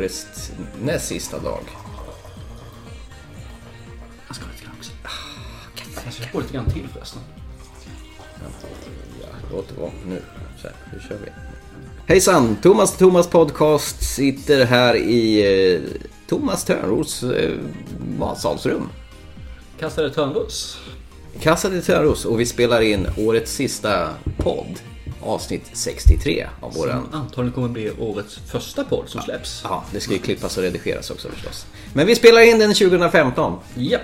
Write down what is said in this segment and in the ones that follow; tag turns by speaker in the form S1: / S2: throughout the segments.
S1: faktiskt Mm. näst sista dag.
S2: Jag ska ha lite grann också. Jag ska få lite grann till förresten.
S1: Ja, låt det vara nu. Så här, nu kör vi. Hejsan! Thomas Thomas Podcast sitter här i eh, Thomas Törnros eh, matsalsrum.
S2: Kastade Törnros.
S1: Kassa till Törnros och vi spelar in årets sista podd. Avsnitt 63 av våran
S2: Antagligen kommer bli årets första podd som släpps.
S1: Ja, det ska ju klippas och redigeras också förstås. Men vi spelar in den 2015.
S2: Japp.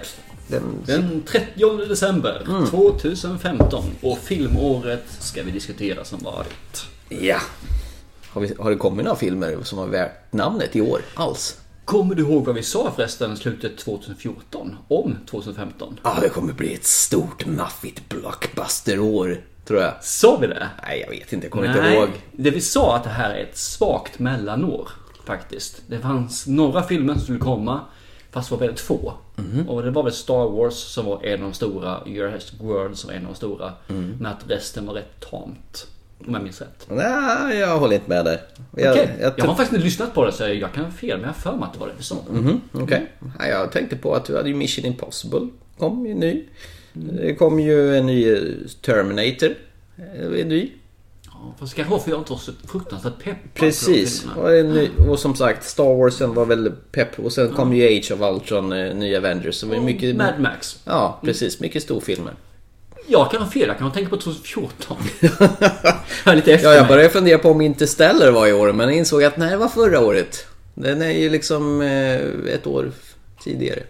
S1: Den...
S2: Den 30 december 2015 och filmåret ska vi diskutera som varit.
S1: Ja. Har, vi, har det kommit några filmer som har värt namnet i år alls?
S2: Kommer du ihåg vad vi sa förresten slutet 2014 om 2015?
S1: Ja, det kommer bli ett stort maffigt blockbusterår, tror jag.
S2: Sa vi det?
S1: Nej, jag vet inte. Jag kommer inte ihåg.
S2: det vi sa att det här är ett svagt mellanår faktiskt. Det fanns några filmer som skulle komma, fast det var väldigt få.
S1: Mhm.
S2: Och det var väl Star Wars som var en av de stora, Jurassic World som var en av de stora.
S1: Mm.
S2: Men att resten var rätt tamt. Om jag minns rätt.
S1: Nej, jag håller inte med där. Jag,
S2: Okej.
S1: jag,
S2: jag har
S1: tror-
S2: faktiskt inte lyssnat på det så jag kan ha fel, men jag har för mig att det var det vi sa.
S1: Okej. Nej, jag tänkte på att du hade ju Mission Impossible. kom ju ny. Det kom ju en ny eh, Terminator. Eh, En ny.
S2: Ja, fast det kanske var för jag inte var så fruktansvärt peppad på de
S1: Precis.
S2: filmerna.
S1: Och, en ny, och som sagt, Star Warsen var väl pepp. Och sen kom ju Age of Ultron, eh, nya Avengers. Så det var ju mycket...
S2: Mad Max.
S1: Ja, precis. Mycket storfilmer.
S2: Jag kan ha fel, jag kan ha tänkt på 2014. jag är lite efter
S1: Ja, jag
S2: mig.
S1: började fundera på om Interstellar var i år, men jag insåg att nej, det var förra året. Den är ju liksom eh, ett år tidigare.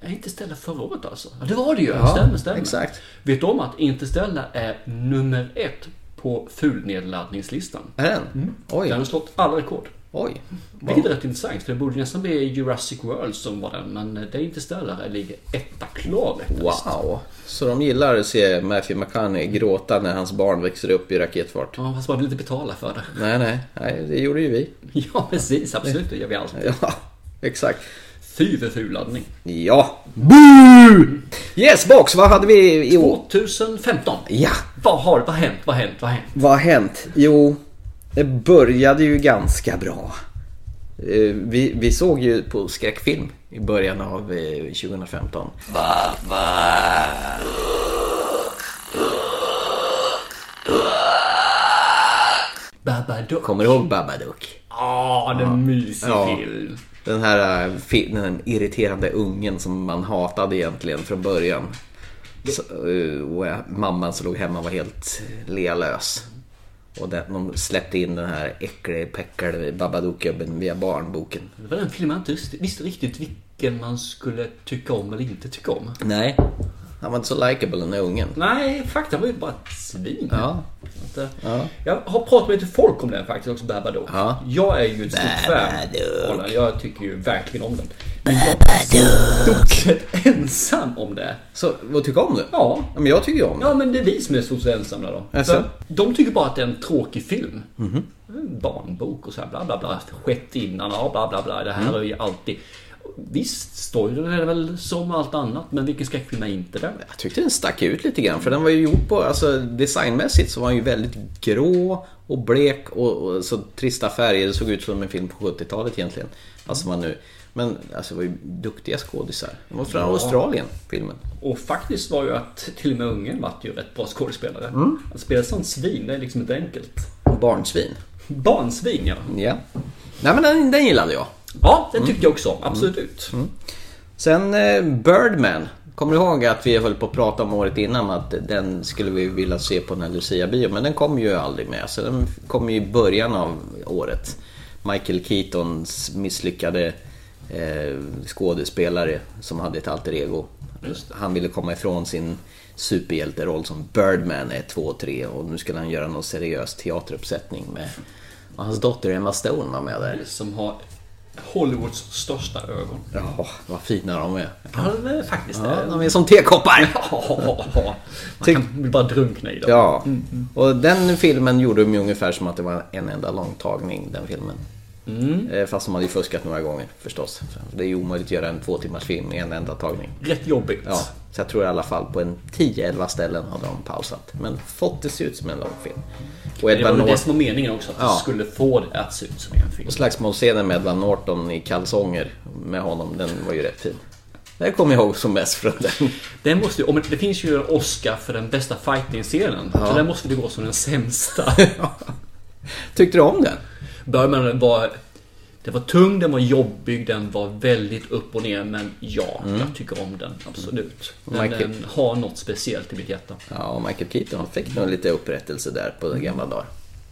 S2: Jag inte ställa förra året alltså. Ja, det var det ju. stämmer, stämmer.
S1: exakt.
S2: Vet du om att Interstellar är nummer ett på fulnedladdningslistan?
S1: Är den? Oj,
S2: Den har slått alla rekord.
S1: oj.
S2: Mm. Vilket är rätt intressant, för det borde nästan bli Jurassic World som var den, men det är Interstellar ligger etta klar.
S1: Wow. Så de gillar att se Matthew McConaughey gråta när hans barn växer upp i raketfart.
S2: Ja, fast man vill inte betala för det.
S1: Nej, nej, nej, det gjorde ju vi.
S2: Ja, precis. Absolut, det gör vi alltid.
S1: Ja, exakt.
S2: Fy för ful laddning.
S1: Ja. Boo! Yes, box, vad hade vi i år?
S2: 2015.
S1: Ja,
S2: Vad har vad har hänt? Vad har hänt? Vad har hänt?
S1: Vad har hänt? Jo, det började ju ganska bra. Eh, Vi, vi såg ju på skräckfilm i början av eh, 2015.
S2: Babadook.
S1: Kommer du ihåg Babadook?
S2: Ah, det är en mysig
S1: Ja.
S2: film.
S1: Den här eh, fi- den här irriterande ungen som man hatade egentligen från början. Så, eh, och eh, mamman som låg hemma var helt lealös. Och den, de släppte in den här äckelpäckade Babadook-gubben via barnboken.
S2: Det var den filmen jag inte visste riktigt vilken man skulle tycka om eller inte tycka om.
S1: Nej, han var inte så likable den här ungen.
S2: Nej, fakta var ju bara ett svin.
S1: Ja,
S2: Att, eh, Jag har pratat med lite folk om den faktiskt också, Babadook.
S1: Ja.
S2: Jag är ju ett stort fan
S1: Babadook.
S2: av den. Jag tycker ju verkligen om den. Men jag är i stort sett ensam om det.
S1: så vad tycker du om det?
S2: Ja.
S1: Ja, men jag tycker ju om den.
S2: Ja, men det är vi som är i stort sett ensamma då.
S1: Jaså?
S2: För De tycker bara att det är en tråkig film.
S1: Mhm.
S2: En barnbok och så här bla bla bla. Skett innan, ja bla bla bla. Det
S1: Mm.
S2: här är ju alltid... Visst, storyn är väl som allt annat, men vilken skräckfilm är inte det?
S1: Jag tyckte den stack ut lite grann för den var ju gjord på, alltså designmässigt så var den ju väldigt grå och blek och, och så trista färger. Det såg ut som en film på 70-talet egentligen. Alltså man nu. Men alltså det var ju duktiga skådisar. De var från Australien, filmen.
S2: Och faktiskt var ju att till och med ungen vart ju rätt bra skådespelare. Att spela sån svin, det är liksom inte enkelt.
S1: Barnsvin.
S2: Barnsvin, ja.
S1: Ja. Nej men den, den gillade jag.
S2: Ja, det tyckte jag också om. Absolut.
S1: Sen eh, Birdman. Kommer du ihåg att vi höll på att prata om året innan att den skulle vi vilja se på den här Lucia-bio men den kom ju aldrig med. Så den kom ju i början av året. Michael Keatons misslyckade eh, skådespelare som hade ett alter ego. Han ville komma ifrån sin superhjälteroll som Birdman 1, 2 och 3 och nu skulle han göra någon seriös teateruppsättning med... Och hans dotter Emma Stone var med där.
S2: Som har Hollywoods största ögon.
S1: Ja, vad fina de är.
S2: Ja, det är faktiskt
S1: Ja,
S2: det.
S1: de är som tekoppar!
S2: Man kan bli bara drunkna i dem.
S1: Ja, och den filmen gjorde de ju ungefär som att det var en enda långtagning, den filmen. Eh, Fast de hade ju fuskat några gånger förstås. För Det är ju omöjligt att göra en två timmars film i en enda tagning.
S2: Rätt jobbigt.
S1: Ja. Så jag tror i alla fall på en 10-11 ställen har de pausat. Men fått det se ut som en långfilm. Och
S2: Det var
S1: Edward
S2: väl det
S1: Norton,
S2: som var meningen också, att
S1: Ja.
S2: det skulle få det att se ut som en film.
S1: och slagsmålscenen med Edward Norton i kalsonger med honom, den var ju rätt fin. Det kommer jag ihåg som mest från den.
S2: Den måste ju, om det finns ju en Oscar för den bästa fighting-scenen. Så den måste ju gå som den sämsta.
S1: Tyckte du om den?
S2: Burman var... Det var tung, den var jobbig, den var väldigt upp och ner. Men ja, jag tycker om den. Absolut. Den,
S1: Mm. Michael-
S2: den har något speciellt i mitt hjärta.
S1: Ja, och Michael Keaton han fick nog lite upprättelse där på gamla dagar.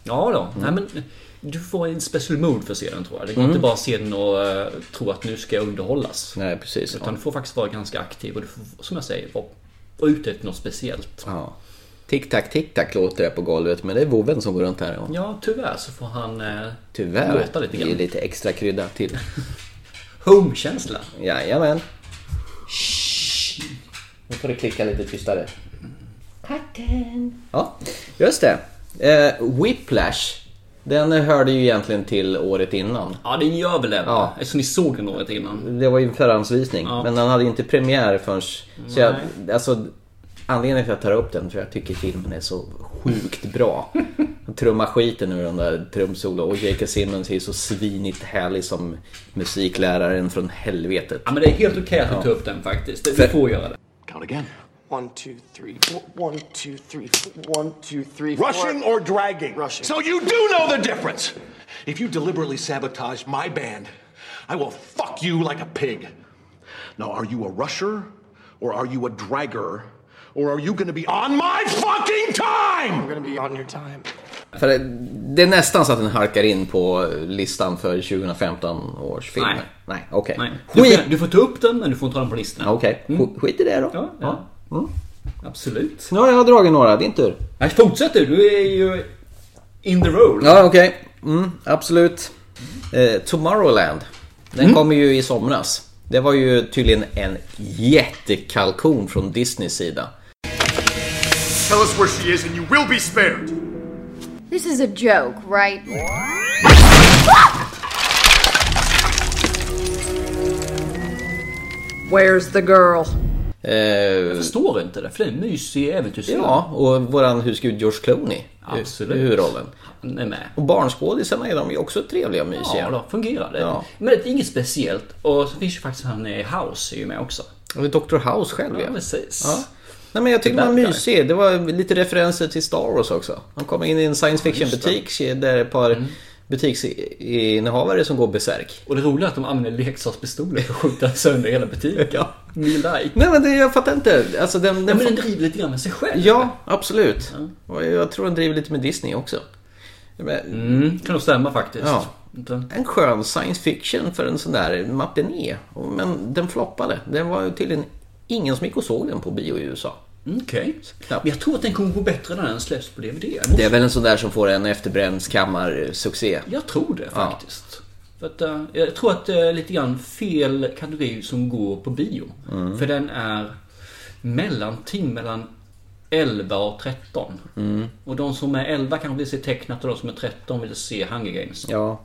S2: Ja då.
S1: Mm.
S2: Nej, men, du får en special mood för att se den tror jag. Det går inte bara att se den och eh, tro att nu ska jag underhållas.
S1: Nej, precis.
S2: Utan du får faktiskt vara ganska aktiv och du får, som jag säger, vara, vara ute efter något speciellt.
S1: Ja. Tick tack, tick tack låter det på golvet, men det är vovven som går runt här. Och
S2: Ja, tyvärr så får han eh,
S1: tyvärr,
S2: låta lite
S1: det är
S2: grann.
S1: lite extra krydda till.
S2: Home-känsla.
S1: Jajamän. Nu får du klicka lite tystare. Katten. Ja, just det. Eh, Whiplash. Den hörde ju egentligen till året innan.
S2: Ja, den gör väl det.
S1: Ja.
S2: Ja. Eftersom ni såg den året innan.
S1: Det var ju en förhandsvisning,
S2: Ja.
S1: men den hade ju inte premiär förrän... Så jag,
S2: Nej.
S1: alltså, anledningen till att jag tar upp den, för jag tycker filmen är så sjukt bra. Han trummar skiten ur den där trumsolo och J.K. Simmons är så svinigt härlig som musikläraren från helvetet.
S2: Ja, men det är helt okej att du tar upp den faktiskt. Det- Du får göra det.
S3: Count again.
S4: One, two, three, four. One, two, three, four. One, two, three, four.
S5: Rushing or dragging?
S4: Rushing.
S5: So you do know the difference. If you deliberately sabotage my band, I will fuck you like a pig. Now, are you a rusher or are you a dragger? Or are you gonna be on my fucking time?
S4: We're gonna be on your time.
S1: För det, det är nästan så att den halkar in på listan för 2015 års filmer.
S2: Nej.
S1: Nej, okej.
S2: Nej. Du,
S1: Skit!
S2: får, du får ta upp den, men du får inte ha den på listan.
S1: Okej, sk- skit i det då.
S2: Ja, ja. Absolut.
S1: Nu har jag dragit några, din tur.
S2: Nej, fortsätt du. Du är ju in the roll.
S1: Ja, okej. Mm, absolut. Eh, Tomorrowland. Den
S2: Mm.
S1: kommer ju i somras. Det var ju tydligen en jättekalkon från Disneys sida.
S6: Tell us where she is and you will be spared.
S7: This is a joke, right?
S8: Where's the girl?
S1: Eh,
S2: Jag förstår inte det, för det är en mysig äventyrsfilm.
S1: ja, och våran husgud George Clooney. i-
S2: Absolut.
S1: I huvudrollen.
S2: Han är med.
S1: Och barnskådisarna är de ju också trevliga och mysiga.
S2: Ja, då fungerar det.
S1: Ja.
S2: Men det är inget speciellt. Och så finns ju faktiskt han i House är ju med också.
S1: Och Dr. House själv
S2: Ja,
S1: ja.
S2: precis.
S1: Ja. Nej men jag tyckte den var
S2: Bad guy.
S1: mysig. Det var lite referenser till Star Wars också. De kommer in i en science fiction butik där ett
S2: Mm.
S1: par butiksinnehavare som går besärk.
S2: Och det roliga är att de använder leksakspistoler för att skjuta sönder hela butiken.
S1: Ja.
S2: Me like.
S1: Nej men det, jag fattar inte. Alltså, den,
S2: Ja,
S1: den
S2: men den
S1: fa-
S2: driver lite grann med sig själv.
S1: ja, absolut. Och jag tror den driver lite med Disney också. Men,
S2: Mm, kan nog stämma faktiskt.
S1: Ja.
S2: Inte-
S1: En skön science fiction för en sån där matiné. Men den floppade. Den var ju tydligen ingen som gick och såg den på bio i USA.
S2: Mm, Okej.
S1: Knappt.
S2: Men jag tror att den kommer gå bättre när den släpps på DVD. Jag,
S1: Det
S2: måste...
S1: är väl en sån där som får en efterbrännskammarsuccé.
S2: jag tror det faktiskt. För att, eh, jag tror att det är lite grann fel kategori som går på bio.
S1: Mm.
S2: För den är mellanting mellan 11 och 13.
S1: Mm.
S2: Och de som är 11 kanske vill se tecknat och de som är 13 vill se Hunger Games.
S1: Ja.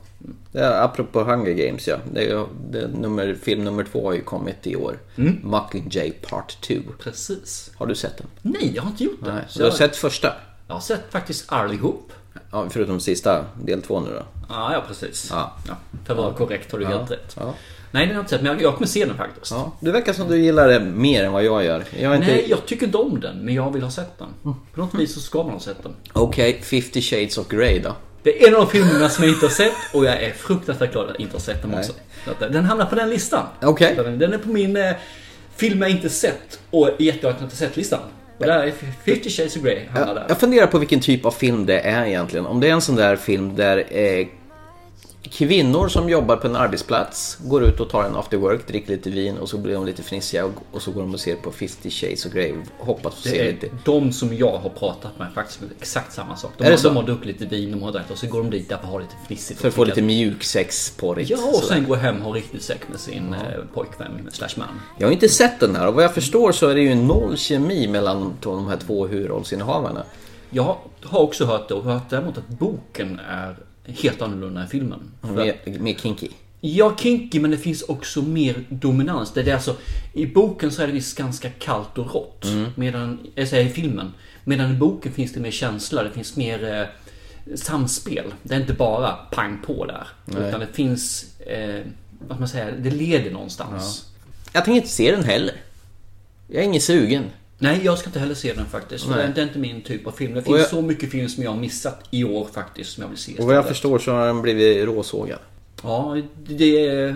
S1: ja, apropå Hunger Games ja. Det är, ju- det är nummer, film nummer två har ju kommit i år. Mockingjay Part 2.
S2: Precis.
S1: Har du sett den?
S2: Nej, jag har inte gjort det.
S1: Nej.
S2: Så
S1: Du har
S2: jag,
S1: sett första?
S2: jag har sett faktiskt allihop.
S1: Ja, förutom sista, del två nu då.
S2: Ja, ja precis.
S1: Ja.
S2: för att vara korrekt har du helt rätt.
S1: ja.
S2: Nej, den har jag inte sett, men jag, jag kommer se den faktiskt.
S1: Ja, du verkar som du gillar det mer än vad jag gör. Jag är inte...
S2: Nej, jag tycker inte om den, men jag vill ha sett den.
S1: Mm.
S2: På något vis så ska man ha sett den.
S1: Okej, 50 shades of Grey då.
S2: Det är en av de filmerna som jag inte har sett och jag är fruktansvärt glad att jag inte har sett den också. Så att, eh, Den hamnar på den listan.
S1: Okej.
S2: Så Den den är på min eh, film jag inte sett och är jätteglad att jag inte sett listan. Och där är 50 Shades of Grey hamnar där.
S1: Jag funderar på vilken typ av film det är egentligen. Om det är en sån där film där eh, kvinnor som jobbar på en arbetsplats går ut och tar en after work, dricker lite vin och så blir de lite fnissiga och, och så går de och ser på 50 shades of Grey och hoppas få
S2: Det
S1: se
S2: är
S1: lite.
S2: de som jag har pratat med faktiskt med exakt samma sak. De,
S1: Är det
S2: har,
S1: så?
S2: de har druckit lite vin, de har dragit och så går de dit där för att ha lite fnissigt.
S1: För att få
S2: och
S1: lite
S2: dricka.
S1: mjuk sex på det.
S2: Ja, och sen gå hem och ha riktigt sex med sin eh, pojkvän slash man.
S1: Jag har inte sett den här och vad jag förstår så är det ju noll kemi mellan de här två huvudrollsinnehavarna.
S2: Jag har också hört det och hört däremot att boken är helt annorlunda än filmen. För att,
S1: Mer, mer kinky.
S2: Ja, kinkig men det finns också mer dominans. Det är alltså, I boken så är det visst ganska kallt och rått.
S1: Mm.
S2: Medan, jag säger i filmen. Medan i boken finns det mer känsla, det finns mer eh, samspel. Det är inte bara pang på där. Utan det finns, eh, vad ska man säga, det leder någonstans.
S1: Jag tänker inte se den heller. Jag är ingen sugen.
S2: Nej, jag ska inte heller se den faktiskt. Det är- det är inte min typ av film. Det finns
S1: jag-
S2: så mycket film som jag har missat i år faktiskt som jag vill se.
S1: Och vad jag
S2: istället.
S1: förstår så har den blivit råsågad.
S2: Ja, det är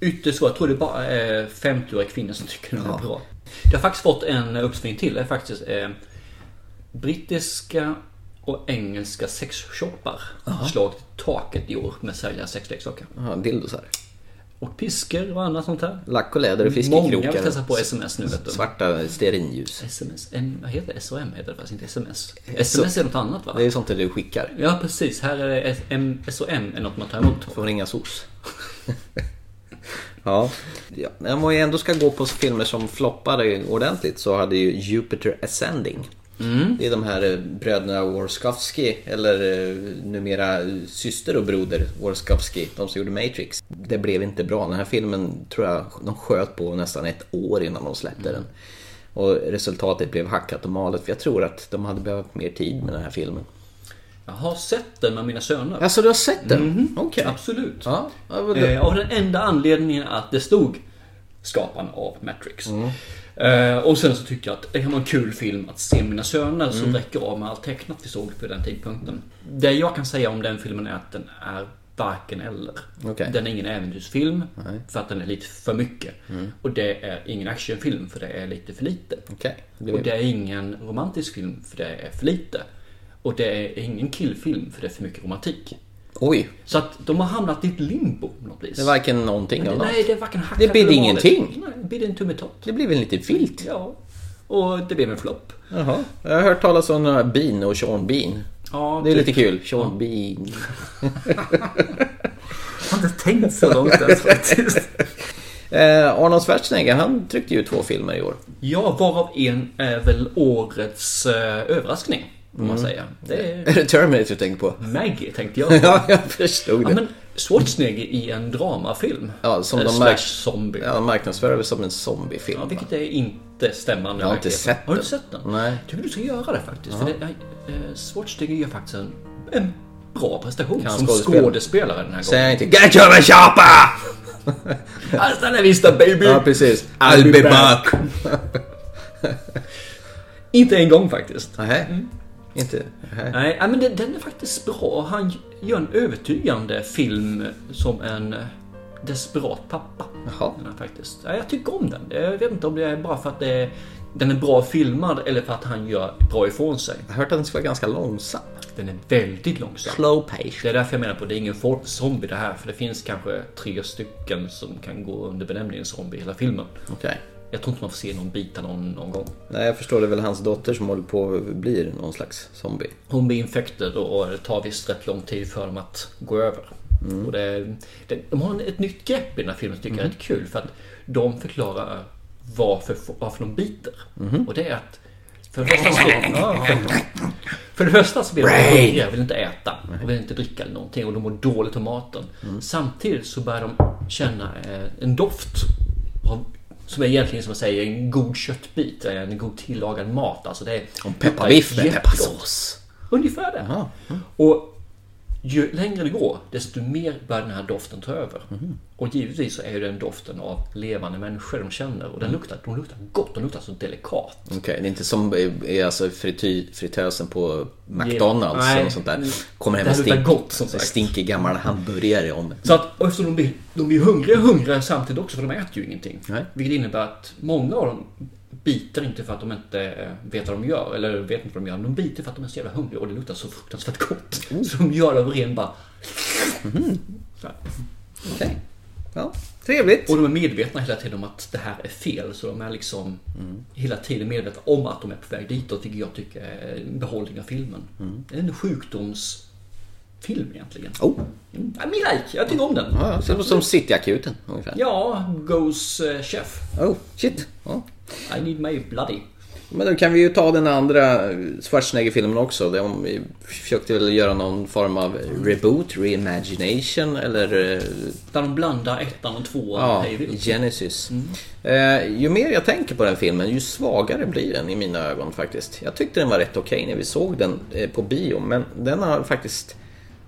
S2: ytterst så. Jag tror det är bara är 50-åriga kvinnor som tycker den är bra. Det har faktiskt fått en uppsving till. Det är faktiskt eh, brittiska och engelska sexshoppar har slagit i taket i år med att sälja sexleksaker.
S1: Jaha, dildosar.
S2: Och piskor och annat sånt där.
S1: Lack och läder och
S2: Många vill
S1: fiskekrokar.
S2: testa på sms nu vet du.
S1: Svarta stearinljus.
S2: SMS, en, vad heter det? SOM heter det faktiskt inte sms. SMS är något annat va?
S1: Det är sånt där du skickar.
S2: Ja precis, här är det S- M- SOM är något man tar emot.
S1: Får ringa SOS. ja. ja. men Om jag ändå ska gå på filmer som floppade ordentligt så hade ju Jupiter Ascending. Det är de här eh, bröderna Warskowski, eller eh, numera syster och broder Warskowski, de som gjorde Matrix. Det blev inte bra. Den här filmen tror jag de sköt på nästan ett år innan de släppte den. Och resultatet blev hackat och malet, för jag tror att de hade behövt mer tid med den här filmen.
S2: Jag har sett den med mina söner.
S1: Alltså du har sett den? Okej.
S2: Absolut.
S1: Ja, ja, vad-
S2: Eh, av den enda anledningen att det stod skaparen av Matrix.
S1: Mm.
S2: Eh, och sen så tyckte jag att det kan vara en kul film att se med mina söner
S1: Mm.
S2: som räcker av med allt tecknat vi såg på den tidpunkten. Det jag kan säga om den filmen är att den är varken eller.
S1: Okej.
S2: Den är ingen äventyrsfilm för att den är lite för mycket.
S1: Mm.
S2: Och det är ingen actionfilm för det är lite för lite.
S1: Okej.
S2: Och det är ingen romantisk film för det är för lite. Och det är ingen killfilm för det är för mycket romantik.
S1: Oj,
S2: Så att de har hamnat i ett limbo på något vis.
S1: det är varken någonting av något.
S2: Nej, det är varken hackat
S1: Det bidde
S2: eller
S1: ingenting.
S2: vanligt. Nej, det bidde en tummetott.
S1: Det blir väl lite vilt?
S2: Ja. Och det blev en flopp.
S1: Jaha. Jag har hört talas om några Bean och Sean Bean.
S2: Ja,
S1: det är
S2: typ.
S1: lite kul. Sean Bean.
S2: Jag har inte tänkt så långt ens faktiskt.
S1: Eh, Arnold Schwarzenegger, han tryckte ju två filmer i år.
S2: Ja, varav en är väl årets eh, överraskning. Om
S1: Mm.
S2: man säger. Det är
S1: Är det Terminator du tänker på?
S2: Maggie tänkte jag.
S1: Ja, jag förstod det.
S2: Ja, men Schwarzenegger i en dramafilm.
S1: Ja, som
S2: Eh,
S1: de
S2: slash
S1: märk-
S2: zombie.
S1: Ja, de marknadsför det som en zombiefilm.
S2: Ja,
S1: va?
S2: vilket är inte stämmande.
S1: Jag har inte
S2: verkligheten.
S1: sett
S2: Har du
S1: den.
S2: inte sett den?
S1: Nej.
S2: Jag tycker du ska göra det faktiskt. För det, eh, Schwarzenegger gör faktiskt en, en bra prestation
S1: han
S2: som
S1: skådespela?
S2: skådespelare den här gången.
S1: Säger han inte Get your shoppa!
S2: Hasta la vista baby!
S1: Ja, precis. I'll be back!
S2: Mm. Inte en gång faktiskt.
S1: Nähä? Inte? Nähä.
S2: Nej, nej, men den, den är faktiskt bra. Han gör en övertygande film som en eh, desperat pappa.
S1: Jaha.
S2: Den här faktiskt. Ja, jag tycker om den. Jag vet inte om det är bara för att det är, den är bra filmad eller för att han gör bra ifrån sig.
S1: Jag har hört att den ska vara ganska långsam.
S2: Den är väldigt långsam.
S1: Slow pace.
S2: Det är därför jag menar på att det är ingen folk zombie det här. För det finns kanske tre stycken som kan gå under benämningen zombie i hela filmen.
S1: Okej.
S2: Jag tror inte man får se någon bita någon någon gång.
S1: Nej, jag förstår det är väl hans dotter som håller på och blir någon slags zombie.
S2: Hon blir infekterad och det tar visst rätt lång tid för dem att gå över.
S1: Mm.
S2: Och det, det, de har ett nytt grepp i den här filmen som jag tycker är rätt kul. För att de förklarar varför, varför de biter.
S1: Mm-hmm.
S2: Och det är att för det första så, ja, för det första så blir de hungriga, vill inte äta och vill inte dricka eller någonting och de mår dåligt av maten.
S1: Mm.
S2: Samtidigt så börjar de känna eh, en doft av, som är egentligen som man säger en god köttbit, eh, en god tillagad mat. Alltså det är
S1: Pepparbiff med
S2: jättegott.
S1: pepparsås.
S2: Ungefär det. Och ju längre det går, desto mer börjar den här doften ta över. Och givetvis så är ju den doften av levande människor de känner. Och den luktar, de luktar gott, de luktar så delikat.
S1: Okej, det är inte som eh, eh, alltså, frity, fritösen på McDonalds
S2: Nej.
S1: eller något sånt där. Kommer hem
S2: Det
S1: och
S2: här luktar
S1: stink,
S2: gott, som sagt. Mm.
S1: stinker gammal hamburgare om.
S2: Så att och eftersom de blir, de blir hungriga och hungriga samtidigt också, för de äter ju ingenting.
S1: Nej.
S2: Vilket innebär att många av dem biter inte för att de inte eh, vet vad de gör, eller vet inte vad de gör. De biter för att de är så jävla hungriga och det luktar så fruktansvärt gott. Så de gör det av ren bara... Så här.
S1: Okej. Ja, trevligt.
S2: Och de är medvetna hela tiden om att det här är fel. Så de är liksom
S1: Mm.
S2: hela tiden medvetna om att de är på väg dit. Och vilket jag tycker är en behållning av filmen.
S1: Mm.
S2: Det är en sjukdomsfilm egentligen.
S1: Oh,
S2: Mm. I mean, like, jag tycker om den.
S1: ja, ja, så det låter som Cityakuten ungefär.
S2: Ja, goes eh, chef.
S1: Oh, shit. Ja.
S2: I need my bloody.
S1: Men då kan vi ju ta den andra Schwarzenegger-filmen också. De försökte väl göra någon form av reboot, reimagination eller eh,
S2: Där de blandar ettan och tvåan
S1: ja,
S2: hej vilt.
S1: Genesis.
S2: Mm.
S1: Eh, ju mer jag tänker på den filmen, ju svagare blir den i mina ögon faktiskt. Jag tyckte den var rätt okej när vi såg den eh, på bio, men den har faktiskt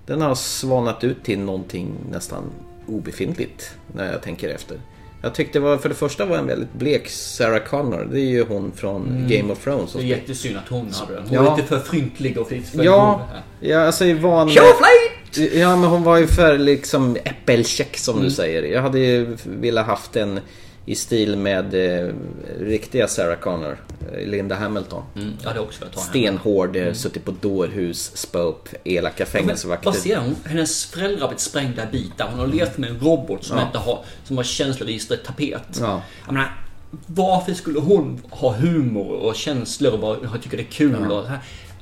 S1: den har svanat ut till någonting nästan obefintligt när jag tänker efter. Jag tyckte det var, för det första var en väldigt blek Sarah Connor. Det är ju hon från Game of Thrones. Som
S2: Mm. Det är
S1: spelar-
S2: jättesynd att hon hade den. Hon
S1: Ja.
S2: var lite för fryntlig och fritt
S1: Ja, ja alltså i van...
S2: Show flight!
S1: Ja, men hon var ju för liksom äppelcheck som
S2: Mm.
S1: du säger. Jag hade ju velat haft en i stil med eh, riktiga Sarah Connor, eh, Linda Hamilton.
S2: Mm, jag hade också velat ta henne.
S1: Stenhård, eh, suttit på dårhus, spö upp elaka
S2: Men
S1: fängelsevakter.
S2: Vad ser hon? Hennes föräldrar har blivit sprängda i bitar. Hon har levt med en robot som inte har, som har känsloregistret tapet.
S1: Ja.
S2: Jag menar, varför skulle hon ha humor och känslor och vad hon tycker det är kul? Och så här?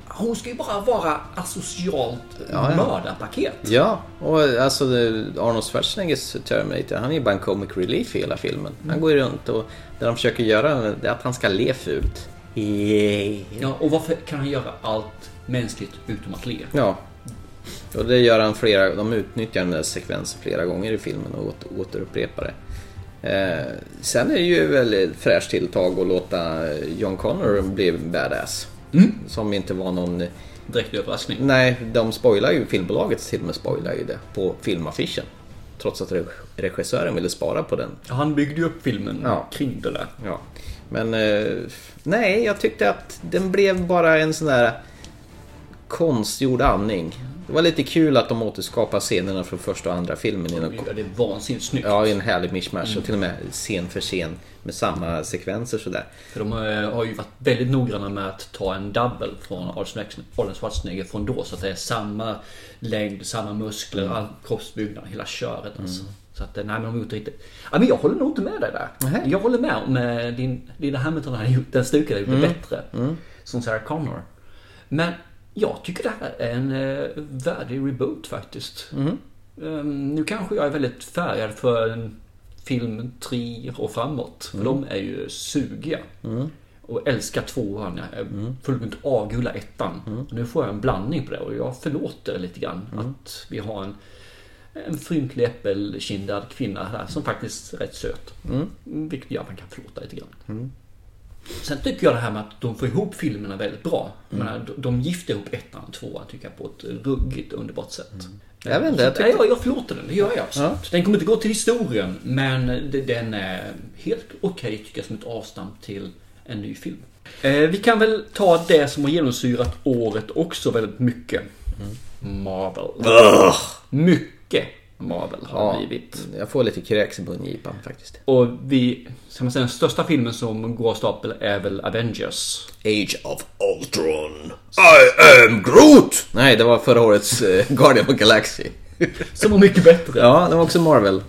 S2: Hon ska ju bara vara asocialt mördarpaket.
S1: Ja, och alltså eh, Arnold Schwarzeneggers Terminator, han är ju bara en comic relief i hela filmen.
S2: Mm.
S1: Han går ju runt och det de försöker göra det är att han ska le fult.
S2: Ja, och varför kan han göra allt mänskligt utom att le?
S1: Ja. Och det gör han flera, de utnyttjar den där sekvensen flera gånger i filmen och åter, återupprepar det. Eh, sen är det ju väldigt fräscht tilltag att låta John Connor bli badass. Som inte var någon...
S2: Direkt överraskning.
S1: Nej, de spoilar ju, filmbolaget till och med spoilar ju det på filmaffischen. Trots att reg- regissören ville spara på den
S2: Han byggde ju upp filmen
S1: Ja.
S2: kring det där.
S1: Ja. Men eh, nej, jag tyckte att den blev bara en sån där konstgjord andning. Det var lite kul att de återskapar scenerna från första och andra filmen. i någon-
S2: Ja, det är vansinnigt snyggt.
S1: Ja, i en härlig mishmash och till och med scen för scen med samma sekvenser sådär.
S2: För de eh, har ju varit väldigt noggranna med att ta en double från Arnold Schwarzenegger- Arnold Schwarzenegger från då. Så att det är samma längd, samma muskler, all kroppsbyggnad, hela köret alltså. Så att, eh, nej men de har gjort riktigt. Ja, men jag håller nog inte med dig där.
S1: Nej.
S2: Jag håller med om eh, din, Linda Hamilton har gjort den stuket har gjort det bättre. Som Sarah Connor. Men jag tycker det här är en eh, värdig reboot faktiskt. Ehm, nu kanske jag är väldigt färgad för en film tre och framåt. För de är ju sugiga. Och älskar tvåan. Jag är fullkomligt avgulla ettan. Nu får jag en blandning på det och jag förlåter lite grann att vi har en en fryntlig äppelkindad kvinna här som faktiskt är rätt söt.
S1: Mm.
S2: Vilket gör att man kan förlåta lite grann. Sen tycker jag det här med att de får ihop filmerna väldigt bra. Jag
S1: Mm.
S2: menar, de- de gifter ihop ettan och tvåan tycker jag på ett ruggigt underbart sätt.
S1: Mm. Jag vet inte, jag
S2: Så- nej, jag, jag förlåter den, det gör jag absolut. Den kommer inte gå till historien men det- den är helt okej tycker jag som ett avstamp till en ny film. Eh, vi kan väl ta det som har genomsyrat året också väldigt mycket.
S1: Mm.
S2: Marvel. Mycket Marvel har det blivit.
S1: Jag får lite kräks i mungipan faktiskt.
S2: Och vi, ska man säga den största filmen som går av stapel är väl Avengers.
S1: Age of Ultron. I am Groot! Nej, det var förra årets eh, Guardian of Galaxy.
S2: Som var mycket bättre.
S1: Ja, det var också Marvel.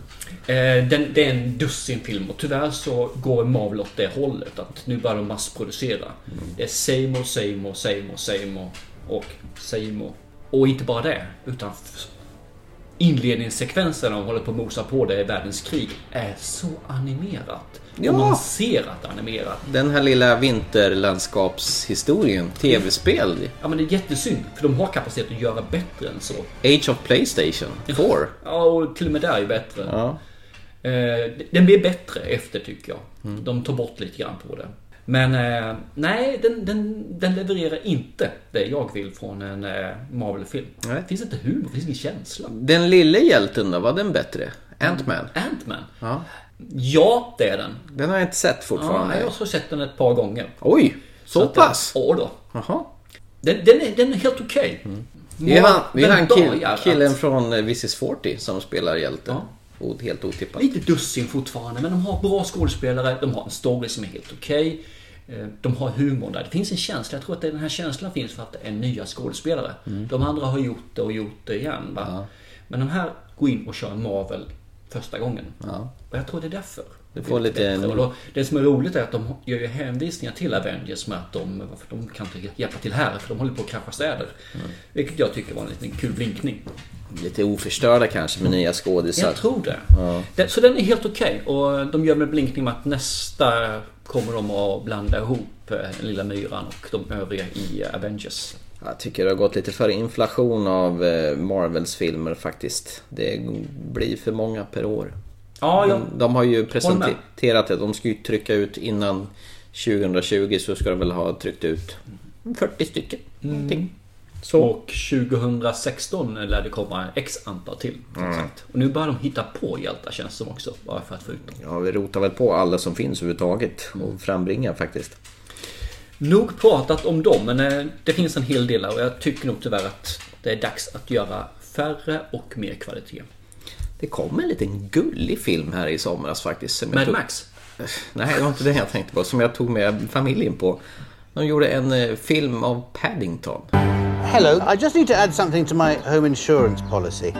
S2: Eh, Den, det är en dussin film och tyvärr så går Marvel åt det hållet att nu börjar de massproducera. Det är same och same och same och same och, och same och. Och inte bara det, utan f- inledningssekvenserna de håller på att mosa på det i världens krig är så animerat.
S1: Ja.
S2: Och man ser att det är animerat.
S1: Den här lilla vinterlandskapshistorien, tv-spel.
S2: Ja men det är jättesynd, för de har kapacitet att göra bättre än så.
S1: Age of Playstation 4.
S2: Ja, och till och med där är ju bättre.
S1: Ja.
S2: Eh, den blir bättre efter tycker jag.
S1: Mm.
S2: De tar bort lite grann på det. Men eh, nej, den, den, den levererar inte det jag vill från en eh, Marvel-film.
S1: Nej.
S2: Det finns inte humor, det finns ingen känsla.
S1: Den lille hjälten då, var den bättre? Ant-Man?
S2: Ant-Man.
S1: Ja.
S2: Ja, det är den.
S1: Mm. Den har jag inte sett
S2: Ja,
S1: fortfarande.
S2: nej, jag har sett den ett par gånger.
S1: Oj, så
S2: att den-
S1: pass?
S2: Ja då.
S1: Jaha.
S2: Den, den, är, den är helt okej.
S1: Det Mm. är han, det är han
S2: Men
S1: kill,
S2: dagar alltså. att-
S1: killen från eh, This is 40 som spelar hjälten. O- Helt otippat.
S2: Lite dussin fortfarande, men de har bra skådespelare, de har en story som är helt okej. eh, De har humor där. Det finns en känsla, jag tror att den här känslan finns för att det är nya skådespelare.
S1: Mm.
S2: De andra har gjort det och gjort det igen. Va? Men de här går in och kör Marvel första gången. Och jag tror det är därför. Det
S1: får
S2: blir
S1: lite-
S2: bättre. Och då, det som är roligt är att de gör ju hänvisningar till Avengers med att de, för de kan inte hjälpa till här för de håller på att krascha städer.
S1: Mm.
S2: Vilket jag tycker var en liten kul blinkning.
S1: Lite oförstörda kanske med nya skådisar.
S2: Jag tror det. det så den är helt okej. Och de gör med blinkning med att nästa kommer de att blanda ihop eh, den lilla myran och de övriga i eh, Avengers.
S1: Jag tycker det har gått lite för inflation av eh, Marvels filmer faktiskt. Det blir för många per år.
S2: Ja, jag
S1: De, de har ju
S2: Håller med.
S1: presenterat det. De ska ju trycka ut innan 2020 så ska de väl ha tryckt ut 40 stycken.
S2: Mm.
S1: Någonting. Så.
S2: Och 2016 lär det komma x antal till.
S1: Mm.
S2: Exakt. Och nu börjar de hitta på hjältar känns det som också. Bara för att få ut dem.
S1: Ja, vi rotar väl på alla som finns överhuvudtaget
S2: Mm.
S1: och frambringar faktiskt.
S2: Nog pratat om dem men eh, det finns en hel del där och jag tycker nog tyvärr att det är dags att göra färre och mer kvalitet.
S1: Det kom en liten gullig film här i somras faktiskt. som jag
S2: Mad
S1: tog-
S2: Max.
S1: Nej, det var inte den jag tänkte på. Som jag tog med familjen på. De gjorde en eh, film av Paddington.
S3: Hello, I just need to add something to my home insurance policy.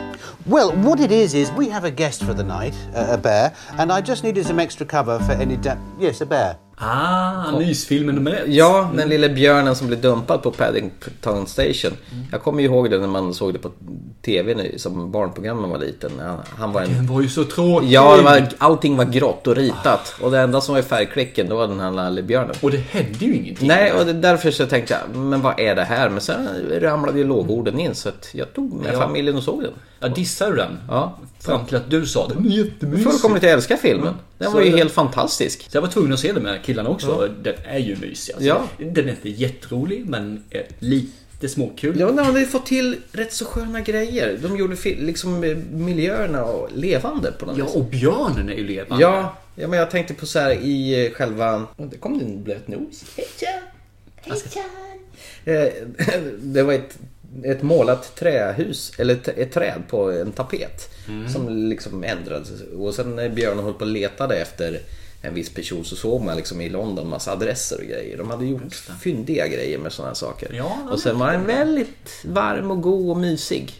S3: Well, what it is is we have a guest for the night, a, a bear, and I just needed some extra cover for any da- yes, a bear.
S2: Ah, mysfilmen nummer ett.
S1: Ja, den lille björnen som blev dumpad på Paddington Station. Jag kommer ju ihåg det när man såg det på TV nu, som barnprogram när man var liten. Han, han var
S2: Den
S1: en...
S2: var ju så tråkig.
S1: Ja, det var, allting var grått och ritat. Och det enda som var i färgklicken, det var den här lille björnen.
S2: Och det hände ju ingenting.
S1: Nej, och det, därför så tänkte jag, men vad är det här? Men sen ramlade ju lågorden in, så att jag tog med
S2: Ja.
S1: familjen och såg den.
S2: Jag dissade den.
S1: Ja.
S2: Fram till att du sa det. Den är jättemysig.
S1: Fullkomligt jag älskar filmen. Den
S2: Så
S1: var ju
S2: är det.
S1: helt fantastisk.
S2: Så jag var tvungen att se den med killarna också. Den är ju mysig. Alltså.
S1: Ja.
S2: Den är inte jätterolig men eh, lite småkul.
S1: Ja, men de hade ju fått till rätt så sköna grejer. De gjorde fi- liksom eh, miljöerna och levande på något
S2: Ja,
S1: vis.
S2: och björnen är ju levande.
S1: Ja, ja, men jag tänkte på så här i eh, själva... Åh, Det kom det en blöt nos. Hej John! Hej John! Eh, Det var ett, ett målat trähus, eller ett, ett träd på en tapet. Som liksom ändrades. Och sen när björnen höll på och letade efter en viss person så såg man liksom i London massa adresser och grejer. De hade gjort fyndiga grejer med sådana här saker.
S2: Ja,
S1: och sen var den väldigt varm och god och mysig.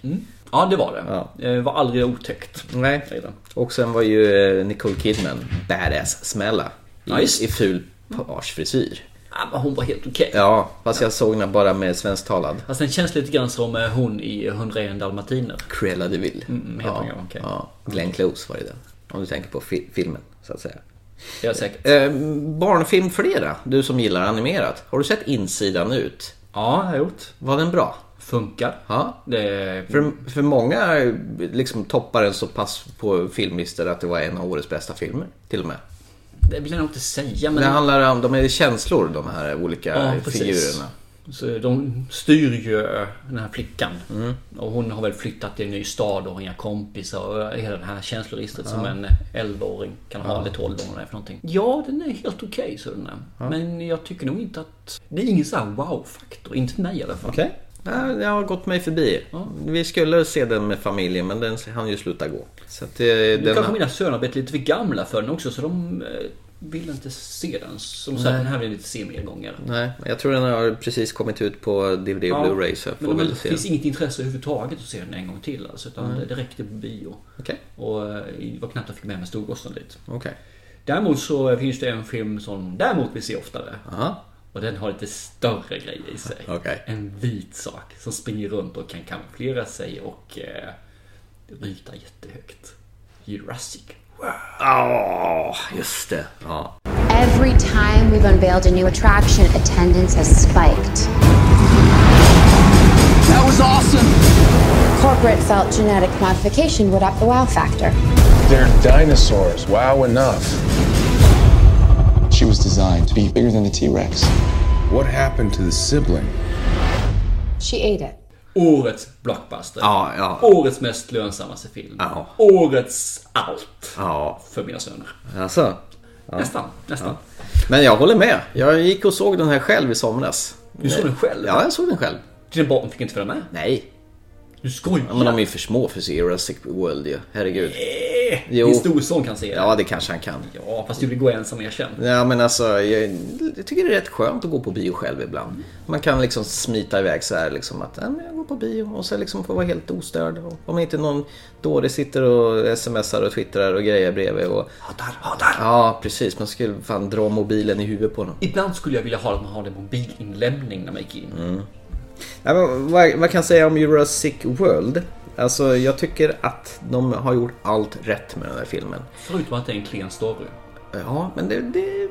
S2: Ja, det var det.
S1: Ja.
S2: Det var aldrig otäckt.
S1: Nej.
S2: Det är den.
S1: Och sen var ju eh, Nicole Kidman badass-smälla. I,
S2: Ja, just.
S1: I ful pagefrisyr.
S2: Ja, men hon var helt okej.
S1: Ja, fast jag såg den bara med svensktalad.
S2: Fast den känns lite grann som eh, hon i 101 dalmatiner.
S1: Cruella de Vil.
S2: mm, heter
S1: ja,
S2: den, okej.
S1: ja. Glenn Close var ju den. Om du tänker på fi- filmen, så att säga.
S2: Det är säkert.
S1: Eh, barnfilm flera, du som gillar animerat. Har du sett Insidan ut?
S2: Ja, jag har gjort.
S1: Var den bra?
S2: Funkar.
S1: Ja.
S2: Det...
S1: För, för många eh, liksom toppar den så pass på filmlistor att det var en av årets bästa filmer, till och med.
S2: det vill jag nog inte säga,
S1: Det
S2: men...
S1: handlar om, de är känslor de här olika
S2: Ja, precis.
S1: eh, figurerna.
S2: Så de styr ju eh, den här flickan.
S1: Mm.
S2: Och hon har väl flyttat till en ny stad och har inga kompisar och eh, hela det här känsloregistret som en 11-åring kan ha. Eller 12 eller vad det är för någonting. Ja, den är helt okej så den är. Men jag tycker nog inte att... Det är ingen sån här wow-faktor. Inte för mig i alla fall.
S1: Okej. Ja, det har gått mig förbi. Vi skulle se den med familjen men den hann ju sluta gå. Så att, eh,
S2: Nu
S1: den
S2: kanske mina söner har blivit lite för gamla för den också så de eh, vill inte se den. Som sagt, den här vill jag inte se mer gånger.
S1: Nej, men jag tror den har precis kommit ut på DVD och Blu-ray så jag får
S2: men
S1: väl
S2: det
S1: se den.
S2: finns inget intresse överhuvudtaget att se den en gång till. Alltså, utan det- det räckte på bio.
S1: Okej.
S2: Och eh, det var knappt jag fick med mig storgossen dit.
S1: Okej.
S2: Däremot så finns det en film som däremot vi ser oftare.
S1: Aha.
S2: Och den har lite större grejer i sig.
S1: Okej.
S2: En vit sak som springer runt och kan kamouflera sig och eh, ryta jättehögt. Jurassic World. Ah,
S1: Ja, just det. Ja.
S8: Every time we've unveiled a new attraction, attendance has spiked.
S4: That was awesome.
S8: Corporate felt genetic modification would up the wow factor.
S9: They're dinosaurs. Wow, enough. She was designed to be bigger than the T Rex. What happened to the sibling?
S8: She ate it.
S2: Årets blockbuster.
S1: Ja, ja.
S2: Årets mest lönsammaste film.
S1: Ja.
S2: Årets allt.
S1: Ja,
S2: För mina söner.
S1: alltså.
S2: Nästan. nästan.
S1: Men jag håller med. Jag gick och såg den här själv i somras.
S2: Du såg den själv?
S1: Ja, jag såg den själv.
S2: Dina barn fick inte följa med?
S1: Nej,
S2: Du skojar?
S1: men de är ju för små för att se Jurassic World ju. Herregud. Jo.
S2: Eh, Din storson kan se det.
S1: Ja, det kanske han kan.
S2: Ja, fast du vill gå ensam erkänn.
S1: Ja men alltså, jag, jag tycker det är rätt skönt att gå på bio själv ibland. Man kan liksom smita iväg så här liksom att "Nej, men jag går på bio och så liksom få vara helt ostörd. Och om inte någon dåre sitter och smsar och twittrar och grejer bredvid. Och,
S2: Hatar, hatar.
S1: ja precis, man skulle fan dra mobilen i huvudet på honom.
S2: Ibland skulle jag vilja ha att man har en mobilinlämning när man gick in.
S1: Ja, men vad, vad kan jag säga om Jurassic World? Alltså jag tycker att de har gjort allt rätt med den här filmen.
S2: Förutom att det är en klen story.
S1: Ja, men det, det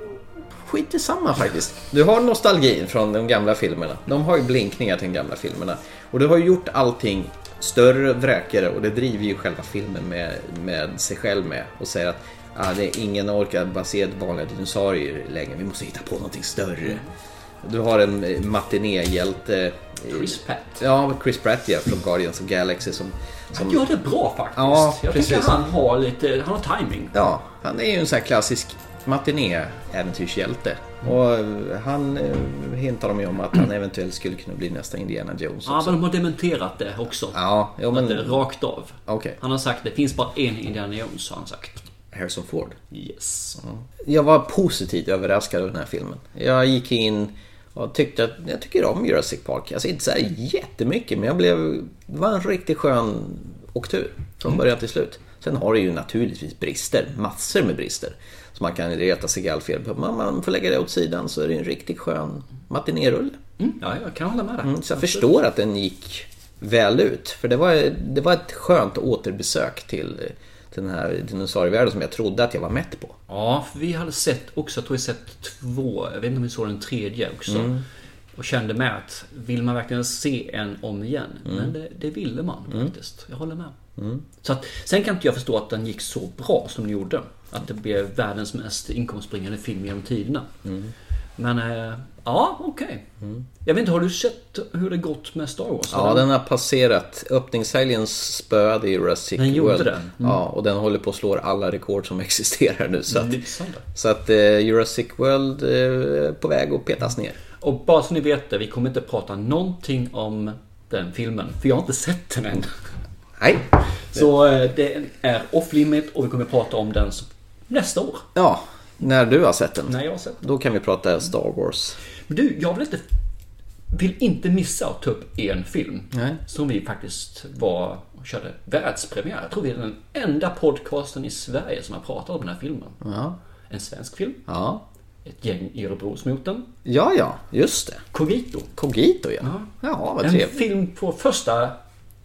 S1: Skit i samma faktiskt. Du har nostalgin från de gamla filmerna. De har ju blinkningar till de gamla filmerna. Och du har ju gjort allting större, vräkigare och det driver ju själva filmen med, med sig själv med. Och säger att ah, det är ingen orkar basera vanliga dinosaurier längre. Vi måste hitta på någonting större. Du har en eh, matinéhjälte. eh,
S2: Chris Pratt.
S1: Ja, Chris Pratt ja, från Guardians of Galaxy som... som
S2: Han gör det bra faktiskt.
S1: Ja,
S2: jag
S1: precis.
S2: tycker han har lite, han har timing.
S1: Ja, han är ju en sån här klassisk matiné-äventyrshjälte. Och eh, han eh, hintar de ju om att han eventuellt skulle kunna bli nästa Indiana Jones
S2: Ja,
S1: också.
S2: men de har dementerat det också.
S1: Ja, jo,
S2: Att det är
S1: men
S2: Rakt av.
S1: Okej.
S2: Han har sagt det finns bara en Indiana Jones har han sagt.
S1: Harrison Ford.
S2: Yes.
S1: Jag var positivt överraskad av den här filmen. Jag gick in och tyckte att jag tycker om Jurassic Park. Alltså inte så här jättemycket men jag blev... Det var en riktigt skön åktur från början till slut. Sen har det ju naturligtvis brister, massor med brister. Som man kan reta sig gallfel på. Men man får lägga det åt sidan så är det en riktigt skön matinérulle.
S2: Mm, ja, jag kan hålla med dig.
S1: Så jag förstår att den gick väl ut. För det var, det var ett skönt återbesök till till den här dinosaurievärlden som jag trodde att jag var mätt på.
S2: Ja, för vi hade sett också, jag tror jag sett två, jag vet inte om vi såg den tredje också. Och kände med att vill man verkligen se en om igen? Men det, det ville man faktiskt. Jag håller med. Så att, sen kan inte jag förstå att den gick så bra som den gjorde. Att det blev världens mest inkomstbringande film genom tiderna. Men eh, ja, okej. Jag vet inte, har du sett hur det gått med Star Wars?
S1: Ja, den har passerat. Öppningshelgen spöade Jurassic
S2: Den gjorde
S1: World.
S2: det? Mm.
S1: Ja, och den håller på att slå alla rekord som existerar nu. Så att,
S2: Lysande.
S1: så att eh, Jurassic World eh, är på väg att petas ner.
S2: Och bara så ni vet det, vi kommer inte prata någonting om den filmen. För jag har inte sett den än.
S1: Nej.
S2: Så eh, det är off limit och vi kommer prata om den s- nästa år.
S1: Ja, när du har sett den.
S2: När jag har sett den.
S1: Då kan vi prata Star Wars.
S2: Men Du, jag vill inte, vill inte missa att ta upp en film.
S1: Nej.
S2: Som vi faktiskt var och körde världspremiär. Jag tror vi är den enda podcasten i Sverige som har pratat om den här filmen. En svensk film.
S1: Ja,
S2: Ett gäng i Örebro som gjort den.
S1: ja, ja just det.
S2: Cogito.
S1: Cogito ja. Ja, vad
S2: en
S1: trevligt.
S2: film på första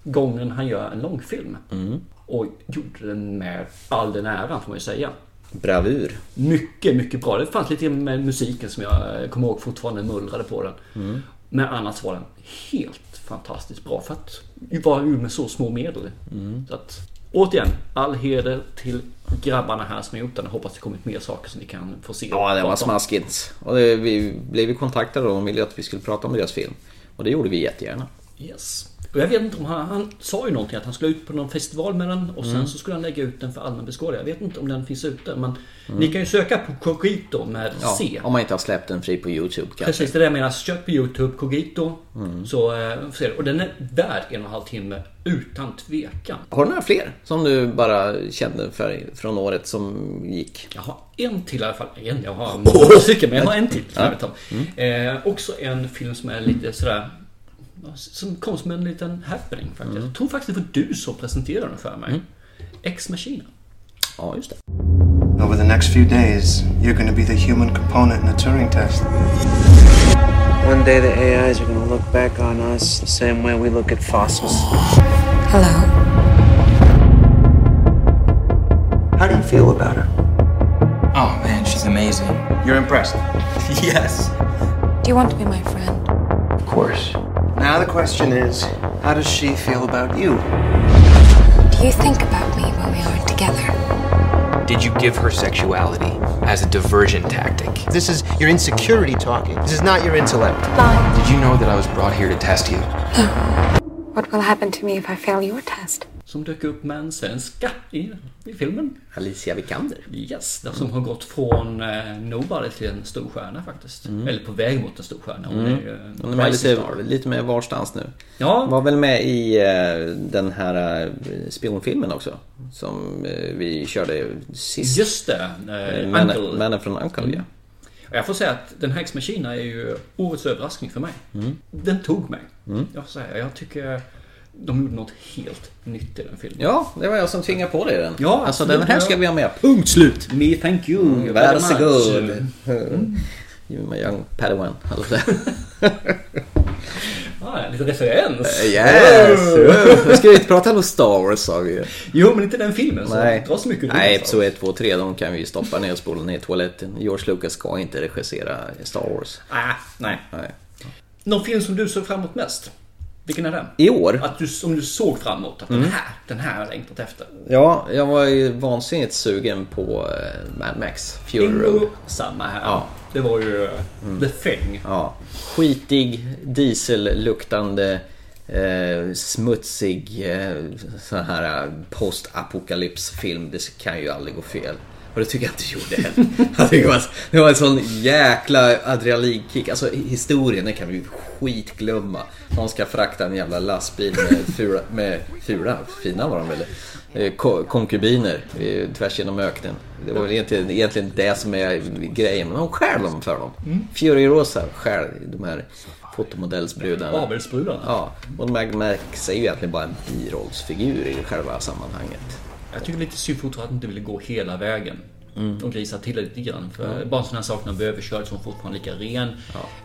S2: gången han gör en långfilm.
S1: Mm.
S2: Och gjorde den med all den äran får man ju säga.
S1: Bravur.
S2: Mycket, mycket bra. Det fanns lite med musiken som jag eh, kommer ihåg fortfarande mullrade på den.
S1: Mm.
S2: Men annars var den helt fantastiskt bra för att vara gjord med så små medel.
S1: Mm.
S2: Så att, återigen, all heder till grabbarna här som har gjort den. Jag Hoppas det kommit mer saker som vi kan få se.
S1: Ja, det var
S2: Prata om.
S1: smaskigt. Och det, vi blev ju kontaktade och de ville att vi skulle prata om deras film. Och det gjorde vi jättegärna.
S2: Yes. Och jag vet inte om han, han sa ju någonting att han skulle ut på någon festival med den och sen
S1: Mm.
S2: så skulle han lägga ut den för allmän beskådning. Jag vet inte om den finns ute men ni kan ju söka på Cogito med
S1: Mm. Ja,
S2: C.
S1: Om man inte har släppt den fri på Youtube kanske.
S2: Precis, det där menar kött på Youtube, Cogito.
S1: Mm.
S2: Så, eh, får se det. och den är värd en och en halv timme utan tvekan.
S1: Har du några fler som du bara kände för, från året som gick?
S2: Jag har en till i alla fall. En, jag har många stycken men jag har en till. Som jag vet om.
S1: Mm.
S2: Eh, också en film som är lite sådär som kom som en liten happening faktiskt.
S1: Mm.
S2: Jag tror faktiskt det var du som presenterade den för mig. Ex Machina.
S1: Ja, just det.
S4: Over the next few days, you're going to be the human component in a Turing test.
S10: One day the AIs are gonna look back on us the same way we look at fossils.
S8: Hello?
S10: How do you feel about her?
S9: Oh man, she's amazing.
S10: You're impressed.
S9: yes.
S8: Do you want to be my friend?
S10: Of course. Now the question is, how does she feel about you?
S8: Do you think about me when we aren't together?
S11: Did you give her sexuality as a diversion tactic?
S10: This is your insecurity talking. This is not your intellect.
S8: Bye.
S11: Did you know that I was brought here to test you?
S8: What will happen to me if I fail your test?
S2: Som dök upp med en svenska i, i filmen.
S1: Alicia Vikander.
S2: Yes, den
S1: Mm.
S2: som har gått från eh, nobody till en stor stjärna faktiskt. Eller på väg mot en stor stjärna. Hon är ju en
S1: Mm. Hon är med
S2: rising
S1: lite,
S2: star.
S1: lite mer varstans nu.
S2: Ja.
S1: Var väl med i eh, den här eh, spionfilmen också. Som eh, vi körde sist.
S2: Just det, eh,
S1: Männen,
S2: Uncle. Mm.
S1: männen från Uncle, ja.
S2: Jag får säga att den här Ex Machina är ju årets överraskning för mig.
S1: Mm.
S2: Den tog mig. Jag, får säga, jag tycker de gjorde något helt nytt i den filmen.
S1: Ja, det var jag som tvingade på dig den.
S2: Ja,
S1: alltså
S2: absolut.
S1: den här ska vi ha med.
S2: Punkt slut! Me thank you. very
S1: Mm, Varsågod.
S2: much.
S1: Mm. You're my young padawan. Alltså.
S2: Ah, lite referens.
S1: Eh, Yes!
S2: Wow.
S1: Nu ska vi inte prata om Star Wars sa vi ju.
S2: Jo, men inte den filmen. Så
S1: Nej,
S2: dra så mycket alltså. ur
S1: Nej
S2: den,
S1: episod 1, 2, 3 de kan vi ju stoppa ner och spola ner i toaletten. George Lucas ska inte regissera Star Wars.
S2: Ah, nej.
S1: Nej.
S2: Någon film som du såg fram emot mest? Vilken är den?
S1: I år?
S2: Att du, som du såg fram emot. Att den
S1: Mm.
S2: här, den här har jag längtat efter.
S1: Ja, jag var ju vansinnigt sugen på eh, Mad Max Fury
S2: Bingo.
S1: Road.
S2: Samma här.
S1: Ja. Mm.
S2: Det var ju eh, The Thing.
S1: Ja. Skitig, dieselluktande, eh, smutsig eh, sån här eh, postapokalypsfilm. Det kan ju aldrig gå fel. Och det tycker jag inte det gjorde heller. Jag tycker det var- Det var en sån jäkla adrenalinkick. Alltså historien, den kan vi skitglömma. De ska frakta en jävla lastbil med fula, med fula fina var de väl, eh, ko- konkubiner eh, tvärs genom öknen. Det var väl egentligen, egentligen det som är grejen, men de stjäl dem för dem.
S2: Mm.
S1: Fury Rosa stjäl de här fotomodellsbrudarna.
S2: Babelsbrudarna.
S1: Ja, och Mag Max är ju egentligen bara en birollsfigur i själva sammanhanget.
S2: Jag tycker det är lite synd fortfarande att de inte ville gå hela vägen.
S1: Mm.
S2: De grisar till det lite grann. För
S1: Mm.
S2: Bara sådana här saker när de blir överkörd som fortfarande är lika ren.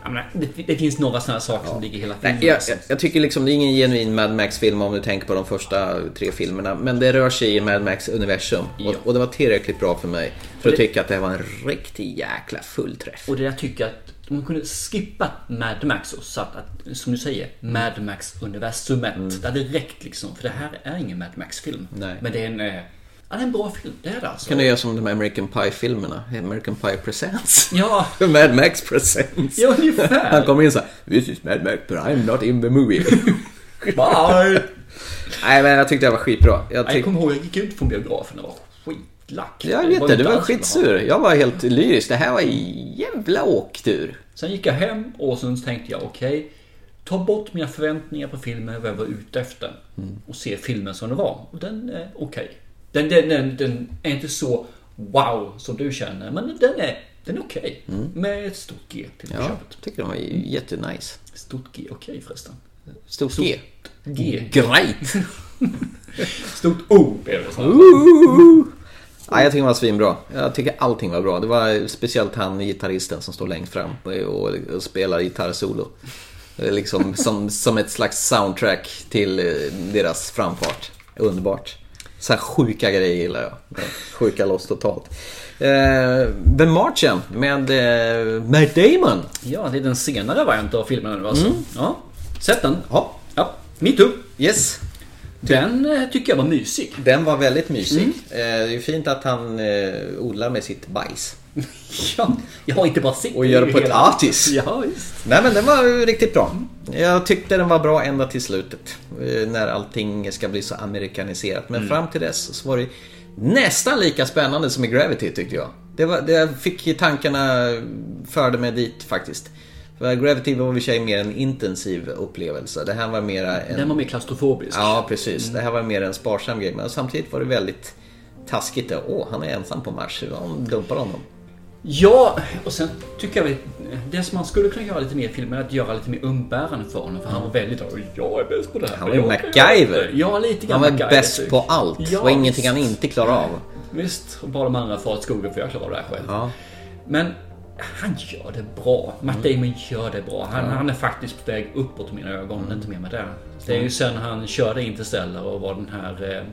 S2: Jag menar, det, det finns några sådana här saker som ligger i hela
S1: Nej,
S2: filmen.
S1: jag,
S2: liksom.
S1: jag, jag tycker liksom det är ingen genuin Mad Max-film om du tänker på de första tre filmerna. Men det rör sig i Mad Max-universum. Och, och det var tillräckligt bra för mig för att
S2: Det-
S1: tycka att det här var en riktig jäkla fullträff.
S2: Och det jag tycker att de kunde skippa Mad Max och satt att, som du säger, Mad Max-universumet. Det hade räckt liksom. För det här är ingen Mad Max-film.
S1: Mm. Nej.
S2: Men det är en, eh, ja, det är en bra film. Det är det alltså.
S1: Kan du göra som de här American Pie-filmerna? American Pie Presents.
S2: Ja.
S1: Mad Max Presents.
S2: Ja, ungefär.
S1: Han kommer in såhär, This is Mad Max, but I'm not in the movie.
S2: Bye.
S1: Nej, men jag tyckte det var skitbra. Jag,
S2: Jag
S1: tyck...
S2: kommer ihåg, jag gick ut från biografen och var skitlack.
S1: jag vet det, du
S2: inte
S1: var
S2: alls bra.
S1: skitsur. Jag var helt lyrisk. Det här var en jävla åktur.
S2: Sen gick jag hem och sen tänkte jag okej, ta bort mina förväntningar på filmen, vad jag var ute efter.
S1: Mm.
S2: Och se filmen som den var. Och den är okej. Den, den, den, den är inte så wow som du känner, men den är, den är okej. Med ett stort G till
S1: Mm. Ja,
S2: köpet.
S1: jag tycker de var ju jättenice.
S2: Stort G, okej förresten.
S1: Stort G.
S2: G.
S1: Mm. Grejt.
S2: Stort O blev det snarare.
S1: Uh. Ooh. Nej, jag tycker det var svinbra. Jag tycker allting var bra. Det var speciellt han gitarristen som står längst fram och, och spelar gitarrsolo. Det är Liksom som, som ett slags soundtrack till eh, deras framfart. Underbart. Så här sjuka grejer gillar jag. Sjuka loss totalt. Eh, The Marchen med eh, Matt Damon.
S2: Ja, det är den senare varianten av filmen nu alltså.
S1: Mm.
S2: Ja. Sett den?
S1: Ja.
S2: ja. Me too.
S1: Yes.
S2: Den eh, tycker jag var mysig.
S1: Den var väldigt mysig. Eh, det är fint att han eh, odlar med sitt bajs.
S2: Ja, jag har inte bara sett
S1: Och gör det på ett
S2: hela-
S1: artis.
S2: Ja, visst.
S1: Nej men den var ju riktigt bra. Jag tyckte den var bra ända till slutet. eh, När allting ska bli så amerikaniserat. Men
S2: Mm.
S1: fram till dess så var det nästan lika spännande som i Gravity tyckte jag. Det, var, det fick ju tankarna, förde mig dit faktiskt. För Gravity var i och för sig mer en intensiv upplevelse. Det här var mer en...
S2: Den var Mm. mer klaustrofobisk.
S1: Ja precis, det här var mer en sparsam grej. Men samtidigt var det väldigt taskigt. Åh, han är ensam på Mars. De dumpar honom.
S2: Ja, och sen tycker jag väl det som man skulle kunna göra lite mer i filmen är att göra lite mer umbärande för honom. För han var väldigt "Åh, jag är bäst på det här.
S1: Mm. Han var ju
S2: Jag kan göra
S1: MacGyver.
S2: det." Ja, lite grann
S1: Han var
S2: MacGyver,
S1: bäst
S2: typ.
S1: på allt. det var ingenting han inte klarade av.
S2: Visst, och bara de andra far åt skogen för jag klarar av det här själv.
S1: Ja.
S2: Men han gör det bra. Matt Damon gör det bra. Han,
S1: Mm. Ja.
S2: han är faktiskt på väg uppåt i mina ögon. Inte mer med det. Det är ju
S1: Mm.
S2: sen han körde Interstellar och var den här eh,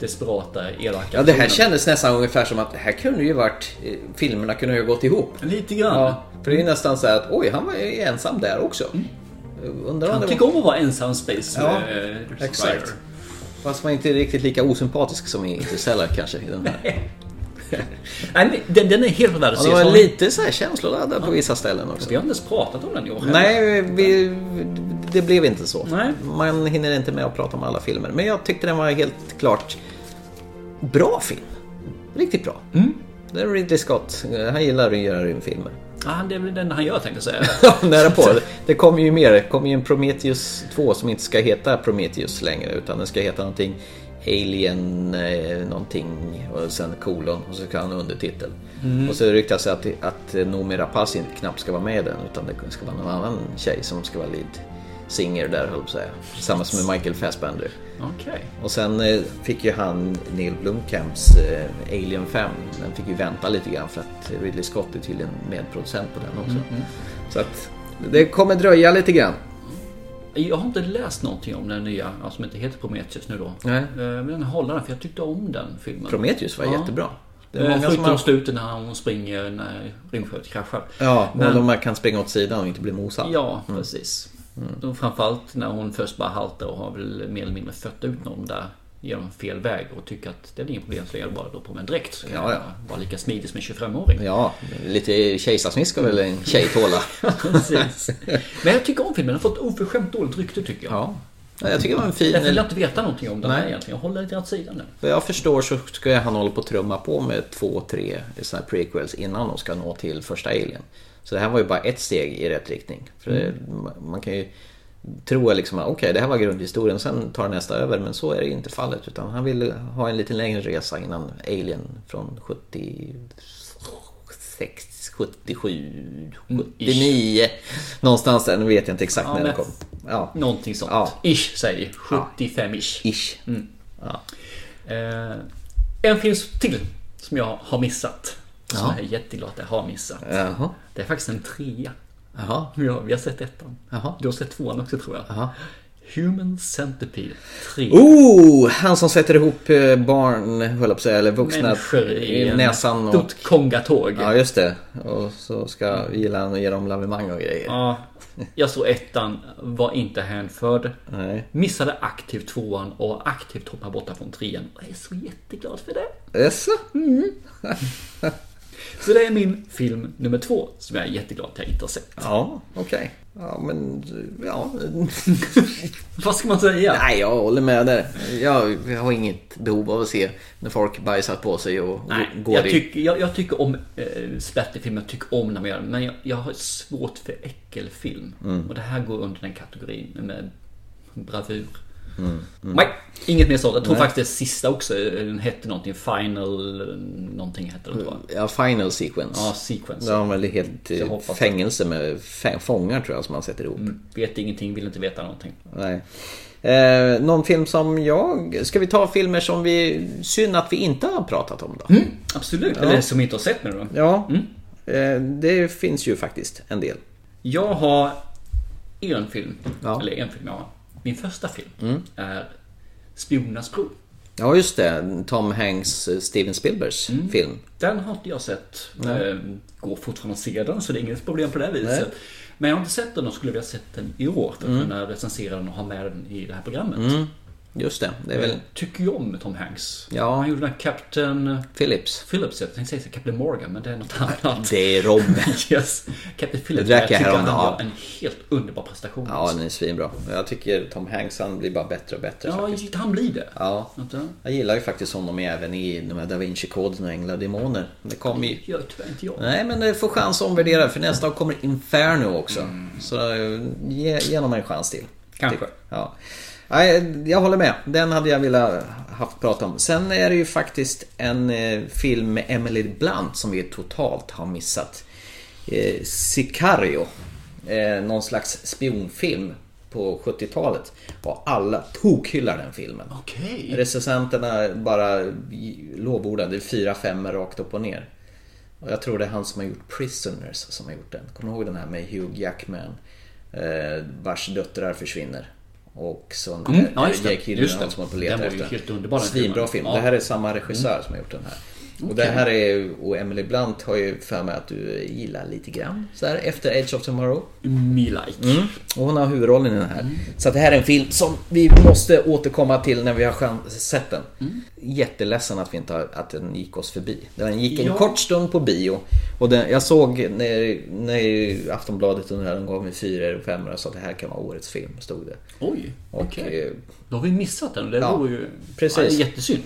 S2: desperata, elaka
S1: Ja, det här
S2: personen.
S1: kändes nästan ungefär som att det här kunde ju varit... eh, Filmerna kunde ju ha gått ihop.
S2: Lite grann.
S1: Ja, för det är ju nästan så här att oj, han var ju ensam där också. Undrar om
S2: Mm. Han
S1: det
S2: tycker
S1: var...
S2: om att vara ensam space
S1: Ja,
S2: eh, survivor.
S1: Exakt. Fast man är inte riktigt lika osympatisk som i Interstellar kanske. I den här.
S2: Nej, men den, den är helt värd att
S1: Ja,
S2: se.
S1: det var
S2: Så-
S1: lite så här känsloladdad på vissa ställen också.
S2: Vi har inte ens pratat om den i år heller.
S1: Nej, vi, det blev inte så.
S2: Nej.
S1: Man hinner inte med att prata om alla filmer. Men jag tyckte den var helt klart bra film. Riktigt bra. Det är Ridley Scott. Han gillar att göra rymdfilmer.
S2: Ah, det är väl den han gör tänkte jag säga.
S1: Nära på. Det kommer ju mer. Det kommer ju en Prometheus 2 som inte ska heta Prometheus längre utan den ska heta någonting Alien eh, någonting och sen kolon och så kan han undertitel.
S2: Mm.
S1: Och så ryktas det att, att Noomi Rapace inte- knappt ska vara med i den utan det ska vara någon annan tjej som ska vara lead singer där höll jag på att säga. Tillsammans med Michael Fassbender.
S2: Okej.
S1: Och sen eh, fick ju han Neil Blomkamps eh, Alien 5. Den fick ju vänta lite grann för att Ridley Scott är tydligen medproducent på den också.
S2: Mm, mm.
S1: Så att det kommer dröja lite grann.
S2: Jag har inte läst någonting om den nya, alltså, som inte heter Prometheus nu då.
S1: Nej.
S2: Eh, Men den håller den, för jag tyckte om den filmen.
S1: Prometheus var jättebra. Det är
S2: Eh,
S1: många som
S2: Förutom
S1: har-
S2: slutet när hon springer när rymdskeppet kraschar.
S1: Ja,
S2: Men-
S1: och de här kan springa åt sidan och inte bli Mm. mosad.
S2: Ja, precis. Och framförallt när hon först bara haltar och har väl mer eller mindre fött ut någon där genom fel väg och tycker att det är inget problem så jag bara då på med en dräkt. Så kan
S1: Ja, ja.
S2: jag vara lika smidig som en 25-åring.
S1: Ja, lite kejsarsnitt ska väl en tjej tåla.
S2: Precis. Men jag tycker om filmen. Den har fått oförskämt dåligt rykte tycker jag.
S1: Ja. Ja, jag tycker det var en fin-
S2: Därför vill jag inte veta någonting om den här
S1: Nej.
S2: egentligen. Jag håller lite åt sidan nu.
S1: Vad jag förstår så ska han hålla på att trumma på med två, tre såna här prequels innan de ska nå till första Alien. Så det här var ju bara ett steg i rätt riktning. För det,
S2: Mm.
S1: Man kan ju tro liksom att okej, det här var grundhistorien, sen tar nästa över. Men så är det inte fallet. Utan han ville ha en lite längre resa innan Alien från 76, 77, 79. Någonstans där, nu vet jag inte exakt
S2: Mm, Ja,
S1: när
S2: men-
S1: den
S2: Mm.
S1: kom. Ja.
S2: Någonting sånt.
S1: Ja.
S2: Ish säger vi. 75-ish.
S1: Ish.
S2: Mm. Eh, en film till som jag har missat. Som
S1: Ja. Eh.
S2: jag är jätteglad att jag har missat.
S1: Jaha.
S2: Det är faktiskt en trea.
S1: Jaha.
S2: Ja, vi har sett ettan.
S1: Jaha.
S2: Du har sett tvåan också tror jag. Human Centipede 3.
S1: Oh, han som sätter ihop eh, barn, höll jag på att säga, eller vuxna
S2: Människor i en
S1: näsan och...
S2: stort kongatåg.
S1: Ja, just det. Och så ska gilla han och ge dem lavemang och grejer.
S2: Ja, jag såg ettan, var inte hänförd.
S1: Nej.
S2: Missade aktivt tvåan och aktivt hoppade borta från trean. Och jag är så jätteglad för det.
S1: Jaså?
S2: Mm. Så det är min film nummer två som jag är jätteglad att jag inte har sett.
S1: Ja, okej. Ja, men... Ja.
S2: Vad ska man säga?
S1: Nej, jag håller med där. Jag, jag har inget behov av att se när folk bajsar på sig och
S2: Nej,
S1: går
S2: jag,
S1: i...
S2: tycker- jag, jag tycker om eh, splatterfilm, jag tycker om när man gör det. Men jag, jag har svårt för äckelfilm.
S1: Mm.
S2: Och det här går under den kategorin med bravur.
S1: Mm, mm.
S2: Nej, inget mer sånt. Jag tror
S1: Nej.
S2: faktiskt det sista också, eh, den hette någonting, final eh, någonting hette den tror jag.
S1: Ja, final sequence.
S2: Ja, sequence.
S1: Där har man väl helt
S2: Så jag
S1: eh,
S2: hoppas att-
S1: fängelse med fä- fångar tror jag som man sätter ihop.
S2: Vet ingenting, vill inte veta någonting.
S1: Nej. Eh, någon film som jag... Ska vi ta filmer som vi... Synd att vi inte har pratat om
S2: Mm.
S1: då.
S2: Absolut,
S1: Ja.
S2: eller som inte har sett nu då.
S1: Ja.
S2: Mm.
S1: Eh, det finns ju faktiskt en del.
S2: Jag har en film,
S1: Ja.
S2: eller en film jag har. Min första film
S1: Mm.
S2: är Spionernas prov.
S1: Ja, just det. Tom Hanks, eh, Steven Spielbergs
S2: Mm.
S1: film.
S2: Den har inte jag sett.
S1: Nej.
S2: Eh, Går fortfarande att se den så det är inget problem på det här viset.
S1: Nej.
S2: Men jag har inte sett den och skulle vilja sett den i år för att kunna recensera den och ha med den i det här programmet.
S1: Mm. Just det. Det är väl...
S2: Jag tycker ju om Tom Hanks.
S1: Ja.
S2: Han gjorde den här Captain
S1: Phillips.
S2: Phillips, jag tänkte säga Captain Morgan men det är något annat.
S1: Det är rom.
S2: yes. Captain Phillips,
S1: drack
S2: jag
S1: jag
S2: tycker att
S1: häromdagen.
S2: han gör en helt underbar prestation.
S1: Ja,
S2: alltså.
S1: den är svinbra. Jag tycker Tom Hanks, han blir bara bättre och bättre
S2: ja
S1: faktiskt.
S2: just, han blir det. eh,
S1: Ja.
S2: Vänta.
S1: Jag gillar ju faktiskt honom även i de här Da Vinci-koden och Änglar och Demoner. Det kom ju...
S2: Det gör tyvärr inte jag.
S1: Nej, men det får chans att omvärdera för nästa år kommer Inferno också. Så eh, ge, ge honom en chans till. Typ.
S2: Kanske.
S1: Ja. Nej, jag håller med. Den hade jag velat haft prata om. Sen är det ju faktiskt en eh, film med Emily Blunt som vi totalt har missat. Eh, Sicario. Eh, någon slags spionfilm på 70-talet. Och alla tokhyllar den filmen.
S2: Okej.
S1: Recensenterna bara j- lovordade fyra femmor rakt upp och ner. Och jag tror det är han som har gjort Prisoners som har gjort den. Kommer du ihåg den här med Hugh Jackman? Eh, vars döttrar försvinner. Och så
S2: Mm,
S1: är-
S2: ja,
S1: är
S2: just det,
S1: Jake
S2: just
S1: Gyllenhaal
S2: det.
S1: som håller på att leta
S2: Den var ju
S1: efter
S2: helt underbar, den
S1: Svinbra
S2: filmen.
S1: film.
S2: Ja. Mm.
S1: Det här är samma regissör som har gjort den här. Och det här är ju- och Emily Blunt har ju för mig att du gillar lite grann. Så här efter Age of Tomorrow.
S2: Me like.
S1: Och hon har huvudrollen i den här.
S2: Mm.
S1: Så att det här är en film som vi måste återkomma till när vi har chans- sett den.
S2: Mm.
S1: Jätteledsen att, vi inte har, att den gick oss förbi. Den gick en
S2: Ja.
S1: kort stund på bio. Och den, jag såg när, när Aftonbladet under den gav mig fyra eller fem och sa att det här kan vara årets film. Stod det.
S2: Oj,
S1: Och,
S2: okej.
S1: eh,
S2: Då har vi missat den. Det
S1: Ja,
S2: vore ju
S1: precis.
S2: Ja, det är jättesynd.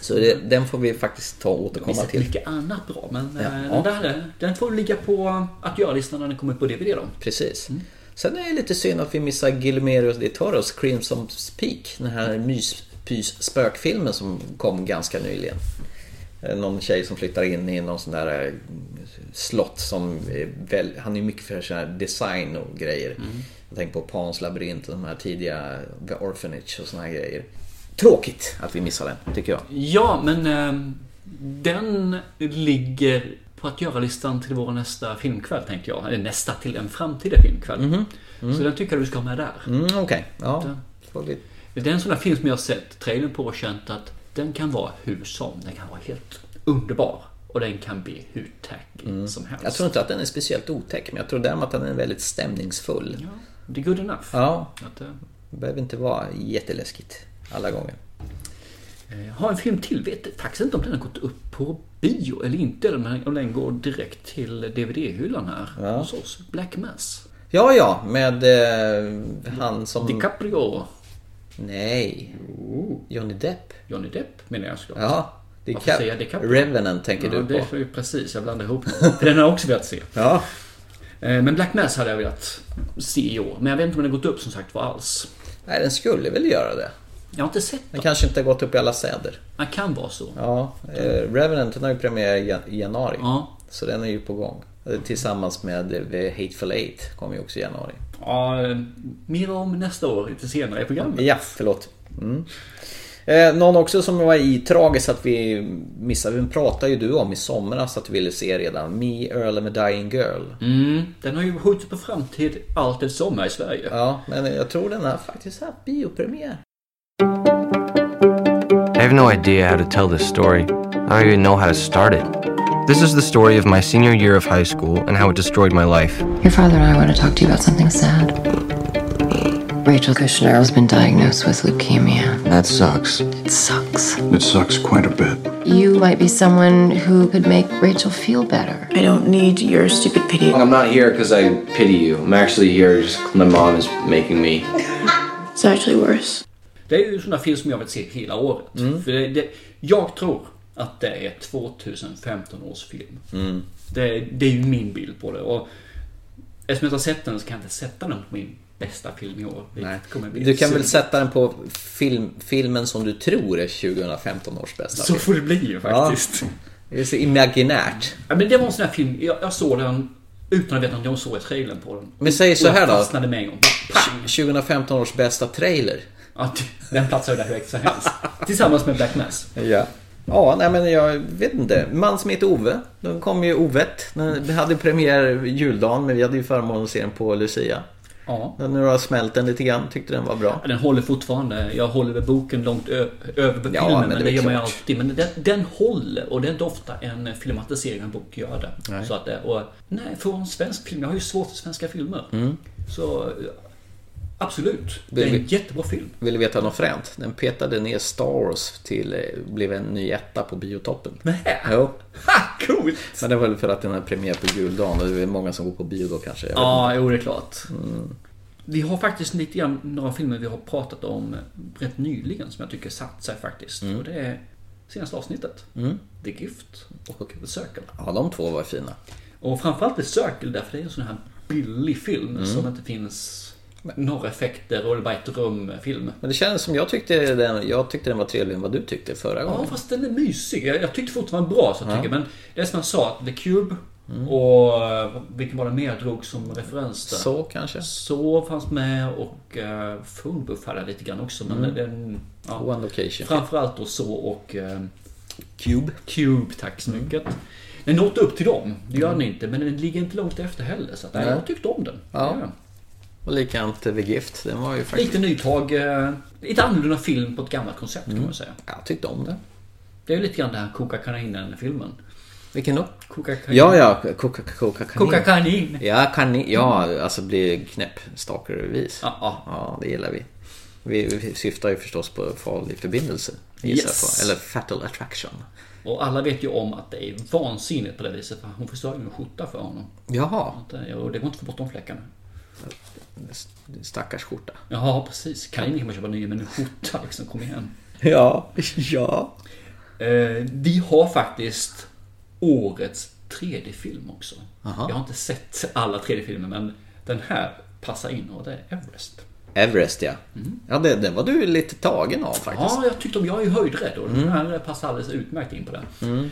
S1: Så det, den får vi faktiskt ta och
S2: Vi
S1: återkomma
S2: har sett
S1: till.
S2: mycket annat bra, men eh,
S1: Ja.
S2: den, där, den får ligga på att göra-listan när den kommer på DVD då.
S1: Precis. Sen är det lite synd att vi missar Guillermo de Toros Crimson's Peak. Den här myspys-spökfilmen som kom ganska nyligen. Eh, Någon tjej som flyttar in i någon sån där eh, slott som... är Väl, han är ju mycket för sån här design och grejer. Jag tänker på Pans labyrint och de här tidiga The Orphanage och såna här grejer. Tråkigt att vi missar den, tycker jag.
S2: Ja, men eh, Den ligger på att göra-listan till vår nästa filmkväll tänkte jag. Eller nästa, till en framtida filmkväll.
S1: Mm.
S2: Så den tycker jag du ska ha med där.
S1: Mm, Okej, ja.
S2: Den-
S1: Får vi-
S2: Det är en sån där film som jag har sett trailern på och känt att den kan vara hur som. Den kan vara helt underbar. Och den kan bli hur tacky som helst.
S1: Mm. Jag tror inte att den är speciellt otäck, men jag tror däremot att den är väldigt stämningsfull. Ja,
S2: det är good enough.
S1: Ja.
S2: Att, eh,
S1: Det behöver inte vara jätteläskigt alla gånger.
S2: Jag har en film till. Vet faktiskt inte om den har gått upp på bio eller inte. Eller om den- om den går direkt till DVD-hyllan här
S1: Ja.
S2: hos oss. Black Mass.
S1: Ja, ja, med eh, han som...
S2: DiCaprio.
S1: Nej. Johnny Depp.
S2: Johnny Depp menar jag såklart.
S1: Ja.
S2: Varför
S1: Dicap-
S2: säger jag DiCaprio?
S1: Revenant tänker
S2: ja,
S1: du på.
S2: det är ju precis. Jag blandar ihop dem. För den har jag också velat se.
S1: Ja.
S2: Eh, Men Black Mass hade jag velat se i år. Men jag vet inte om den har gått upp som sagt var alls.
S1: Nej, den skulle väl göra det.
S2: Jag har inte sett
S1: Den kanske inte har gått upp i alla städer.
S2: Den kan vara så.
S1: Ja, eh, Revenant den har ju premiär i jan- i januari.
S2: Ja.
S1: Så den är ju på gång. Eh, Tillsammans med eh, The Hateful Eight kommer ju också i januari.
S2: Ja, eh, mer om nästa år, lite senare i programmet.
S1: Ja, förlåt. Mm. Eh, någon också som var i tragiskt att vi missade, vi pratade ju du om i somras att du ville se redan. Me, Earl and a Dying Girl.
S2: Mm, den har ju skjutits på framtid allt eftersom här i Sverige.
S1: Ja, men jag tror den har faktiskt haft biopremiär.
S12: I have no idea how to tell this story. I don't even know how to start it. This is the story of my senior year of high school and how it destroyed my life.
S13: Your father and I want to talk to you about something sad. Rachel Kushner has been diagnosed with leukemia.
S14: That sucks.
S13: It sucks.
S14: It sucks quite a bit.
S13: You might be someone who could make Rachel feel better. I don't need your stupid pity.
S12: I'm not here because I pity you. I'm actually here just 'cause my mom is making me.
S13: It's actually worse.
S2: Det är ju sådana film som jag vill se hela året.
S1: Mm.
S2: För det, det, jag tror att det är 2015 års film.
S1: Mm.
S2: Det, det är ju min bild på det. Och eftersom jag inte har sett den så kan jag inte sätta den på min bästa film i år.
S1: Nej.
S2: Det kommer bli
S1: Du kan väl
S2: synd.
S1: sätta den på film, filmen som du tror är 2015 års bästa
S2: Så
S1: film.
S2: får det bli ju faktiskt.
S1: Ja. Det är så imaginärt.
S2: Ja, men det var en sån här film, jag, jag såg den utan att veta om jag såg trailern på den.
S1: Men säg så
S2: Och jag
S1: här då.
S2: fastnade med en gång.
S1: 2015 års bästa trailer.
S2: Ja, den platsar ju där hur högt som helst. Tillsammans med Black Mass.
S1: Ja. Ja, nej men jag vet inte. Man som heter Ove. Den kom ju Ovet. Den hade premiär juldagen men vi hade ju förmånen att se den på Lucia.
S2: Ja.
S1: Den nu har jag smält den lite grann. Tyckte den var bra.
S2: Ja, Den håller fortfarande. Jag håller väl boken långt ö- över filmen.
S1: Ja, men
S2: men
S1: det
S2: det,
S1: är
S2: gör man ju
S1: klart.
S2: alltid. Men den, den håller och det är inte ofta en filmatisering av en bok gör det.
S1: Nej.
S2: Så att, det- och, nej, för en svensk film. Jag har ju svårt för svenska filmer.
S1: Mm.
S2: Så ja, absolut. Det
S1: Vill
S2: är en
S1: vi-
S2: jättebra film.
S1: Vill du veta något fränt? Den petade ner Star Wars till... eh, Blev en ny etta på biotoppen.
S2: Nej.
S1: Jo.
S2: Coolt!
S1: Men det var väl för att den här premiär på juldagen och det är många som går på bio då kanske. Jag vet
S2: Ja,
S1: inte.
S2: jo det är klart.
S1: Mm.
S2: Vi har faktiskt lite grann några filmer vi har pratat om rätt nyligen som jag tycker satt sig faktiskt. Och det är senaste avsnittet.
S1: Mm.
S2: The Gift och The Circle.
S1: Ja, de två var fina.
S2: Och framförallt The Circle därför det är en sån här billig film
S1: Mm.
S2: som inte finns några effekter och det är bara ett eh, rum-film.
S1: Men det känns som jag tyckte den, jag tyckte den var trevligare än vad du tyckte förra gången.
S2: Ja, fast den är mysig. Jag, jag tyckte fortfarande den var bra, så jag
S1: Ja. Mm.
S2: tycker. Men det är som jag sa, The Cube och eh, vilken var det mer jag drog som referens där?
S1: Så kanske.
S2: Så fanns med och uh, Phonebooth hade jag lite grann också. Men
S1: Mm.
S2: den, ja.
S1: One location.
S2: Framförallt då så och eh,
S1: Cube. Mm.
S2: Cube, tack så mycket. Den nådde upp till dem, det gör den inte. Men den ligger inte långt efter heller. Så att, nej,
S1: Nej.
S2: jag tyckte om den.
S1: Ja.
S2: Ja.
S1: Och likadant The Gift. Den var ju faktiskt...
S2: Lite nytag, eh, lite annorlunda film på ett gammalt koncept kan
S1: Mm.
S2: man säga.
S1: Jag tyckte om den.
S2: Det är ju lite grann den här Koka kaninen-filmen.
S1: Vilken då?
S2: Koka kanin.
S1: Ja, ja. Koka, koka kanin.
S2: Koka kanin.
S1: Ja, kanin. Ja, alltså bli knäpp stalkervis.
S2: Ja, ja.
S1: det gillar vi. Vi, vi syftar ju förstås på farlig förbindelse. gissar jag
S2: Yes.
S1: På. Eller fatal attraction.
S2: Och alla vet ju om att det är vansinnigt på det viset. För hon förstör ju en skjorta för honom.
S1: Jaha.
S2: Att, eh, Och det går inte att få bort de fläckarna.
S1: Stackars skjorta.
S2: Ja, precis. Kanin kan man köpa ny, men en skjorta liksom, kom igen.
S1: Ja, ja.
S2: Eh, vi har faktiskt årets 3D-film också.
S1: Aha.
S2: Jag har inte sett alla 3D-filmer, men den här passar in och det är Everest.
S1: Everest ja. Ja, det, det var du lite tagen av faktiskt.
S2: Mm. Ja, jag tyckte om, jag är ju höjdrädd och den här passar alldeles utmärkt in på det.
S1: Mm.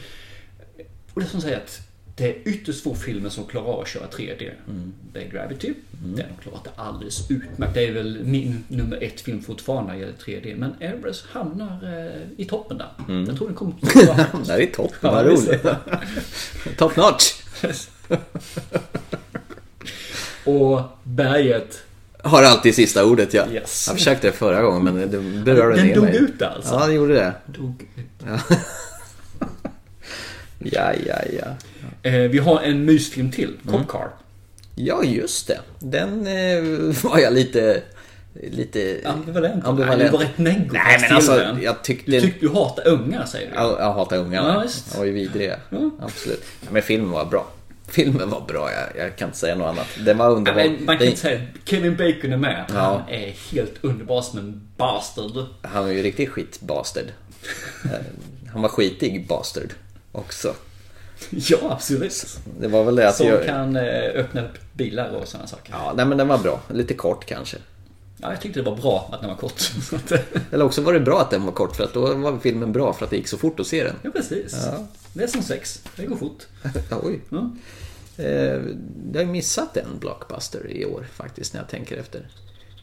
S2: Och det är som säger att Det är ytterst få filmer som klarar av att köra 3D.
S1: Mm.
S2: Det är Gravity. Den har klarat det alldeles utmärkt. Det är väl min nummer ett film fortfarande när det gäller 3D. Men Everest hamnar eh, i toppen där.
S1: Mm.
S2: Jag tror den kommer att vara högst.
S1: Där är toppen,
S2: Ja,
S1: vad
S2: visst.
S1: roligt. Top notch.
S2: Och berget.
S1: Har alltid sista ordet ja.
S2: Yes.
S1: Jag försökte det förra gången men det berörde
S2: Den
S1: ner
S2: dog
S1: mig.
S2: ut där, alltså.
S1: Ja, det gjorde det.
S2: Dog
S1: Ja. ja, ja, ja.
S2: Eh, vi har en mysfilm till. Cop
S1: Mm.
S2: Car.
S1: Ja, just det. Den eh, var jag lite... Lite...
S2: Ambivalent.
S1: ambivalent.
S2: Nej, du var rätt negativ
S1: Nej, men
S2: till
S1: alltså
S2: den.
S1: jag tyckte...
S2: Du tyckte du hatar unga säger du.
S1: Jag, jag hatar ungarna.
S2: Ja, visst.
S1: De var ju vidriga.
S2: Ja.
S1: Absolut. Men filmen var bra. Filmen var bra, jag, jag kan inte säga något annat. Den var
S2: Ja,
S1: underbar.
S2: men man kan
S1: Den-
S2: inte säga Kevin Bacon är med.
S1: Ja.
S2: Han är helt underbar som en bastard.
S1: Han var ju riktigt skitbastard. Eh, Han var skitig bastard också.
S2: Ja, absolut.
S1: Det var väl det att
S2: Som
S1: jag...
S2: kan eh, öppna upp bilar och sådana saker.
S1: Ja, nej men den var bra. Lite kort kanske.
S2: Ja, jag tyckte det var bra att den var kort. Så att-
S1: Eller också var det bra att den var kort för att då var filmen bra för att det gick så fort att se den.
S2: ja, precis.
S1: Ja.
S2: Det är som sex. Det går fort. Mm.
S1: Oj.
S2: Ja.
S1: Eh, Jag har missat en blockbuster i år faktiskt när jag tänker efter.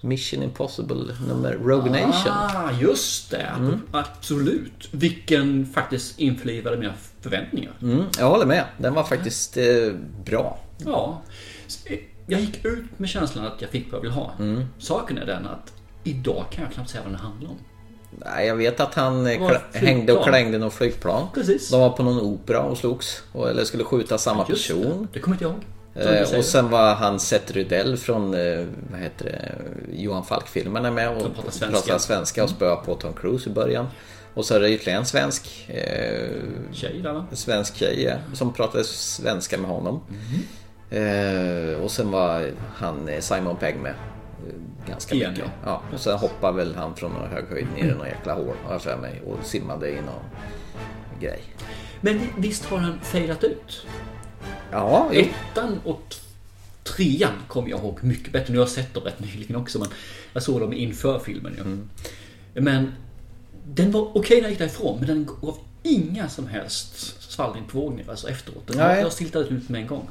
S1: Mission Impossible nummer Rogue Nation.
S2: Ah, just det.
S1: Mm.
S2: Absolut. Vilken faktiskt inflivade mina förväntningar.
S1: Mm, jag håller med. Den var faktiskt eh, bra.
S2: Ja. Så, eh, Jag gick ut med känslan att jag fick vad jag ville ha.
S1: Mm.
S2: Saken är den att idag kan jag knappt säga vad den handlar om.
S1: Nej, jag vet att han eh,
S2: Det var
S1: kla-
S2: flygplan.
S1: hängde och klängde någon flygplan.
S2: Precis.
S1: De var på någon opera och slogs. Och, eller skulle skjuta samma
S2: Just
S1: person.
S2: det. Det kommer inte jag ihåg. Som du
S1: Eh,
S2: säger.
S1: och sen var han Seth Rydell från eh, vad heter det, Johan Falk-filmerna med och
S2: Som pratar svenska.
S1: pratar svenska och spöade på Tom Cruise i början. Och så är det ytterligare en svensk eh,
S2: Tjej där va?
S1: svensk tjej ja, som pratade svenska med honom.
S2: Mhm.
S1: Eh, och sen var han eh, Simon Pegg med. eh, Ganska
S2: Igen,
S1: mycket.
S2: ja.
S1: Ja, och sen hoppade väl han från någon hög höjd ner i någon jäkla hål har jag för mig och simmade i någon grej.
S2: Men vi- visst har han fejdat ut? Alltså,
S1: Ja, jo.
S2: Ettan och t- trean kommer jag ihåg mycket bättre. Nu har jag sett dem rätt nyligen också men jag såg dem inför filmen ju.
S1: Mm.
S2: Men den var okej när jag gick därifrån men den gav inga som helst svallning på vågningar alltså efteråt. Den
S1: Nej.
S2: jag siltade ut med en gång.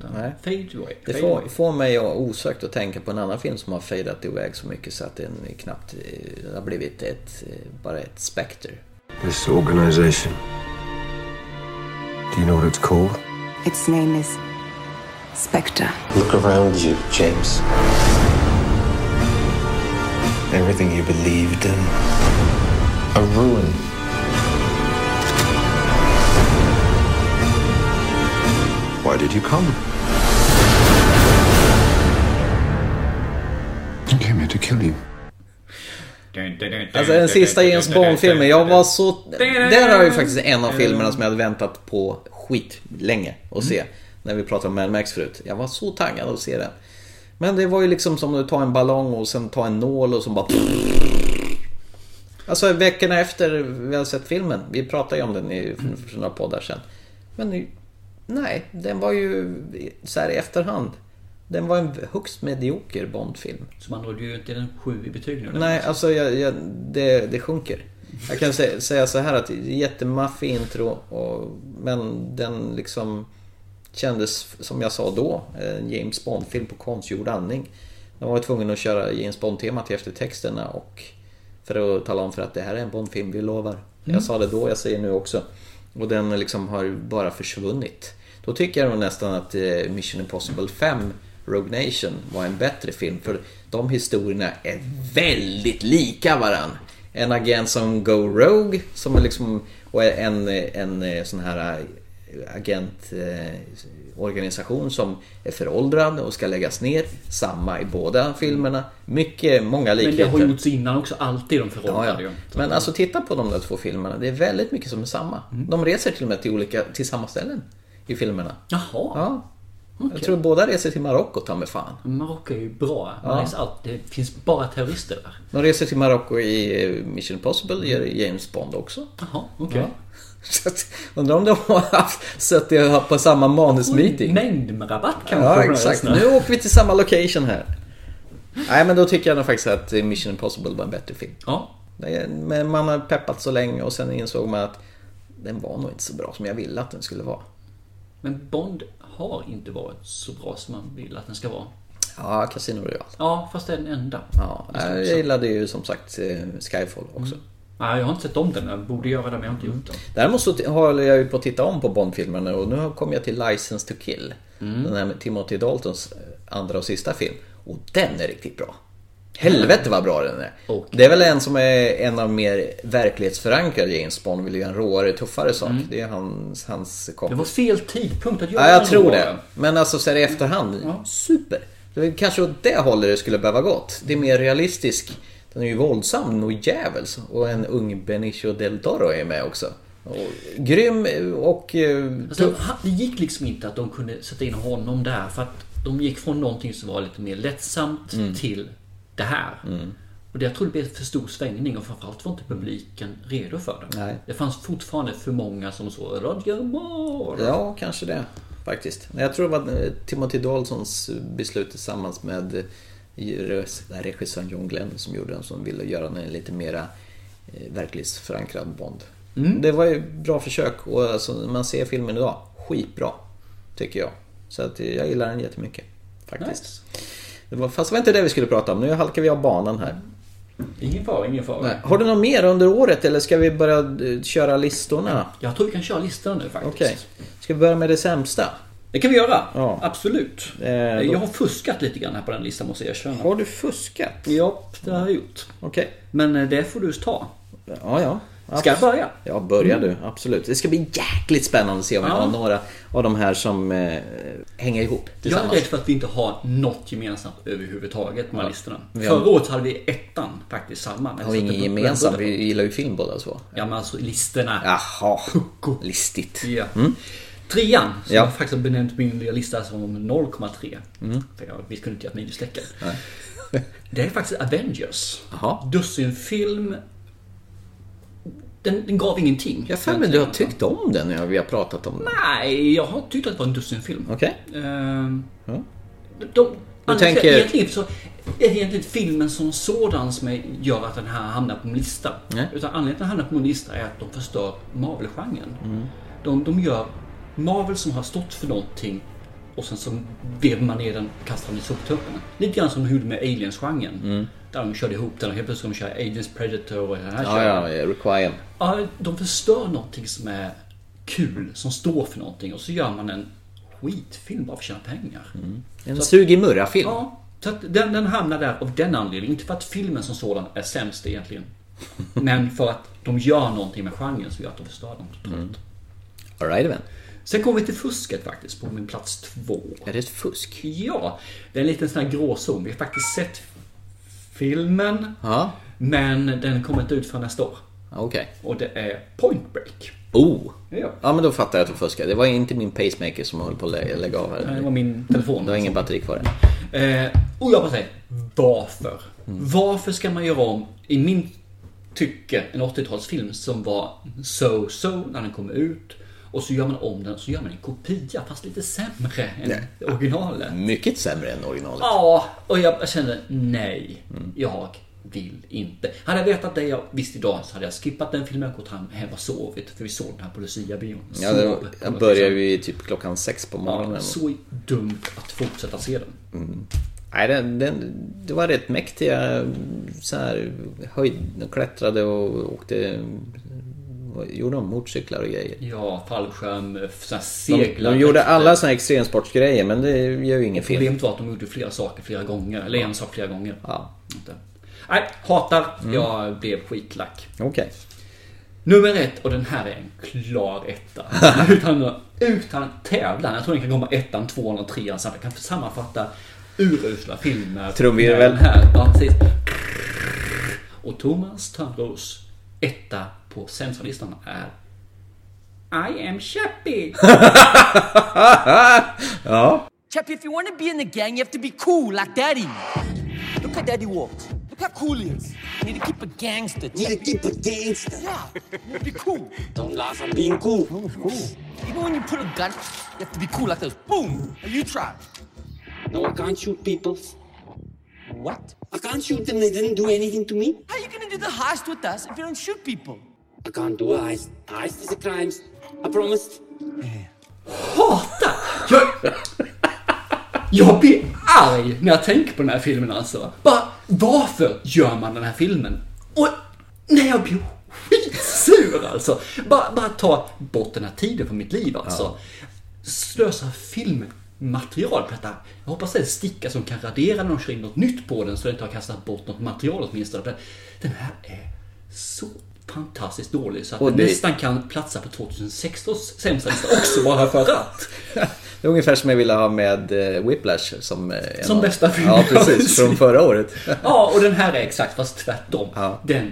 S2: Den
S1: Nej.
S2: Fade away.
S1: Det
S2: fade
S1: får,
S2: away.
S1: får mig att osökt att tänka på en annan film som har fejdat iväg så mycket så att den är knappt eh, den har blivit ett, eh, bara ett spekter.
S14: This organization. Do you know what it's called?
S15: Its name is Spectre.
S16: Look around you, James. Everything you believed in. A ruin.
S14: Why did you come? I came here to kill you.
S1: Alltså den sista James Bond-filmen, jag var så... Där har jag ju faktiskt en av filmerna som jag hade väntat på skitlänge att se. När vi pratade om Mad Max förut. Jag var så taggad att se den. Men det var ju liksom som att ta en ballong och sen ta en nål och så bara... Alltså veckorna efter vi hade sett filmen, vi pratade ju om den i för- för några poddar sen. Men nu- nej, den var ju så här i efterhand. Den var en högst medioker Bond-film.
S2: Så man nådde ju inte en sju i betyg nu.
S1: Nej, alltså jag, jag, det, det sjunker. Jag kan sä, säga så här att det är jättemaffig intro, och, men den liksom kändes, som jag sa då, en James Bond-film på konstgjord andning. De var tvungna att köra James Bond-temat i eftertexterna och för att tala om för att det här är en Bond-film, vi lovar.
S2: Mm.
S1: Jag sa det då, jag säger nu också. Och den liksom har bara försvunnit. Då tycker jag nog nästan att eh, Mission Impossible 5 Rogue Nation var en bättre film för de historierna är väldigt lika varann. En agent som Go Rogue som är liksom, och en, en eh, sån här agentorganisation som är föråldrad och ska läggas ner. Samma i båda filmerna. Mycket, många
S2: Men
S1: likheter.
S2: det har gjorts innan också, alltid de föråldrade ju.
S1: Men alltså titta på de där två filmerna. Det är väldigt mycket som är samma. De reser till och med till, olika, till samma ställen i filmerna.
S2: Jaha.
S1: Ja.
S2: Okej.
S1: Jag tror båda reser till Marocko, ta mig fan.
S2: Marocko är ju bra. Man
S1: Ja.
S2: reser allt. Det finns bara terrorister där.
S1: De reser till Marocko i eh, Mission Impossible, gör James Bond också.
S2: Jaha, okej.
S1: Så att, undrar om de har haft, suttit på samma manusmeeting.
S2: Mängd med rabatt kanske.
S1: Ja, exakt. Nu åker vi till samma location här. Nej, men då tycker jag nog faktiskt att eh, Mission Impossible var en bättre film.
S2: Ja.
S1: Men man har peppat så länge och sen insåg man att den var nog inte så bra som jag ville att den skulle vara.
S2: Men Bond har inte varit så bra som man vill att den ska vara.
S1: Ja, Casino Royale.
S2: Ja, fast det är den enda.
S1: Ja, jag gillade ju som sagt eh, Skyfall också.
S2: Nej, jag har inte sett om den. Jag borde göra det, men jag har inte gjort det.
S1: Däremot så t- håller jag ju på att titta om på Bond-filmerna nu och nu har- kom jag till License to kill. Den här med Timothy Daltons eh, andra och sista film. Och den är riktigt bra. Helvete vad bra den är. Det är väl en som är en av mer verklighetsförankrade James Bond. Vill ju en råare, tuffare sak. Det är hans, hans kompis.
S2: Det var fel tidpunkt att göra
S1: Ja, jag
S2: den
S1: tror
S2: då.
S1: det. Men alltså så här i efterhand, super. Det är kanske åt det hållet det skulle behöva gått. Det är mer realistisk. Den är ju våldsam, nog jävels. Och en ung Benicio del Toro är med också. Och, grym och... eh,
S2: Alltså,
S1: tuff.
S2: han- det gick liksom inte att de kunde sätta in honom där för att de gick från någonting som var lite mer lättsamt
S1: Mm.
S2: till det här.
S1: Mm.
S2: Och det, jag tror det blev för stor svängning och framförallt var inte publiken redo för det.
S1: Nej.
S2: Det fanns fortfarande för många som så Roger Moore.
S1: Ja, kanske det faktiskt. Men Jag tror det var eh, Timothy Daltons beslut tillsammans med eh, regissören John Glenn som gjorde den som ville göra den lite mera eh, verklighetsförankrad Bond. Det var ju bra försök och alltså, när man ser filmen idag, skitbra. Tycker jag. Så att eh, jag gillar den jättemycket. Faktiskt. Det var, fast det var inte det vi skulle prata om. Nu halkar vi av banan här.
S2: Ingen fara, ingen fara.
S1: Nej. Har du något mer under året eller ska vi börja eh, köra listorna?
S2: Jag tror vi kan köra listan nu faktiskt.
S1: Okej. Ska vi börja med det sämsta?
S2: Det kan vi göra.
S1: Ja.
S2: Absolut.
S1: Eh, då-
S2: Jag har fuskat lite grann här på den listan måste jag erkänna.
S1: Har du fuskat?
S2: Ja, det har jag gjort.
S1: Okej.
S2: Men eh, det får du ta.
S1: Ja, ja.
S2: Ska jag börja?
S1: Ja, börja
S2: Mm.
S1: du. Absolut. Det ska bli jäkligt spännande att se om vi
S2: Ja.
S1: har några av de här som eh, hänger ihop
S2: Jag är
S1: tillsammans.
S2: rädd för att vi inte har något gemensamt överhuvudtaget med listorna.
S1: Vi har-
S2: Förra året hade vi ettan faktiskt samma.
S1: har vi ingen gemensam. Vi gillar ju film båda två.
S2: Ja men alltså listorna.
S1: Jaha, listigt.
S2: Ja.
S1: Mm.
S2: Trean, som
S1: Ja.
S2: jag faktiskt har benämnt min lilla lista som 0,3.
S1: Mm.
S2: För jag visste inte att ni släcker. Det är faktiskt Avengers.
S1: Jaha.
S2: Dussinfilm. Den, den gav ingenting.
S1: Jag har för mig du har tyckt om den när vi har pratat om den.
S2: Nej, jag har tyckt att det var en dussinfilm.
S1: Okej.
S2: Ehm,
S1: Ja.
S2: de,
S1: Du
S2: anledningen till att
S1: tänker-
S2: egentligen så, det är egentligen inte filmen som sådan som är- gör att den här hamnar på min lista.
S1: Nej.
S2: Utan anledningen till att den hamnar på min lista är att de förstör Marvel-genren.
S1: Mm.
S2: De, de gör Marvel som har stått för någonting och sen så vevar man ner den och kastar den i soptunnan. Lite grann som de gjorde med Aliens-genren.
S1: Mm.
S2: Där de körde ihop den och helt plötsligt ska de köra Aliens Predator och den här
S1: Ja, ja,
S2: kören.
S1: ja, Requiem.
S2: Ja, de förstör någonting som är kul, som står för någonting och så gör man en skitfilm bara för att tjäna pengar.
S1: En
S2: Så-
S1: sug i murra-film.
S2: Ja, så att den, den hamnar där av den anledningen. Inte för att filmen som sådan är sämst egentligen. Men för att de gör någonting med genren som gör att de förstör dem totalt.
S1: All right, then.
S2: Sen kommer vi till fusket faktiskt, på min plats två.
S1: Är det ett fusk?
S2: Ja, det är en liten sån här gråzon. Vi har faktiskt sett filmen,
S1: Ja,
S2: men den kommer inte ut förrän nästa år.
S1: okej.
S2: Och det är Point Break.
S1: Oh!
S2: Ja.
S1: Ja, men då fattar jag att du fuskar. Det var inte min pacemaker som höll på att lä- lägga av här.
S2: Eh, Det var min telefon.
S1: Du har ingen batteri kvar än.
S2: Eh, och jag bara säger, varför?
S1: Mm.
S2: Varför ska man göra om, i min tycke, en 80-talsfilm som var so-so när den kom ut. Och så gör man om den, så gör man en kopia, fast lite sämre än originalet.
S1: Mycket sämre än originalet.
S2: Ja, och jag kände nej.
S1: Mm.
S2: Jag vill inte. Hade jag vetat det jag visste idag så hade jag skippat den filmen och gått hem hem och sovit. För vi såg den här på Lucia-bion.
S1: Ja, det
S2: Sov
S1: var,
S2: på
S1: jag
S2: något
S1: började ju typ klockan sex på morgonen.
S2: sätt. Så dumt att fortsätta se den.
S1: Nej, den, den, det var rätt mäktiga så här, höjd, de klättrade och åkte... Vad gjorde de? Motorcyklar och grejer.
S2: Ja, fallskärm, eh, såna här
S1: De,
S2: seglar.
S1: de gjorde alla såna här extremsportsgrejer men det gör ju ingen film.
S2: Problemet var att de gjorde flera saker flera gånger. Eller en sak flera gånger.
S1: Ja. Mm.
S2: Inte. Nej, hatar. Jag blev skitlack.
S1: Okej.
S2: Nummer ett, och den här är en klar etta. utan, utan tävlan. Jag tror den kan komma ettan, tvåan och trean samtidigt. Jag kan sammanfatta urusla filmer.
S1: Trumvirvel.
S2: med den Här. Ja, precis. Och Thomas Törnros etta på sensorlistan är I am Chappie.
S1: ja.
S17: Chappie, if you want to be in the gang, you have to be cool like Daddy. Look how Daddy walks. Look how cool he is. You need to keep a gangster. You need to keep a gangster. Yeah, you need to be cool. Don't laugh, I'm being cool. Even when you put a gun, you have to be cool like this. Boom! And you try. No, I can't shoot people. What? I can't shoot them. They didn't do anything to me. How are you gonna do the heist with us if you don't shoot people? I can't do a heist. Heist is a crime. I promised.
S2: hatar... Jag... Jag blir arg när jag tänker på den här filmen alltså. Bara, varför gör man den här filmen? Och nej, jag blir skitsur alltså. Bara, bara ta bort den här tiden från mitt liv alltså. Slösa filmmaterial på detta. Jag hoppas det är en sticka som kan radera när de kör in något nytt på den så den inte har kastat bort något material åtminstone. För Den här är så fantastiskt dålig så att
S1: Och
S2: den
S1: det-
S2: nästan kan platsa på 2016 sämsta lista också bara för att.
S1: Det är ungefär som jag ville ha med eh, Whiplash som... eh, en
S2: Som
S1: av-
S2: bästa film.
S1: Ja, precis. Från förra året.
S2: Ja, och den här är exakt fast tvärtom.
S1: Ja.
S2: Den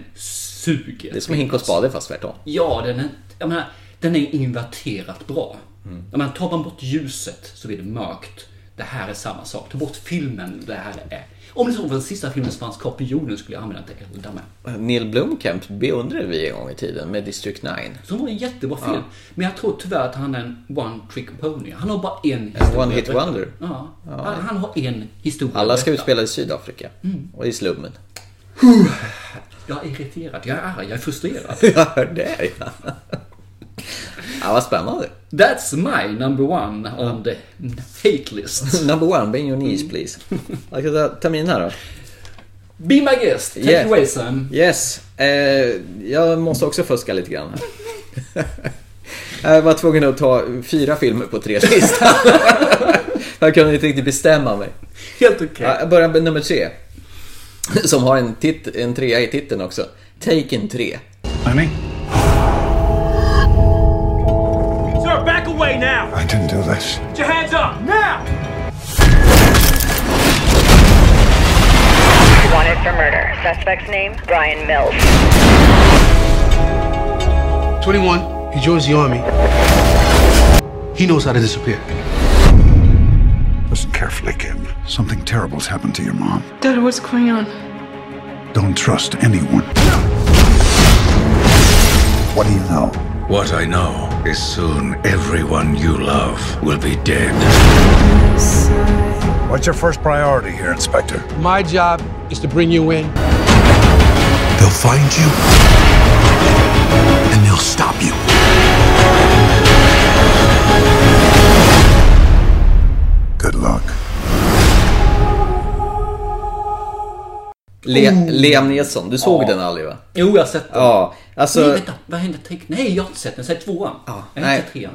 S2: suger.
S1: Det är som Hink och Spade fast tvärtom.
S2: Ja, den är, jag menar, den är inverterat bra.
S1: Mm.
S2: Jag menar, tar man bort ljuset så blir det mörkt. Det här är samma sak. Ta bort filmen, det här är... Om det så var den sista filmen som fanns kvar på jorden skulle jag använda den till med.
S1: Neil Blomkamp beundrade vi en gång i tiden med District 9.
S2: Som var en jättebra film.
S1: Ja.
S2: Men jag tror tyvärr att han är en one trick pony. Han har bara en historia.
S1: one hit
S2: att berätta.
S1: wonder.
S2: Ja. Han, han har en historia. att
S1: Alla ska
S2: berätta.
S1: utspela i Sydafrika.
S2: Mm.
S1: Och i slummen.
S2: Jag är irriterad, jag är arg, jag är frustrerad.
S1: Jag hör det ja. ja. Vad spännande.
S2: That's my number one on the hate list.
S1: Number one, bring your
S2: Mm.
S1: knees please. Jag ska ta, ta min här då.
S2: Be my guest, take
S1: Yeah.
S2: away Sam.
S1: Yes. Eh, jag måste också fuska lite grann här. Jag var tvungen att ta fyra filmer på tre listan. jag kunde inte riktigt bestämma mig.
S2: Helt okej.
S1: Ja, Jag börjar med nummer tre. Som har en, tit- en trea i titeln också. Taken 3.
S14: Honey?
S18: Sir, back away now!
S14: I didn't do this.
S18: Put your hands up, now!
S19: Wanted for murder. Suspect's name, Brian Mills.
S20: 21, he joins the army. He knows how to disappear.
S14: Listen carefully, kid. Something terrible's happened to your mom.
S21: Dad, what's going on?
S14: Don't trust anyone. What do you know?
S22: What I know is soon everyone you love will be dead.
S14: What's your first priority here, Inspector?
S20: My job is to bring you in.
S14: They'll find you, and they'll stop you. Good luck.
S1: Le-
S2: Oh.
S1: Liam Neeson, du såg
S2: Ja.
S1: den aldrig va?
S2: Jo, jag har sett den.
S1: Ja, alltså...
S2: Nej, vänta. Vad hände? Tänk, nej, jag har inte sett den. Säg tvåan. jag har
S1: nej.
S2: inte sett trean.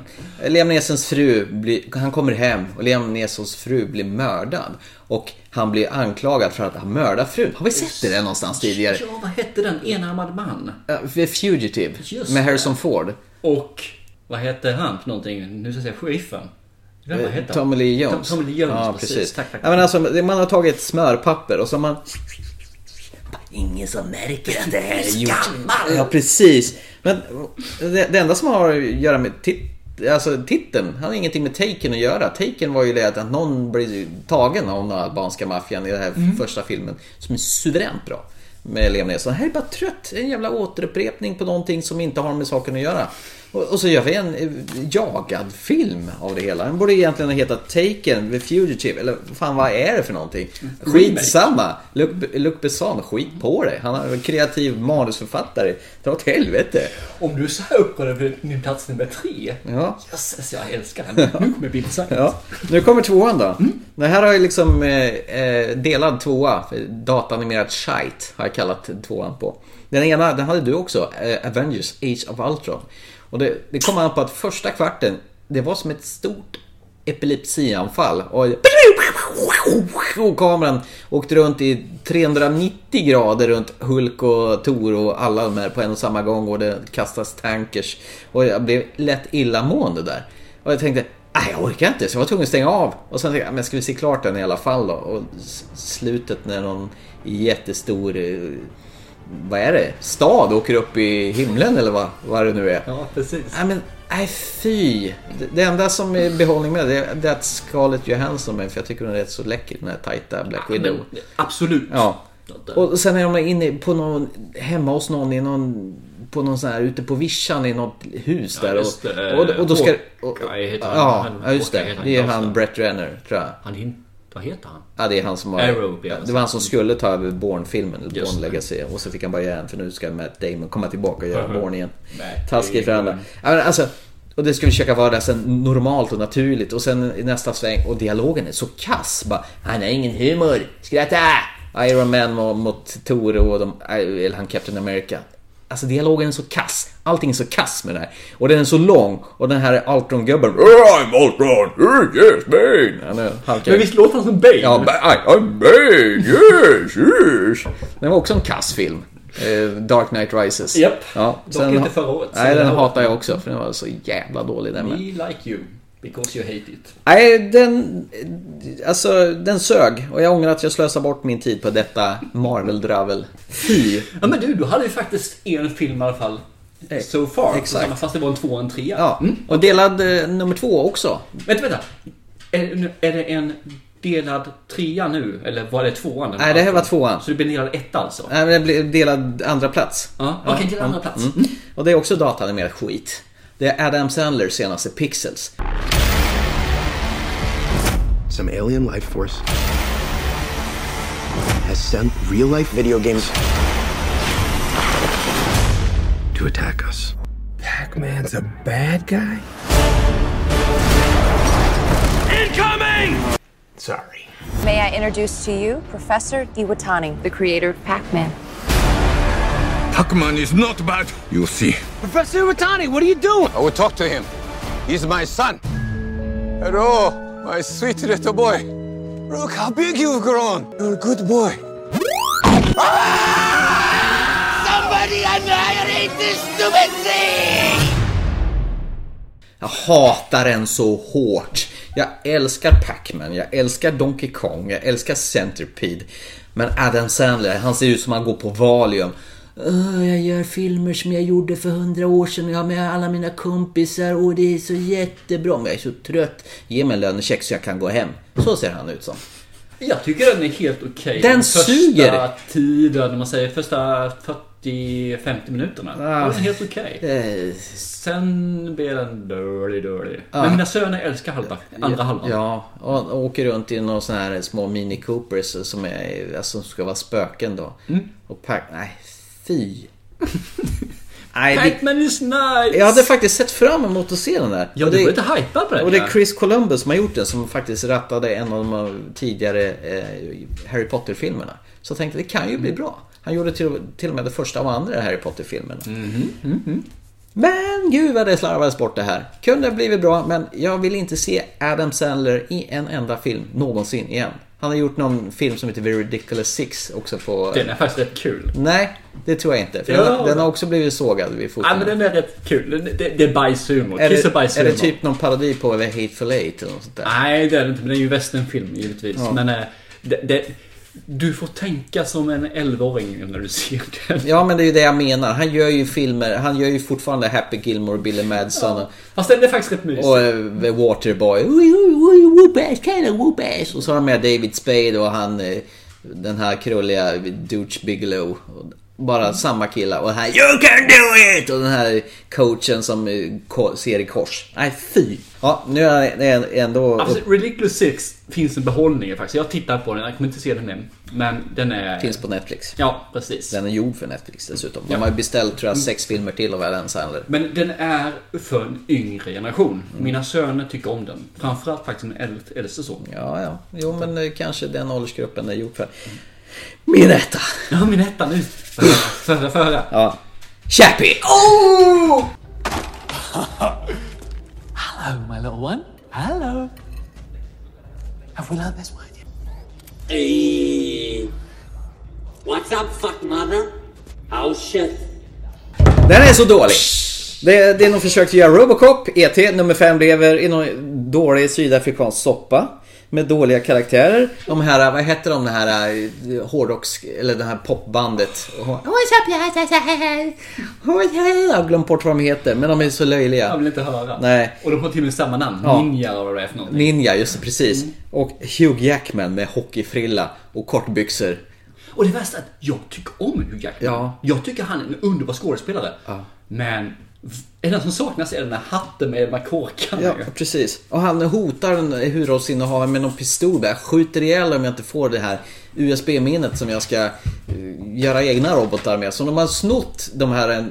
S1: Liam Neesons fru, blir, han kommer hem och Liam Neesons fru blir mördad. Och han blir anklagad för att ha mördat frun. Har vi sett det där någonstans tidigare?
S2: Ja, vad hette den? Enarmad man.
S1: Eh, The Fugitive
S2: Just
S1: med
S2: det.
S1: Harrison Ford.
S2: Och vad hette han för någonting? Nu ska jag säga sheriffen. Vem vad
S1: Eh,
S2: hette han?
S1: Tommy Lee Jones.
S2: Tommy Lee Jones,
S1: ja,
S2: precis. Tack, tack.
S1: Ja, men alltså, det- man har tagit ett smörpapper och så har man... Ingen som märker att det här är gjort. Ja, precis. Men det, det enda som har att göra med tit, alltså, titeln, han har ingenting med taken att göra. Taken var ju det att någon blir tagen av den albanska maffian i den här
S2: Mm.
S1: första filmen, som är suveränt bra. Med Liam Neeson. Här är bara trött. En jävla återupprepning på någonting som inte har med saken att göra. Och, och så gör vi en eh, jagad film av det hela. Den borde egentligen ha hetat Taken, The Fugitive, eller fan vad är det för någonting? Skitsamma! Luc, Luc Besson, skit på dig. Han är en kreativ manusförfattare. Dra åt helvete.
S2: Om du är så här upprörd över min plats nummer tre.
S1: Ja.
S2: Jösses, jag älskar den. Nu kommer Bill Sykes.
S1: Ja. Nu kommer tvåan då. Det här har ju liksom eh, eh, delad tvåa. för Datanimerat shite har jag kallat tvåan på. Den ena, den hade du också. Eh, Avengers Age of Ultron. Och det, det kom an på att första kvarten, det var som ett stort epilepsianfall. Och, och kameran åkte runt i 390 grader runt Hulk och Thor och alla de här på en och samma gång. Och det kastas tankers. Och jag blev lätt illamående där. Och jag tänkte, nej jag orkar inte så jag var tvungen att stänga av. Och sen tänkte jag, men ska vi se klart den i alla fall då? Och s- slutet när någon jättestor, eh, vad är det, stad åker upp i himlen eller vad, vad det nu är.
S2: Ja, precis.
S1: Nej men, nej fy. Det- Det enda som är behållning med det, är- det är att Scarlett Johansson med, för jag tycker hon är rätt så läcker den här tajta Black Widow.
S2: Men, Absolut.
S1: Ja. Och sen är de inne på någon, hemma hos någon i någon, på någon sån här, ute på vischan i något hus
S2: Ja,
S1: där.
S2: just det.
S1: och, och, och då ska... Och,
S2: Hawkeye heter han.
S1: ja,
S2: Han-
S1: ja, just
S2: Hawkeye
S1: det.
S2: heter han
S1: Det är
S2: i
S1: han
S2: Dalsland.
S1: Brett Renner, tror jag.
S2: Han hin... Vad heter han?
S1: Ja, det är han som var...
S2: Arrow, ja.
S1: ja, det var han som skulle ta över Bourne-filmen, eller
S2: Just
S1: Bourne Legacy. Och så fick han bara igen för nu ska Matt Damon komma tillbaka och göra
S2: Mhm.
S1: Bourne igen.
S2: Matt
S1: Taskigt för alla.
S2: Damon.
S1: Ja, men Alltså, Och det ska vi försöka vara så normalt och naturligt och sen i nästa sväng och dialogen är så kass bara Han har ingen humor, skratta! Iron Man mot, mot Thor och de, eller han Captain America. Alltså dialogen är så kass, allting är så kass med det här. Och den är så lång och den här Ultron-gubben I'm Ultron, yes Bane!
S2: Men visst låter han som Bane?
S1: Ja, I, I'm Bane, yes, yes! Den var också en kass film. Eh, Dark Knight Rises.
S2: Yep. Ja, sen, Dock inte förra året.
S1: Nej, den hatar jag också för den var så jävla dålig den
S2: med. We like you. Because you hate it.
S1: Nej, den... Alltså, den sög. Och jag ångrar att jag slösade bort min tid på detta Marvel-dravel. Fy!
S2: Ja men du, du hade ju faktiskt en film i alla fall. So far. Exakt. Fast det var en två och en trea.
S1: Ja, mm. och delad eh, nummer två också.
S2: Vänta, vänta. Är, är det en delad trea nu? Eller var det tvåan?
S1: Nej, det här var tvåan.
S2: Så det blir delad etta alltså?
S1: Nej, men det blev delad andra plats.
S2: Ja, okej, okay, delad andra plats. Mm. Mm.
S1: Och det är också datanimerad skit. Det är Adam Sandlers senaste Pixels.
S5: Some alien life force has sent real life video games to attack us.
S16: Pac-Man's a bad guy?
S6: Incoming!
S16: Sorry.
S21: May I introduce to you Professor Iwatani, the creator of Pac-Man.
S6: Pac-Man is not bad. You see.
S17: Professor Iwatani, what are you doing?
S5: I will talk to him. He's my son. Hello, my sweet little boy. Look how big you've grown. You're a good boy.
S17: ah! Somebody annihilate this stupid thing!
S1: Jag hatar den så hårt. Jag älskar Pac-Man, jag älskar Donkey Kong, jag älskar Centipede. Men Adam Sandler, han ser ut som han går på Valium. Oh, jag gör filmer som jag gjorde för hundra år sedan och jag har med alla mina kompisar och det är så jättebra. Men jag är så trött. Ge mig en lönecheck så jag kan gå hem. Så ser han ut som.
S2: Jag tycker den är helt okej.
S1: Okay. Den, den första suger!
S2: tiden, man säger första 40-50 minuterna. Ah. Den är helt okej. Okay. Eh. Sen blir den dålig, dålig. Ah. Men mina söner älskar halva, andra halvan.
S1: Ja, och åker runt i några sådana här små Mini Coopers som, är, alltså, ska vara spöken då. Mm. Och pack, nej, fy.
S2: Nej, Pac-Man det... is nice!
S1: Jag hade faktiskt sett fram emot att se den där.
S2: Ja, du var lite hypad på den.
S1: Och det är Chris Columbus som har gjort den, som faktiskt rattade en av de tidigare eh, Harry Potter-filmerna. Så jag tänkte, det kan ju bli
S2: Mm.
S1: bra. Han gjorde till, till och med det första och andra Harry Potter-filmerna. Mm-hmm. Mm-hmm. Men gud vad det slarvades bort det här. Kunde ha blivit bra, men jag vill inte se Adam Sandler i en enda film någonsin igen. Han har gjort någon film som heter The Ridiculous Six också på...
S2: Den är faktiskt rätt kul.
S1: Nej, det tror jag inte. För ja. den, den, har också blivit sågad vid foten.
S2: Ja, men den är rätt kul. Det, det, det är bajshumor. Kiss och bajshumor.
S1: Är det typ någon parodi på The Hateful Eight eller något sånt där?
S2: Nej, det är det inte. Men det är ju westernfilm givetvis. Ja. Men eh, det, det... Du får tänka som en 11-åring när du ser den.
S1: Ja, men det är ju det jag menar. Han gör ju filmer. Han gör ju fortfarande Happy Gilmore, Billy Madsen. Ja.
S2: Fast den är faktiskt rätt mysig.
S1: Och eh, The Waterboy. Whoopass, kinda whoopass. Och så har han med David Spade och han eh, den här krulliga Dooch Bigelow. Bara mm. samma killa och här You can do it! Och den här coachen som eh, ser i kors. Nej, fy! Ja, nu är det ändå...
S2: Alltså, Ridiculous 6 finns en behållning faktiskt. Jag tittar på den, jag kommer inte se den än. Men den är...
S1: Finns på Netflix.
S2: Ja, precis.
S1: Den är gjord för Netflix dessutom. De ja. Mm. har ju beställt, tror jag, sex filmer till av Adam Sandler.
S2: Men den är för en yngre generation. Mm. Mina söner tycker om den. Framförallt faktiskt min äldste son.
S1: Ja, ja. Jo, men eh, kanske den åldersgruppen är gjord för. Min etta!
S2: Ja, min etta nu. Förra, förra.
S1: Ja. Chappie!
S17: Oh! Hello, my little one. Hello. Have we learned this word yet? Hey. What's up, fuck mother? Oh shit.
S1: Den är så dålig. Det, det är nog försök att göra Robocop, ET, nummer 5 lever i någon dålig sydafrikansk soppa. Med dåliga karaktärer. De här, eh, vad heter de, det här hårdrocks... Eller det här popbandet. Jag har glömt bort vad de heter, men de är så löjliga.
S2: Jag vill inte höra.
S1: Nej.
S2: Och de har till och med samma namn. Ja. Ninja och vad det är för någonting.
S1: Ninja, just det, precis. Mm. Och Hugh Jackman med hockeyfrilla och kortbyxor.
S2: Och det värsta är att jag tycker om Hugh Jackman. Ja. Jag tycker han är en underbar skådespelare. Ja. Men enda som saknas är den här hatten med de här korkarna.
S1: Ja, precis. Och han hotar huvudrollsinnehavaren med någon pistol där. Skjuter ihjäl om jag inte får det här USB-minnet som jag ska eh, göra egna robotar med. eh, Så de har snott de här,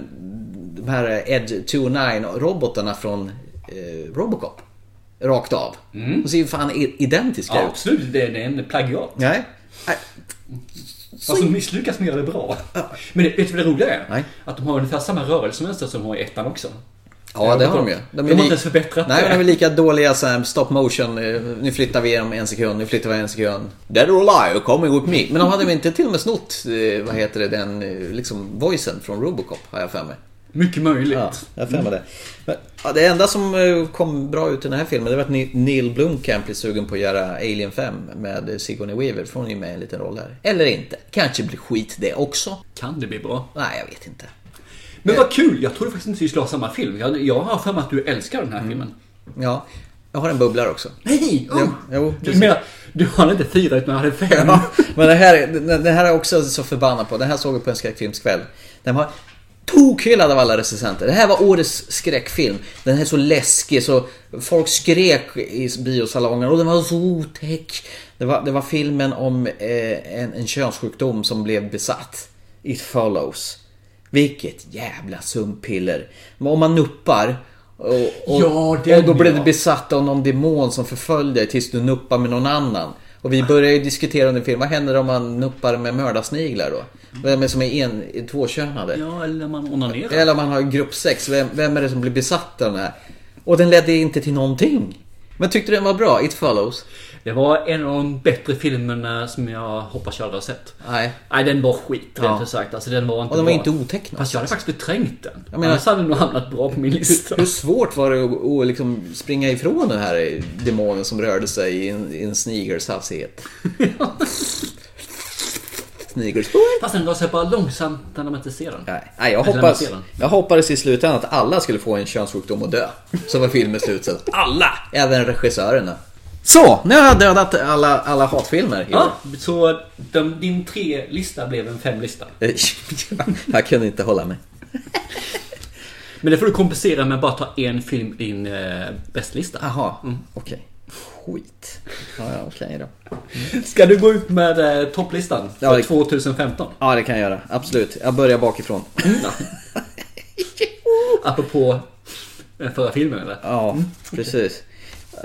S1: de här Ed 2.9 robotarna från eh, Robocop. Rakt av. Mm. De ser ju fan i- identiska
S2: Ja,
S1: ut.
S2: absolut, det det är en plagiat.
S1: Nej.
S2: Fast de misslyckas med att göra det bra. Men vet du vad det roliga är? Att de har ungefär samma rörelsemönster som de har i ettan också.
S1: Ja, det har de ju.
S2: Eh, De,
S1: är
S2: har
S1: li-
S2: inte ens förbättrat
S1: Nej,
S2: det.
S1: men de är lika dåliga som stop motion. eh, Nu flyttar vi er om en sekund, nu flyttar vi en sekund. Dead or alive, coming with me. Men de hade väl inte till och med snott, eh, vad heter det, den eh, liksom voicen från Robocop, har jag för mig.
S2: Mycket möjligt.
S1: Ja, jag har för mig det. Men, ja, det enda som eh, kom bra ut i den här filmen, det var att Ni- Neil Blomkamp blev sugen på att göra Alien 5 med eh, Sigourney Weaver. Får hon ju med i en liten roll här. Eller inte. Kanske blir skit det också.
S2: Kan det bli bra?
S1: Nej, jag vet inte.
S2: Men vad kul! Jag trodde faktiskt inte vi skulle ha samma film. Jag, jag har för mig att du älskar den här filmen.
S1: Ja, jag har en bubblar också.
S2: Nej! Oh!
S1: Mm. Jo,
S2: du menar, du hade inte fyra utan hade fem.
S1: Men det här, det, det här är jag också så förbannad på. Det här såg jag på en skräckfilmskväll. Den var tokhyllad av alla recensenter. Det här var årets skräckfilm. Den är så läskig så folk skrek i biosalonger och den var så otäck. Det var, det var filmen om eh, en, en könssjukdom som blev besatt. It follows. Vilket jävla sumpiller. Men Om man nuppar och, och,
S2: Ja, den
S1: och då blev
S2: ja.
S1: det besatt av någon demon som förföljde dig tills du nuppar med någon annan. Och vi började ju diskutera under filmen, vad händer om man nuppar med mördarsniglar då? Vem är som är en, tvåkönade?
S2: Ja, eller man onanerar.
S1: Eller om man har gruppsex, vem, vem är det som blir besatt av den här? Och den ledde inte till någonting. Men tyckte den var bra, It Follows?
S2: Det var en av de bättre filmerna som jag hoppas jag aldrig har sett.
S1: Nej.
S2: Nej, den var skit
S1: Ja.
S2: rent ut sagt. Alltså den var inte
S1: Och den var
S2: bra.
S1: inte otäck
S2: Fast jag hade faktiskt beträngt den.
S1: Jag menar-
S2: Annars hade den nog hamnat bra på min lista.
S1: Hur, hur svårt var det att, att liksom springa ifrån den här demonen som rörde sig i en, i en snigers havsighet? snigers.
S2: Fast den rör sig bara långsamt när man inte ser den.
S1: Nej, jag,
S2: Eller när man
S1: hoppas,
S2: ser den.
S1: jag hoppades i slutändan att alla skulle få en könssjukdom och dö. Så var filmen slut sen. Alla! Även regissörerna. Så, nu har jag dödat alla, alla hatfilmer. i år.
S2: Ja, så de, din tre-lista blev en fem-lista.
S1: jag kunde inte hålla mig.
S2: Men det får du kompensera med att bara ta en film i din eh, bästlista.
S1: Jaha, okej. Skit. Ja, ja okej då.
S2: Ska du gå ut med eh, topplistan för
S1: Ja, det-
S2: 2015?
S1: Ja, det kan jag göra. Absolut. Jag börjar bakifrån.
S2: Apropå den förra filmen eller?
S1: Ja, precis.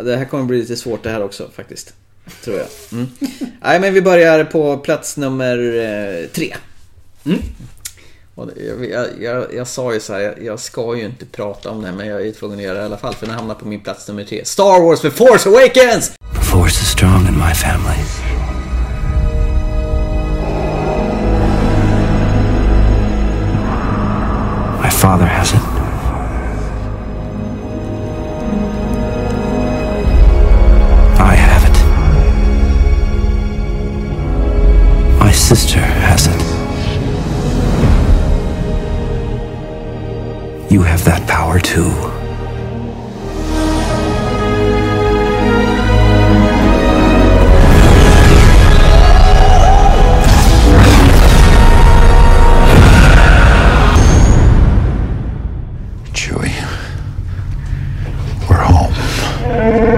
S1: Det här kommer bli lite svårt det här också faktiskt. Tror jag. Mm. Nej, men vi börjar på plats nummer eh, tre. Mm. Och det- jag, jag, jag, jag sa ju så här, jag, jag ska ju inte prata om det här, men jag är ju tvungen att göra det i alla fall för den hamnar på min plats nummer tre. Star Wars The Force Awakens!
S3: Force is strong in my family. My father has it. I have it. My sister has it. You have that power too.
S14: Chewie. We're home.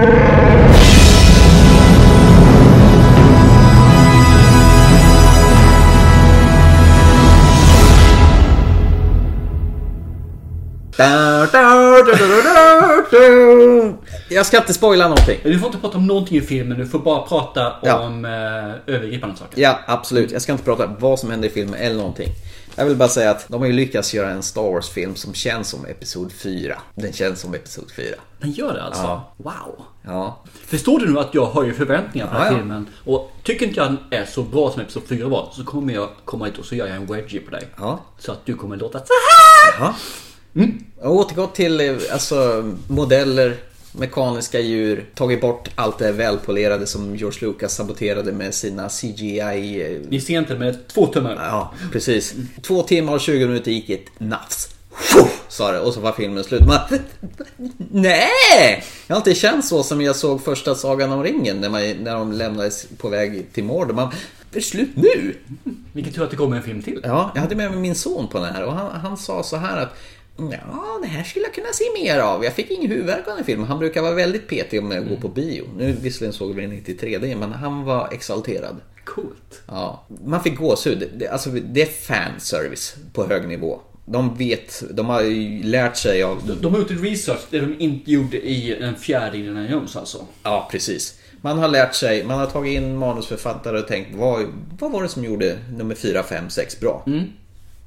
S1: Jag ska inte spoila någonting.
S2: Du får inte prata om någonting i filmen, du får bara prata
S1: Ja.
S2: om eh, övergripande saker.
S1: Ja, absolut. Jag ska inte prata vad som händer i filmen eller någonting. Jag vill bara säga att de har ju lyckats göra en Star Wars-film som känns som Episod 4. Den känns som Episod 4.
S2: Den gör det alltså?
S1: Ja.
S2: Wow!
S1: Ja.
S2: Förstår du nu att jag har ju förväntningar på den här
S1: Ja, ja.
S2: filmen? Och tycker inte jag den är så bra som Episod 4 var så kommer jag komma hit och så gör jag en wedgie på dig.
S1: Ja.
S2: Så att du kommer låta så här.
S1: Jaha. Jag har återgått till eh, alltså, modeller, mekaniska djur, tagit bort allt det välpolerade som George Lucas saboterade med sina CGI... eh,
S2: Ni ser inte med två tummar.
S1: Ja, precis. Två timmar och 20 minuter gick i ett nafs. Fuh, Sa det och så var filmen slut. Man, nej! Jag har inte känt så som jag såg första Sagan om ringen när, man, när de lämnades på väg till Mordor. Man, "Det är slut nu!
S2: Vilken tur att det kommer en film till.
S1: Ja, jag hade med mig min son på den här och han, han sa så här att Ja, det här skulle jag kunna se mer av. Jag fick ingen huvudvärk av den filmen. Han brukar vara väldigt petig om jag går på bio. Nu visserligen såg vi den inte i 3D, men han var exalterad.
S2: Coolt.
S1: Ja, man fick gåshud. Det, alltså, det är fanservice på hög nivå. de vet, de har ju lärt sig av...
S2: De, de har gjort en research, det de inte gjorde i den fjärde Indiana Jones alltså.
S1: Ja, precis. Man har lärt sig, man har tagit in manusförfattare och tänkt vad, vad var det som gjorde nummer 4, 5, 6 bra?
S2: Mm.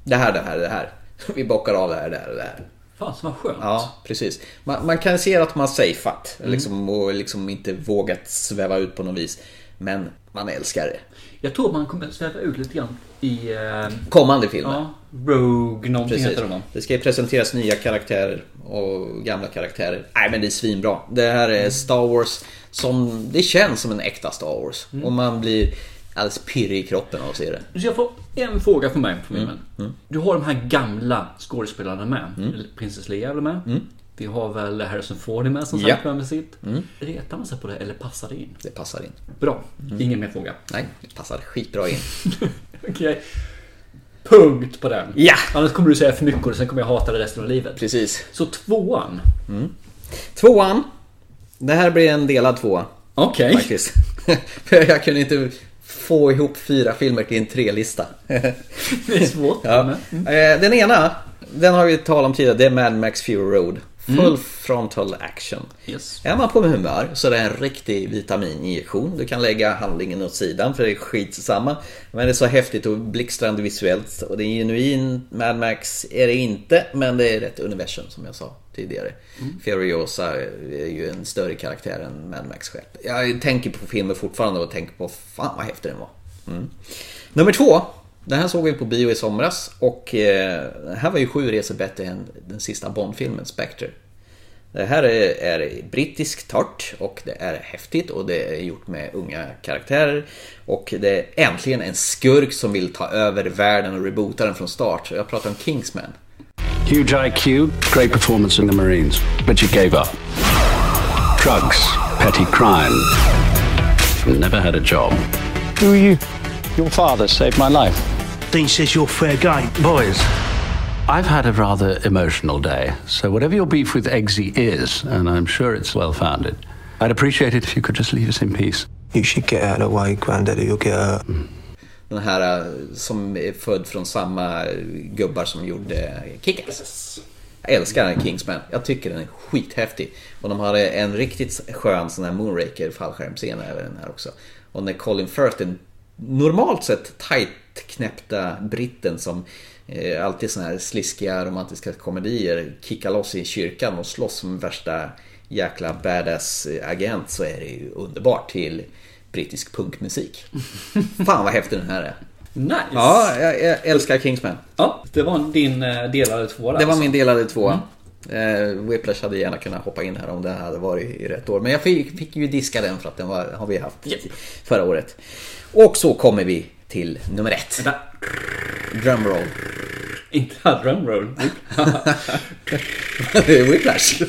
S1: Det här, det här, det här. Vi bockar av det här, det här, det här.
S2: Fan, vad skönt.
S1: Ja, precis. Man, man kan se att man safeat mm. liksom, och liksom inte vågat sväva ut på något vis. Men man älskar det.
S2: Jag tror man kommer att sväva ut lite grann i... Eh...
S1: Kommande filmer. Ja,
S2: Rogue någonting
S1: Precis.
S2: heter den
S1: Det ska ju presenteras nya karaktärer och gamla karaktärer. Nej men det är svinbra. Det här är Star Wars som... Det känns som en äkta Star Wars.
S2: Mm.
S1: Och man blir alldeles pirrig i kroppen av att se det.
S2: Så jag får en fråga för mig från filmen.
S1: Mm.
S2: Du har de här gamla skådespelarna med.
S1: Mm.
S2: Prinsess Leia är väl med.
S1: Mm.
S2: Vi har väl Harrison Ford är med som
S1: Ja.
S2: sagt med sitt.
S1: Mm.
S2: Retar man sig på det eller passar det in?
S1: Det passar in.
S2: Bra,
S1: Mm.
S2: ingen mer fråga.
S1: Nej, det passar skitbra in.
S2: Okej. Punkt på den.
S1: Ja!
S2: Annars kommer du säga för mycket och sen kommer jag hata det resten av livet.
S1: Precis.
S2: Så tvåan.
S1: Tvåan. Det här blir en delad tvåa.
S2: Okej.
S1: Faktiskt. För jag kunde inte få ihop fyra filmer till en trelista.
S2: Det är svårt.
S1: Ja.
S2: Mm.
S1: Eh, Den ena, den har vi talat om tidigare, det är Mad Max Fury Road. Full
S2: Mm.
S1: frontal action.
S2: Yes.
S1: Är man på humör så är det en riktig vitamininjektion. Du kan lägga handlingen åt sidan för det är skitsamma. Men det är så häftigt och blixtrande visuellt. Och det är en genuin Mad Max är det inte, men det är rätt universum som jag sa tidigare.
S2: Mm.
S1: Furiosa är ju en större karaktär än Mad Max själv. Jag tänker på filmen fortfarande och tänker på fan vad häftig den var. Mm. Nummer två. Den här såg vi på bio i somras och eh, den här var ju sju resor bättre än den sista Bond-filmen, Spectre. Det här är, är brittisk tart och det är häftigt och det är gjort med unga karaktärer. Och det är äntligen en skurk som vill ta över världen och reboota den från start. Jag pratar om Kingsman.
S4: Huge IQ, great performance in the Marines, but you gave up. Drugs, petty crime. Never had a job. Who are you? Your father saved my life. Dean says you're fair game, boys. I've had a rather emotional day, so whatever your beef with Eggsy is, and I'm sure it's well founded, I'd appreciate it if you could just leave us in peace. You should get out of the way, Granddaddy, you'll get hurt.
S1: Den här eh, som är född från samma gubbar som gjorde Kick-Ass. Jag älskar den här Kingsman. Jag tycker den är skithäftig. Och de har en riktigt skön sån här Moonraker fallskärmscen över den här också. Och när Colin Firth, den normalt sett tight knäppta britten som eh, alltid såna här sliskiga romantiska komedier kickar loss i kyrkan och slåss som värsta jäkla badass agent så är det ju underbart till brittisk punkmusik. Fan vad häftig den här är.
S2: Nice.
S1: Ja, jag, jag älskar Kingsman.
S2: Ja, det var din eh, delade tvåa där,
S1: Det var
S2: alltså.
S1: min delade tvåa. Eh, Whiplash hade gärna kunnat hoppa in här om den hade varit i rätt år. Men jag fick, fick ju diska den för att den var, har vi haft förra året. Och så kommer vi till nummer ett. Drumroll.
S2: Inte ja, drumroll.
S1: Det är Whiplash.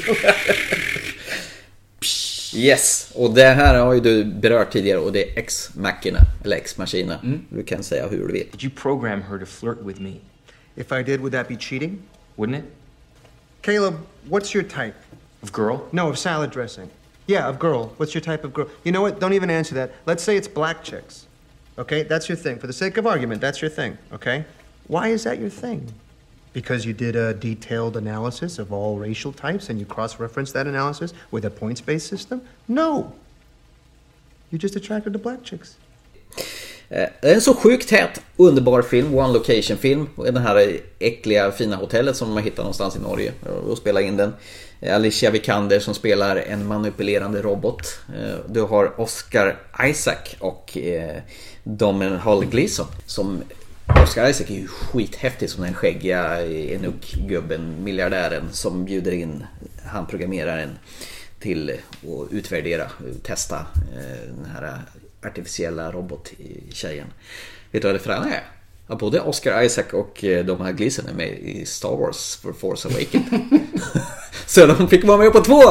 S1: Yes, och det här har ju du berört tidigare och det är X-Machina. Eller X-Machina. Du kan säga hur du vill.
S11: Did you program her to flirt with me?
S7: If I did, would that be cheating?
S11: Wouldn't it?
S7: Caleb, what's your type?
S11: Of girl?
S7: No, of salad dressing. Yeah, of girl. What's your type of girl? You know what? Don't even answer that. Let's say it's black chicks. Okay? That's your thing. For the sake of argument, that's your thing. Okay? Why is that your thing? Because you did a detailed analysis of all racial types and you cross referenced that analysis with a points based system? No! You just attracted to black chicks.
S1: Eh, Det är en så sjukt tät, underbar film, One Location film. Det här äckliga fina hotellet som man hittar någonstans i Norge och spelar in den. Eh, Alicia Vikander som spelar en manipulerande robot. Eh, Du har Oscar Isaac och eh, Domhnall Hall Gleeson som Oscar Isaac är ju skithäftig som den skäggiga eh, Enoch-gubben, miljardären som bjuder in han programmeraren till att utvärdera, testa eh, den här artificiella robottjejen. Vet du vad det fräna är? Att både Oscar Isaac och eh, de här Gleason är med i Star Wars för Force Awakens. Så de fick vara med på två!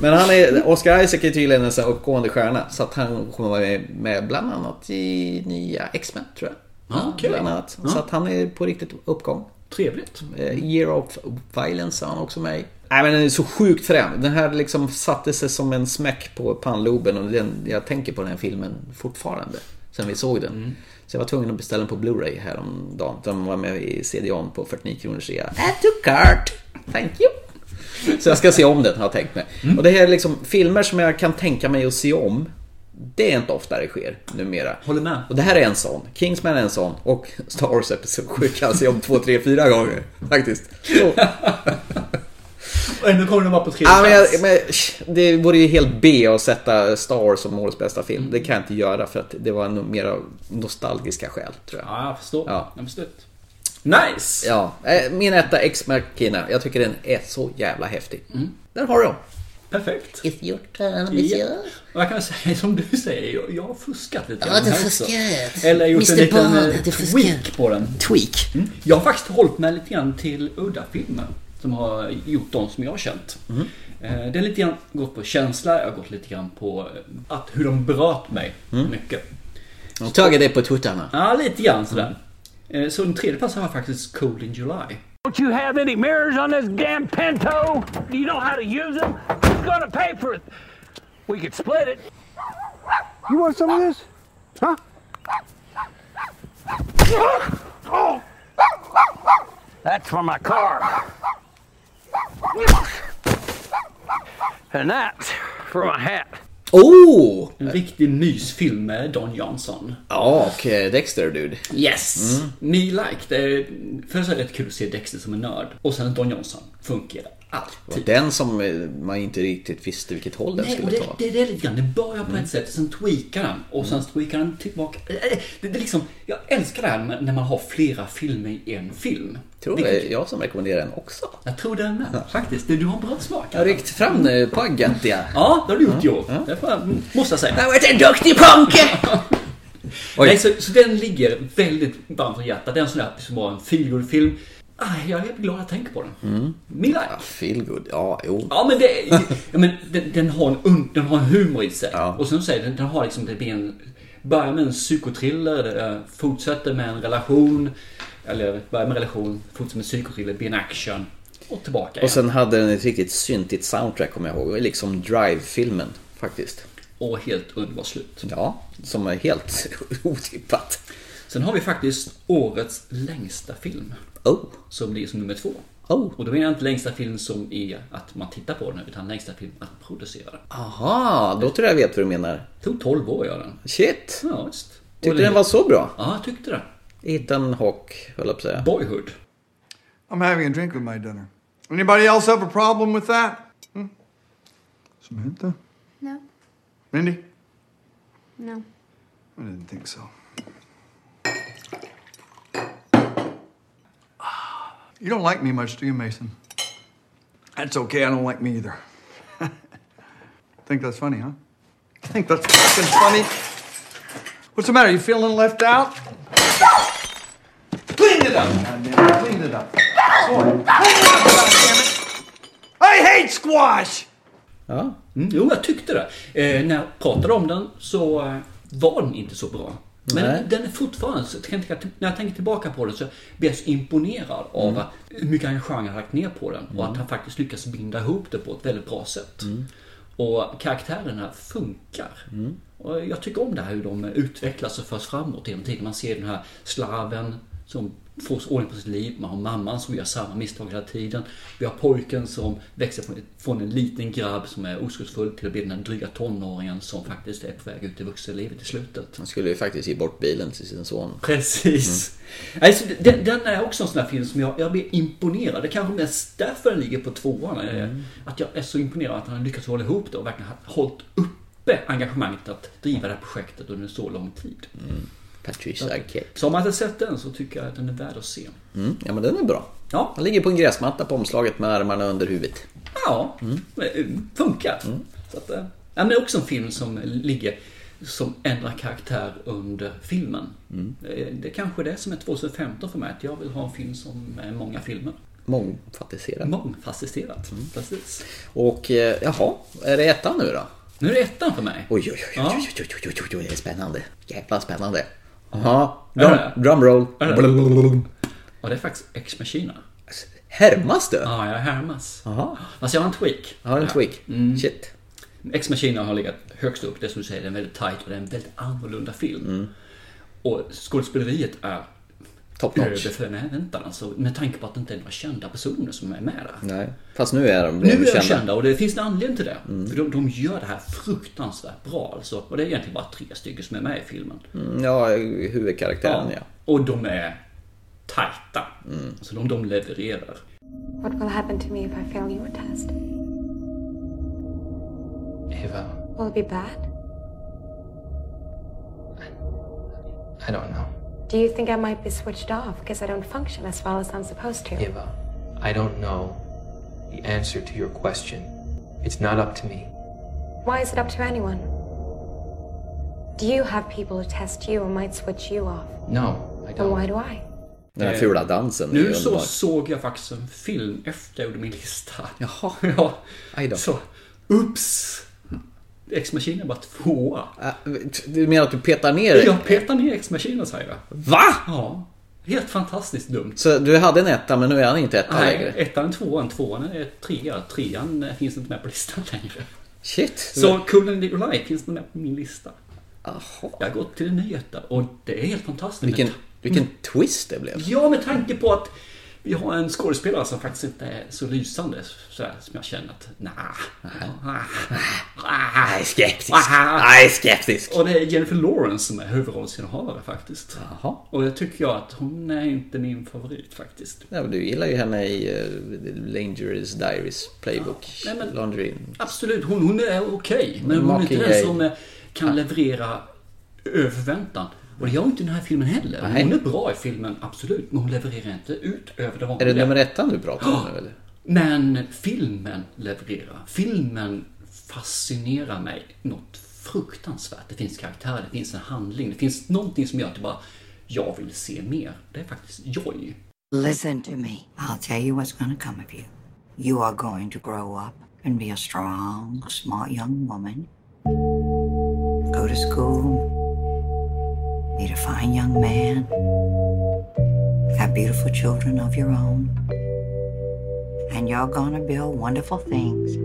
S1: Men han är, Oscar Isaac är tydligen en sån här uppgående stjärna så att han kommer vara med- med bland annat i nya X-Men tror jag. Ja,
S2: Okej.
S1: Bland annat. Så
S2: Ja.
S1: att han är på riktigt uppgång.
S2: Trevligt.
S1: Eh, Year of Violence är han också med i. Nej men den är så sjukt frän. Den här liksom satte sig som en smäck på pannloben och den, jag tänker på den här filmen fortfarande. sen vi såg den. Så jag var tvungen att beställa den på Blu-ray häromdagen. De var med i CD-ON på 49 kronors rea. Add to cart! Thank you! Så jag ska se om den har jag tänkt mig.
S2: Mm.
S1: Och det här är liksom filmer som jag kan tänka mig att se om. Det är inte ofta det sker numera.
S2: Håller med.
S1: Och det här är en sån. Kingsman är en sån. Och Star Wars Episod 7 kan jag se om två, tre, fyra gånger. Faktiskt. Så.
S2: Och ändå kommer den bara på tre
S1: Ja, men
S2: plats.
S1: jag, men, sh, det vore ju helt B att sätta Star Wars som årets bästa film. Det kan jag inte göra för att det var nog mer av nostalgiska skäl, tror jag.
S2: Ja, jag förstår.
S1: Ja.
S2: Absolut. Nice!
S1: Ja, eh, min etta Ex Machina. Jag tycker den är så jävla häftig. Där har du dem.
S2: Perfekt.
S1: It's your turn,
S2: Mm. Ja. Och jag kan säga som du säger, jag, jag har fuskat lite.
S1: Ja,
S2: grann
S1: du
S2: här
S1: fuskat.
S2: Också. Eller gjort en
S1: Mr.
S2: liten
S1: Bond,
S2: eh,
S1: du fuskar.
S2: tweak på den.
S1: Tweak.
S2: Mm. Jag har faktiskt hållit mig lite grann till udda filmer. Som har gjort de som jag har känt. Eh, Det är lite grann gått på känsla, jag har gått lite grann på eh, att hur de bröt mig. Mycket.
S1: De tagit det på tuttarna.
S2: Ja, lite grann sådär. Eh, Så den tredje platsen har jag faktiskt Cold in July.
S9: Don't you have any mirrors on this damn Pinto? Do you know how to use them? Who's gonna pay for it? We could split it. You want some of this? Huh? Oh. That's for my car. And that's for my hat.
S1: Oh!
S2: En riktig mysfilm med Don Johnson.
S1: Ja, och eh, Dexter dude.
S2: Yes! Me like. Det är, först är det rätt kul att se Dexter som en nörd. Och sen Don Johnson. Funkar
S1: Det var
S2: alltid.
S1: den som eh, man inte riktigt visste vilket håll den
S2: Nej, och
S1: skulle
S2: det,
S1: ta. Mm.
S2: det, det är lite grann. Det börjar på ett sätt, sen tweakar den och sen tweakar den tillbaka. Eh, Det, det är liksom, jag älskar det här med- när man har flera filmer i en film.
S1: Tror det är jag som rekommenderar den också.
S2: Jag tror det är med, faktiskt. Du du har en bra smak.
S1: Jag ryckt fram eh, på Agentia.
S2: Ja, det har du gjort i år. Det får jag- mm, måste jag säga.
S1: Jag varit en duktig punke! Oj.
S2: Nej, så, så den ligger väldigt varmt om hjärtat. Det är en sån där som var en feelgood-film. Ah, jag är glad jag tänker på den. Mm. Mila.
S1: Ja, feel good. Ja, jo.
S2: Ja men, det, ja, men den, den, har en, un- den har en humor i sig. Och som du säger, den, den har liksom, det blir en, börjar med en psykotriller, det, eh, fortsätter med en relation, eller börjar med en relation, fortsätter med en psykotriller, blir en action och tillbaka igen.
S1: Och sen hade den ett riktigt syntigt soundtrack kommer jag ihåg. Liksom Drive-filmen faktiskt.
S2: Och helt underbart slut.
S1: Ja, som är helt otippat.
S2: Sen har vi faktiskt årets längsta film.
S1: Oh.
S2: Som ligger som nummer två.
S1: Oh.
S2: Och då menar jag inte längsta film som är att man tittar på den, utan längsta film att producera den.
S1: Aha, då tror jag jag vet vad du menar.
S2: Det tog 12 år att göra den.
S1: Shit!
S2: Ja, visst. Och
S1: Tyckte den var så bra?
S2: Ja, jag tyckte det.
S1: Ethan Hawke, höll jag på att säga.
S2: Boyhood.
S10: I'm having a drink with my dinner. Anybody else have a problem with that? Hmm? Samantha?
S23: No.
S10: Mindy?
S23: No.
S10: I didn't think so. You don't like me much, do you, Mason? That's okay. I don't like me either. think that's funny, huh? Think that's fucking funny? What's the matter? You feeling left out? Clean it up. goddamn it, Clean it up. Sorry. I hate squash!
S1: Ja.
S2: Mm, jo, jag tyckte det. Eh, när jag pratade om den så eh, var den inte så bra. Men
S1: Nej.
S2: den är fortfarande, så jag tänker- när jag tänker tillbaka på den så blir jag så imponerad av att hur mycket engagemang han har lagt ner på den och att han faktiskt lyckas binda ihop det på ett väldigt bra sätt. Och karaktärerna funkar. Och jag tycker om det här hur de utvecklas och förs framåt genom tiden. Man ser den här slaven som får ordning på sitt liv. Man har mamman som gör samma misstag hela tiden. Vi har pojken som växer från- från en liten grabb som är oskuldsfull till att bli den här dryga tonåringen som faktiskt är på väg ut i vuxenlivet i slutet.
S1: Han skulle ju faktiskt ge bort bilen till sin son.
S2: Precis. Nej, så den, den är också en sån här film som jag, jag blir imponerad. Det kanske mest därför den ligger på tvåan. är Att jag är så imponerad att han har lyckats hålla ihop det och verkligen har hållit uppe engagemanget att driva det här projektet under så lång tid.
S1: Patricia Arquette.
S2: Så om man inte sett den så tycker jag att den är värd att se.
S1: Mm, ja men den är bra.
S2: Ja.
S1: Han ligger på en gräsmatta på omslaget med armarna under huvudet.
S2: Ja, mm. funkar. Så att, eh, ja, men det är också en film som ligger som ändrar karaktär under filmen.
S1: Mm.
S2: Eh, Det är kanske är det som är 2015 för mig, att jag vill ha en film som är många filmer.
S1: Mångfacetterad.
S2: Mm. Mångfacetterat,
S1: Mm.
S2: precis.
S1: Och eh, jaha, är det ettan nu då?
S2: Nu är det ettan för mig.
S1: Oj, oj, oj, oj, oj, oj, oj, oj, oj, det är spännande. Jävla spännande. Jaha,
S2: Är
S1: drum,
S2: det?
S1: drumroll.
S2: Är det?
S1: Blablabla.
S2: Ja, det är faktiskt Ex Machina.
S1: Härmas du?
S2: Ja, jag härmas.
S1: Jaha.
S2: Fast jag har en tweak.
S1: Har du en tweak?
S2: Mm.
S1: Shit.
S2: Ex Machina har legat högst upp. Det är som du säger, det är en väldigt tight och det är en väldigt annorlunda film.
S1: Mm.
S2: Och skådespeleriet är
S1: Top notch.
S2: överförväntan. Alltså, med tanke på att det inte är några kända personer som är med där.
S1: Nej. Fast nu är de
S2: Nu är de
S1: kända.
S2: kända och det finns en anledning till det.
S1: Mm.
S2: För de, de gör det här fruktansvärt bra alltså. Och det är egentligen bara tre stycken som är med i filmen.
S1: Mm, Ja, huvudkaraktären ja. Mm.
S2: Och de är tajta. Så de, de levererar.
S8: What will happen to me if I fail your test?
S11: Eva,
S8: Will it be bad?
S11: I don't know.
S8: Do you think I might be switched off because I don't function as well as I'm supposed to?
S11: Eva, I don't know the answer to your question. It's not up to me.
S8: Why is it up to anyone? Do you have people who test you and might switch you off?
S11: No, I
S8: Then why do I?
S1: Den här fula dansen. är
S2: Nu
S1: ju
S2: så
S1: underbar.
S2: såg jag faktiskt en film efter jag gjorde min lista. Jaha. Ja. Så, ups! Ex Machina var tvåa.
S1: Äh, Du menar att du petar ner dig?
S2: Jag petar ner Ex Machina säger jag.
S1: Va?
S2: Ja. Helt fantastiskt dumt.
S1: Så du hade en etta men nu är han inte etta
S2: Nej,
S1: längre?
S2: ettan, tvåan, tvåan är trea. Trean eh, finns inte med på listan längre.
S1: Shit.
S2: Så Kullen Nikolaj finns inte med på min lista. Aha. Jag har gått till en ny etta och det är helt fantastiskt.
S1: Vilken,
S2: Men-
S1: vilken twist det blev.
S2: Ja, med tanke på att vi har en skådespelare som faktiskt inte är så lysande sådär, som jag känner att nah, ah,
S1: Jag är skeptisk. Jag är skeptisk.
S2: Och det är Jennifer Lawrence som är huvudrollsinnehavare faktiskt. Och jag tycker jag att hon är inte min favorit faktiskt.
S1: Ja, men du gillar ju henne i uh, Langer's Diaries Playbook.
S2: Nej, men-
S1: Laundry.
S2: Absolut, hon, hon är okej. men hon är inte
S1: Mockingjay.
S2: den som eh, kan leverera över förväntan. Och det gör inte den här filmen heller.
S1: Nej.
S2: Hon är bra i filmen, absolut. Men hon levererar inte ut över det
S1: Är
S2: vanliga.
S1: det nummer ettan du pratar om nu eller?
S2: Men filmen levererar. Filmen fascinerar mig något fruktansvärt. Det finns karaktärer, det finns en handling, det finns någonting som gör att jag bara, jag vill se mer. Det är faktiskt Joy.
S12: Listen to me. I'll tell you what's going to come of you. You are going to grow up and be a strong, smart young woman. Go to school, meet a fine young man, have beautiful children of your own, and you're going to build wonderful things.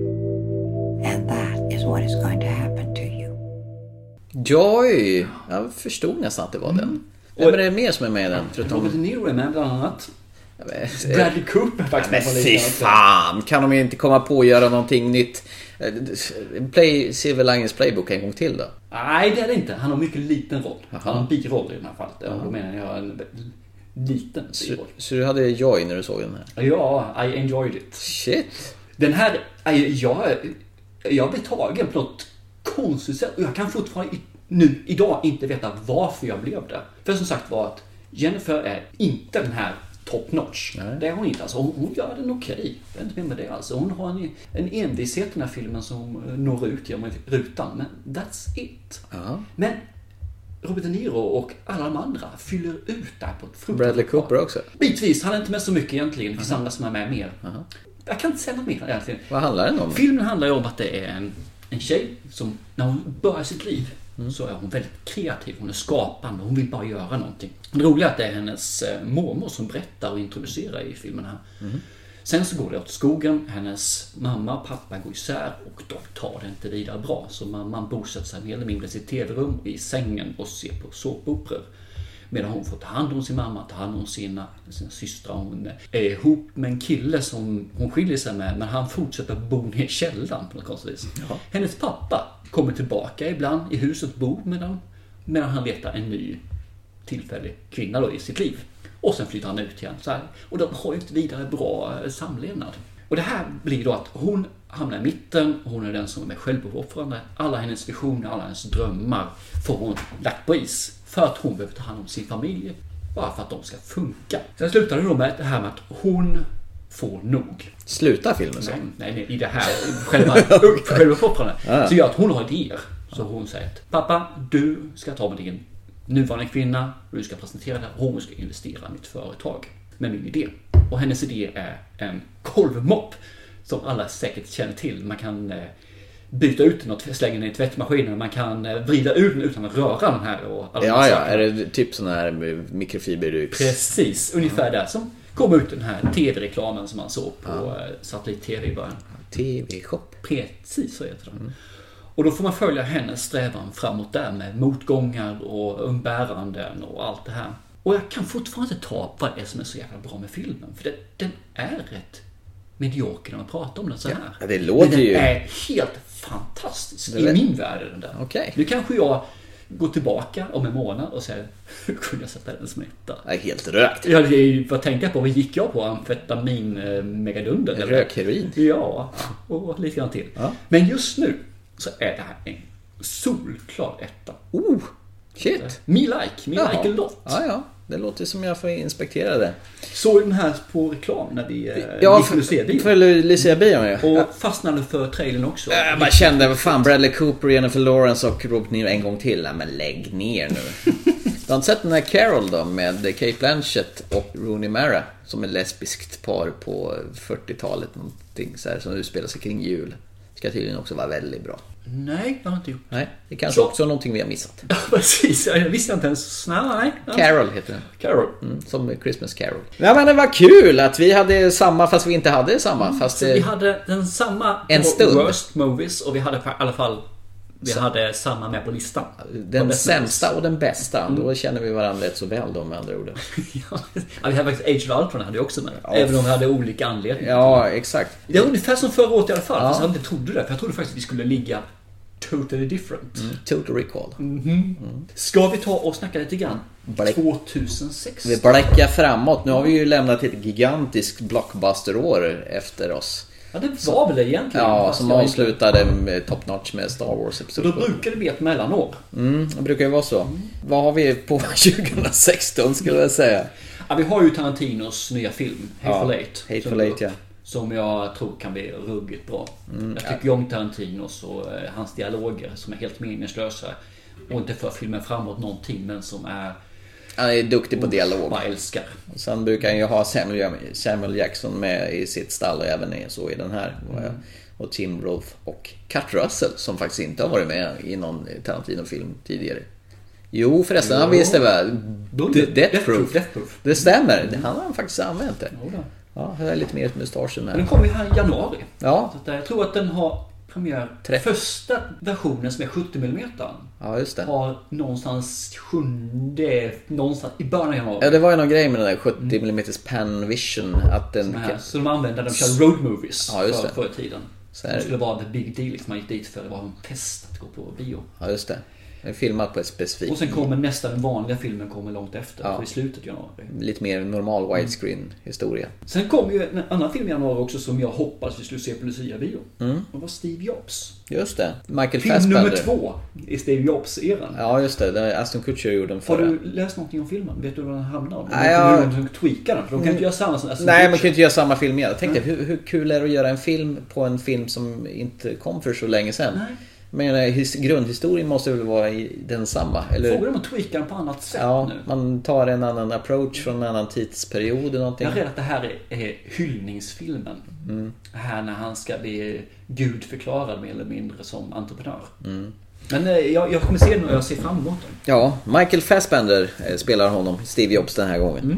S12: And that is what is going to happen to you.
S1: Joy! Jag förstod nästan att det var den.
S2: Mm.
S1: Vem är det mer som är med i den? Förutom...
S2: Robert De Niro är med bland annat. Mm.
S1: Bradley
S2: Cooper faktiskt.
S1: Men
S2: med på
S1: fy
S2: listan också.
S1: fan! Kan de inte komma på att göra någonting nytt? Eh, Play Silver Linings Playbook en gång till då.
S2: Nej, det är det inte. Han har mycket liten roll. Han har en biroll i det här fallet. Och då menar jag en liten biroll.
S1: Så du hade Joy när du såg den här?
S2: Ja, I enjoyed it.
S1: Shit.
S2: Den här, aj, jag, jag blev tagen på något konstigt sätt. Och jag kan fortfarande i- nu, idag, inte veta varför jag blev det. För som sagt var att Jennifer är inte den här top notch. Det är hon inte. Alltså, hon, hon gör den okej. Det är inte mer med det alls. Hon har en, en envishet i den här filmen som eh, når ut genom rutan. Men that's it. Men Robert De Niro och alla de andra fyller ut det här på ett fruktansvärt
S1: Bradley Cooper också.
S2: Bitvis, han är inte med så mycket egentligen. Det finns andra som är med mer. Jag kan inte säga något mer egentligen.
S1: Vad handlar den om?
S2: Filmen handlar ju om att det är en, en tjej som, när hon börjar sitt liv, så är hon väldigt kreativ. Hon är skapande. Hon vill bara göra någonting. Det roliga är att det är hennes eh, mormor som berättar och introducerar i filmen här. Sen så går det åt skogen. Hennes mamma och pappa går isär och de tar det inte vidare bra. Så mamman bosätter sig mer eller mindre i sitt tv-rum, i sängen och ser på såpoperor. Medan hon får ta hand om sin mamma, ta hand om sina, sina systrar. Hon är ihop med en kille som hon skiljer sig med, men han fortsätter bo ner i källaren på något konstigt vis. Hennes pappa kommer tillbaka ibland i huset, bor med dem, medan han letar en ny tillfällig kvinna då i sitt liv. Och sen flyttar han ut igen. Så här. Och de har ju ett vidare bra eh, samlevnad. Och det här blir då att hon hamnar i mitten, hon är den som är självuppoffrande. Alla hennes visioner, alla hennes drömmar får hon lagt på is. För att hon behöver ta hand om sin familj. Bara för att de ska funka. Sen slutar det då med det här med att hon får nog.
S1: Slutar filmen så?
S2: Nej, nej, nej i det här själva självuppoffrandet.
S1: Ja.
S2: Så gör att hon har idéer. Så hon säger att pappa, du ska ta med din nuvarande kvinna, du ska presentera det här, hon ska investera i mitt företag med min idé. Och hennes idé är en kolvmopp som alla säkert känner till. Man kan eh, byta ut den och tv- slänga den i tvättmaskinen. Man kan eh, vrida ur den utan att röra den här. Och alla de här
S1: Ja, ja.
S2: sakerna.
S1: Är det typ sån här mikrofiberduk?
S2: Precis, ungefär där som kom ut den här TV-reklamen som man såg på eh, satellit-TV i början.
S1: TV-shop.
S2: Precis så heter den. Och då får man följa hennes strävan framåt där med motgångar och umbäranden och allt det här. Och jag kan fortfarande inte ta vad det är som är så jävla bra med filmen. För den, den är rätt medioker när man pratar om den så här.
S1: Ja, det låter
S2: Men den
S1: ju-
S2: är helt fantastisk.
S1: Det
S2: I
S1: lät-
S2: min värld är den där.
S1: Okej.
S2: Nu kanske jag går tillbaka om en månad och säger hur kunde jag sätta den som etta?
S1: Jag är helt rökt.
S2: Ja, det är ju- vad tänkte jag på? Vad gick jag på? Amfetamin, eh, megadunder? eller?
S1: Rökheroin.
S2: Ja, och lite grann till. Men just nu så är det här en solklar etta.
S1: Oh, shit.
S2: Me like, me
S1: Jaha.
S2: like a lot.
S1: Ja, ja. Det låter som jag får inspektera det.
S2: Såg den här på reklam när vi eh,
S1: Ja,
S2: gick på
S1: för,
S2: Lucia-bio.
S1: för Äh. Lu- Lucia-bion ju.
S2: Och fastnade för trailern också.
S1: Eh, Jag bara kände, vad fan, Bradley Cooper, Jennifer Lawrence och Robert De Niro en gång till. Nej, men lägg ner nu. Du har inte sett den här Carol då med Kate Blanchett och Rooney Mara som är lesbiskt par på 40-talet någonting så här, som utspelar sig kring jul. Ska tydligen också vara väldigt bra.
S2: Nej, det har jag inte gjort.
S1: Nej, det kanske
S2: Så.
S1: också är någonting vi har missat.
S2: Precis, jag visste inte ens. Nej, nej.
S1: Carol heter den.
S2: Carol.
S1: Mm, som Christmas Carol. Nej men det var kul att vi hade samma fast vi inte hade samma. Fast
S2: Så
S1: eh,
S2: vi hade den samma
S1: En
S2: på
S1: stund.
S2: Worst Movies och vi hade på- i alla fall vi hade samma med på listan.
S1: den
S2: På bästa
S1: sämsta och den bästa.
S2: Mm.
S1: Då känner vi varandra rätt så väl då med andra ord.
S2: movies. Ja, vi hade faktiskt Age of Ultron hade jag också med. Även om vi hade olika anledningar.
S1: Ja, exakt.
S2: Det var ungefär som förra året i alla fall.
S1: Ja.
S2: Fast jag inte trodde det. För jag trodde faktiskt att vi skulle ligga totally different.
S1: Total recall.
S2: Mm. Ska vi ta och snacka lite grann?
S1: Black-
S2: 2006.
S1: Vi blickar framåt. Nu har vi ju lämnat ett gigantiskt blockbuster-år efter oss.
S2: Ja, det var väl det egentligen.
S1: Ja,
S2: fast
S1: som
S2: jag inte-
S1: avslutade med top notch med Star Wars
S2: Så
S1: Episod
S2: då
S1: 7.
S2: brukar det bli ett mellanår.
S1: Mm, det brukar ju vara så. Vad har vi på 2016 skulle jag säga?
S2: Ja, vi har ju Tarantinos nya film, Hateful
S1: Ja,
S2: Eight.
S1: Hateful
S2: som-
S1: Eight, ja.
S2: Som jag tror kan bli ruggigt bra.
S1: Mm,
S2: jag
S1: ja.
S2: tycker ju om Tarantinos och eh, hans dialoger som är helt meningslösa. Och inte för filmen framåt någonting, men som är...
S1: Han är duktig på
S2: Oh,
S1: dialog.
S2: vad jag älskar.
S1: Och sen brukar han ju ha Samuel, Samuel Jackson med i sitt stall och även i- så i den här. Och- eh,
S2: Mm.
S1: Och Tim Roth och Kurt Russell som faktiskt inte har varit med i någon Tarantino-film tidigare. Jo förresten, han
S2: Jo.
S1: visste väl?
S2: Då-
S1: D- Death
S2: Death
S1: Proof.
S2: Proof, Death Proof. Mm.
S1: Det stämmer, han har faktiskt använt det.
S2: Jo då.
S1: Ja, det är lite mer mustaschen
S2: Men den
S1: här.
S2: kommer ju här i januari.
S1: Ja.
S2: Så att, eh, jag tror att den har premiär... Första versionen som är 70 mm.
S1: Ja, just det.
S2: Har någonstans sjunde... Någonstans i början av januari.
S1: Ja, det var ju någon grej med den där 70 mm pan vision. Att den...
S2: Såna här, så de använde när de körde road movies
S1: Ja, just
S2: för,
S1: det.
S2: förr i tiden.
S1: Så
S2: Så
S1: är det.
S2: det skulle vara the big deal. Liksom man gick dit för det var en fest att gå på bio.
S1: Ja, just det. Den är filmad på ett specifikt...
S2: Och sen kommer nästa, den vanliga filmen kommer långt efter. Så i slutet av januari.
S1: Lite mer normal
S2: Mm.
S1: widescreen historia.
S2: Sen kom ju en annan film i januari också som jag hoppas vi skulle se på Lucia-bio.
S1: Mm.
S2: Det var Steve Jobs.
S1: Just det. Michael
S2: film
S1: Fassbender.
S2: nummer två i Steve Jobs-eran.
S1: Ja, just det. Där Aston Kutcher gjorde den
S2: Har
S1: förra.
S2: du läst någonting om filmen? Vet du var den hamnar? Om
S1: Nej, jag- Mm.
S2: Hur de tweakar den? För de kan ju inte göra samma som Aston
S1: Nej, man
S2: Kutcher.
S1: kan ju inte göra samma film igen. Jag tänkte, hur, hur kul är det att göra en film på en film som inte kom för så länge sedan?
S2: Nej.
S1: Men eh, his, grundhistorien måste väl vara i- densamma? Eller?
S2: Frågan är om de tweakar den på annat sätt
S1: Ja,
S2: nu.
S1: man tar en annan approach från en annan tidsperiod eller någonting.
S2: Jag är rädd att det här är, är hyllningsfilmen.
S1: Mm.
S2: Det Här när han ska bli gudförklarad mer eller mindre som entreprenör.
S1: Mm.
S2: Men eh, jag, jag kommer se den och jag ser fram emot den.
S1: Ja, Michael Fassbender eh, spelar honom, Steve Jobs den här gången.
S2: Mm.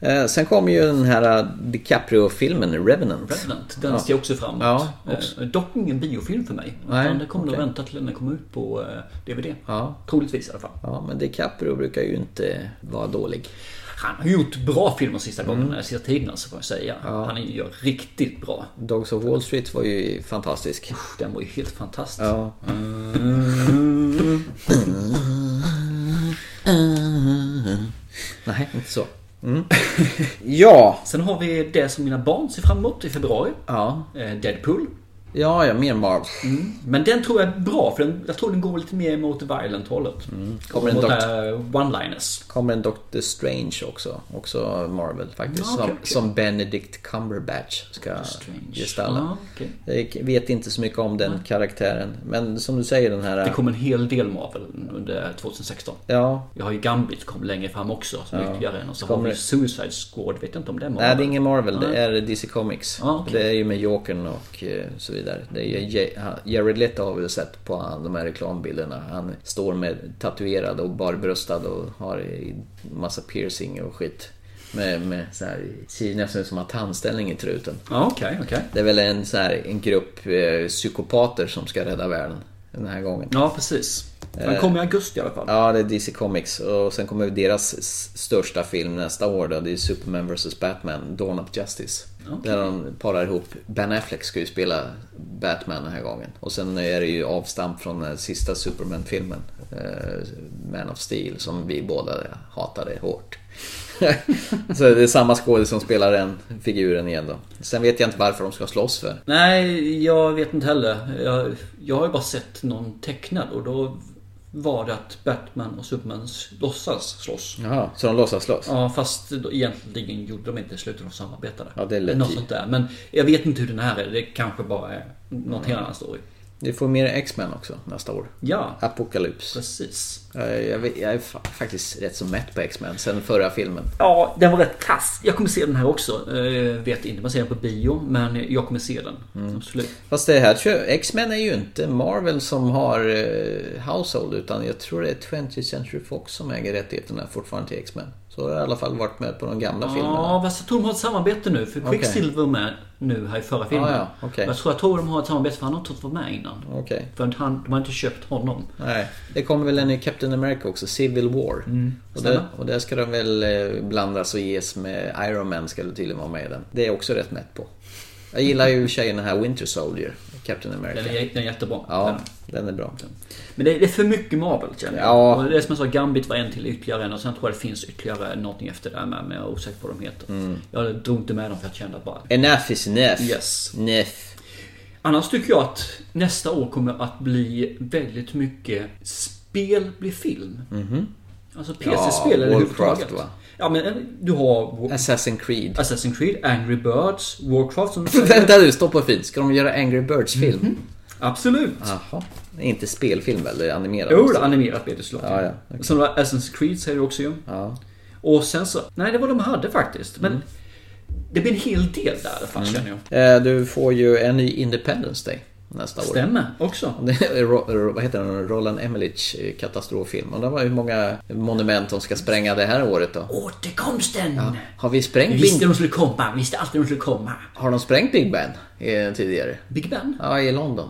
S1: Eh, Sen kom ju den här eh, DiCaprio-filmen, Revenant.
S2: Revenant, den
S1: Ja.
S2: ser jag också fram emot.
S1: Ja,
S2: Eh, Dock ingen biofilm för mig.
S1: Nej,
S2: Utan det kommer nog
S1: okej.
S2: vänta till den kommer ut på eh, DVD.
S1: Ja.
S2: Troligtvis i alla fall.
S1: Ja, men DiCaprio brukar ju inte vara dålig.
S2: Han har gjort bra filmer sista gångerna, mm. sista tiden alltså får jag säga. Han gör riktigt bra.
S1: Dogs of Wall Street var ju fantastisk.
S2: Den var ju helt fantastisk.
S1: Ja. Nej, inte så. Mm. Ja.
S2: Sen har vi det som mina barn ser fram emot i februari.
S1: Ja.
S2: Eh, Deadpool.
S1: Ja, ja, mer Marvel.
S2: Men den tror jag är bra för den, jag tror den går lite mer mot violent hållet.
S1: Mm. Kommer en
S2: mot
S1: dokt-
S2: eh, one-liners.
S1: Kommer en Doctor Strange också. Också Marvel faktiskt.
S2: Ja, okej,
S1: som,
S2: okej.
S1: som Benedict Cumberbatch ska gestalta.
S2: Ja, okej.
S1: Jag vet inte så mycket om den karaktären. Men som du säger den här...
S2: Det kom en hel del Marvel under 2016.
S1: Ja.
S2: Jag har ju Gambit kom längre fram också som
S1: Ja.
S2: ytterligare en. Och så
S1: Kommer-
S2: har vi Suicide Squad, vet jag inte om det är Marvel.
S1: Nej, det är ingen Marvel.
S2: Nej.
S1: Det är DC Comics. Det är ju med Jokern och eh, så vidare. Det är ju Je- han- Jared Leto har vi sett på han, de här reklambilderna. Han står med tatuerad och barbröstad och har i- massa piercing och skit. Med, med så här, ser nästan ut som att han har tandställning i truten.
S2: Ja, okej, okej.
S1: Det är väl en, så här, en grupp eh, psykopater som ska rädda världen. Den här gången.
S2: Ja, precis.
S1: Eh.
S2: Den kommer i augusti i alla fall.
S1: Ja, det är DC Comics. Och sen kommer deras s- största film nästa år då. Det är Superman vs Batman, Dawn of Justice.
S2: Okej.
S1: Där de parar ihop. Ben Affleck ska ju spela Batman den här gången. Och sen är det ju avstamp från den sista Superman-filmen. eh, Man of Steel, som vi båda hatade hårt. Så det är samma skådespelare som spelar den figuren igen då. Sen vet jag inte varför de ska slåss för.
S2: Nej, jag vet inte heller. Jag, jag har ju bara sett någon tecknad och då var det att Batman och Superman låtsas slåss.
S1: Jaha, så de låtsas slåss?
S2: Ja, fast då- egentligen gjorde de inte slut, de samarbetade.
S1: Ja, det är lätt
S2: Något
S1: i.
S2: sånt där. Men jag vet inte hur den här är. Det kanske bara är
S1: Mm.
S2: något helt annan story.
S1: Du får mer X-Men också nästa år.
S2: Ja.
S1: Apocalypse.
S2: Precis.
S1: Eh, Jag, jag, vet- jag är fa- faktiskt rätt så mätt på X-Men sen förra filmen.
S2: Ja, den var rätt kass. Jag kommer se den här också. Eh, vet inte om jag ser den på bio, men jag kommer se den. Mm. Absolut.
S1: Fast det här tror jag- X-Men är ju inte Marvel som har eh, Household utan jag tror det är 20th Century Fox som äger rättigheterna fortfarande till X-Men. Så har jag i alla fall varit med på de gamla filmerna.
S2: Ja, fast jag tror de har ett samarbete nu. För
S1: Okej. Ah,
S2: Quicksilver var med nu här i förra filmen.
S1: Ja, ja, okej.
S2: Jag tror jag tror de har ett samarbete för han har inte fått vara med innan.
S1: Okej.
S2: För att han, de har inte köpt honom.
S1: Nej, det kommer väl en ny Captain America också, Civil War. och, där,
S2: Mm. stämmer.
S1: och där ska de väl eh, blandas och ges med Iron Man ska det tydligen vara med i den. Det är jag också rätt mätt på. Jag gillar ju i och för sig den här Winter Soldier, Captain America.
S2: Den är, den är jättebra.
S1: Ja, den är bra.
S2: Men det, det är för mycket Marvel känner jag.
S1: Ja.
S2: Och det är som jag sa, Gambit var en till ytterligare en och sen tror jag det finns ytterligare någonting efter det här med. Men jag är osäker på vad de heter.
S1: Mm.
S2: Jag drog inte med dem för jag kände att bara...
S1: Enough is enough.
S2: Yes.
S1: Enough.
S2: Annars tycker jag att nästa år kommer att bli väldigt mycket spel blir film.
S1: Mhm.
S2: Alltså
S1: Ja,
S2: PC-spel eller
S1: Warcraft,
S2: överhuvudtaget.
S1: va?
S2: Ja men eh, du har...
S1: Assassin's Creed.
S2: Assassin's Creed, Angry Birds, Warcraft som du säger.
S1: Vänta nu, stoppa fint. Ska de göra Angry Birds-film?
S2: Absolut.
S1: Jaha. Mhm. Inte spelfilm väl? Det är animerat?
S2: Jo,
S1: också.
S2: det är animerat blir det såklart.
S1: Ja, ja.
S2: Sen var Assassin's Creed säger du också ju. Och sen så... Nej, det var de hade faktiskt. Men det blir en hel del där i alla fall
S1: Mm.
S2: känner jag.
S1: Eh, Du får ju en ny Independence Day nästa år.
S2: Stämmer, också.
S1: Det är Ro- Ro- vad heter den? Roland Emmerich eh, katastroffilm. Undrar vad- hur många monument de ska spränga det här året då?
S2: Återkomsten!
S1: Ja. Har vi sprängt
S2: Vi visste
S1: Big...
S2: de skulle komma, vi visste alltid de skulle komma.
S1: Har de sprängt Big Ben eh, tidigare?
S2: Big Ben?
S1: Ja, i London.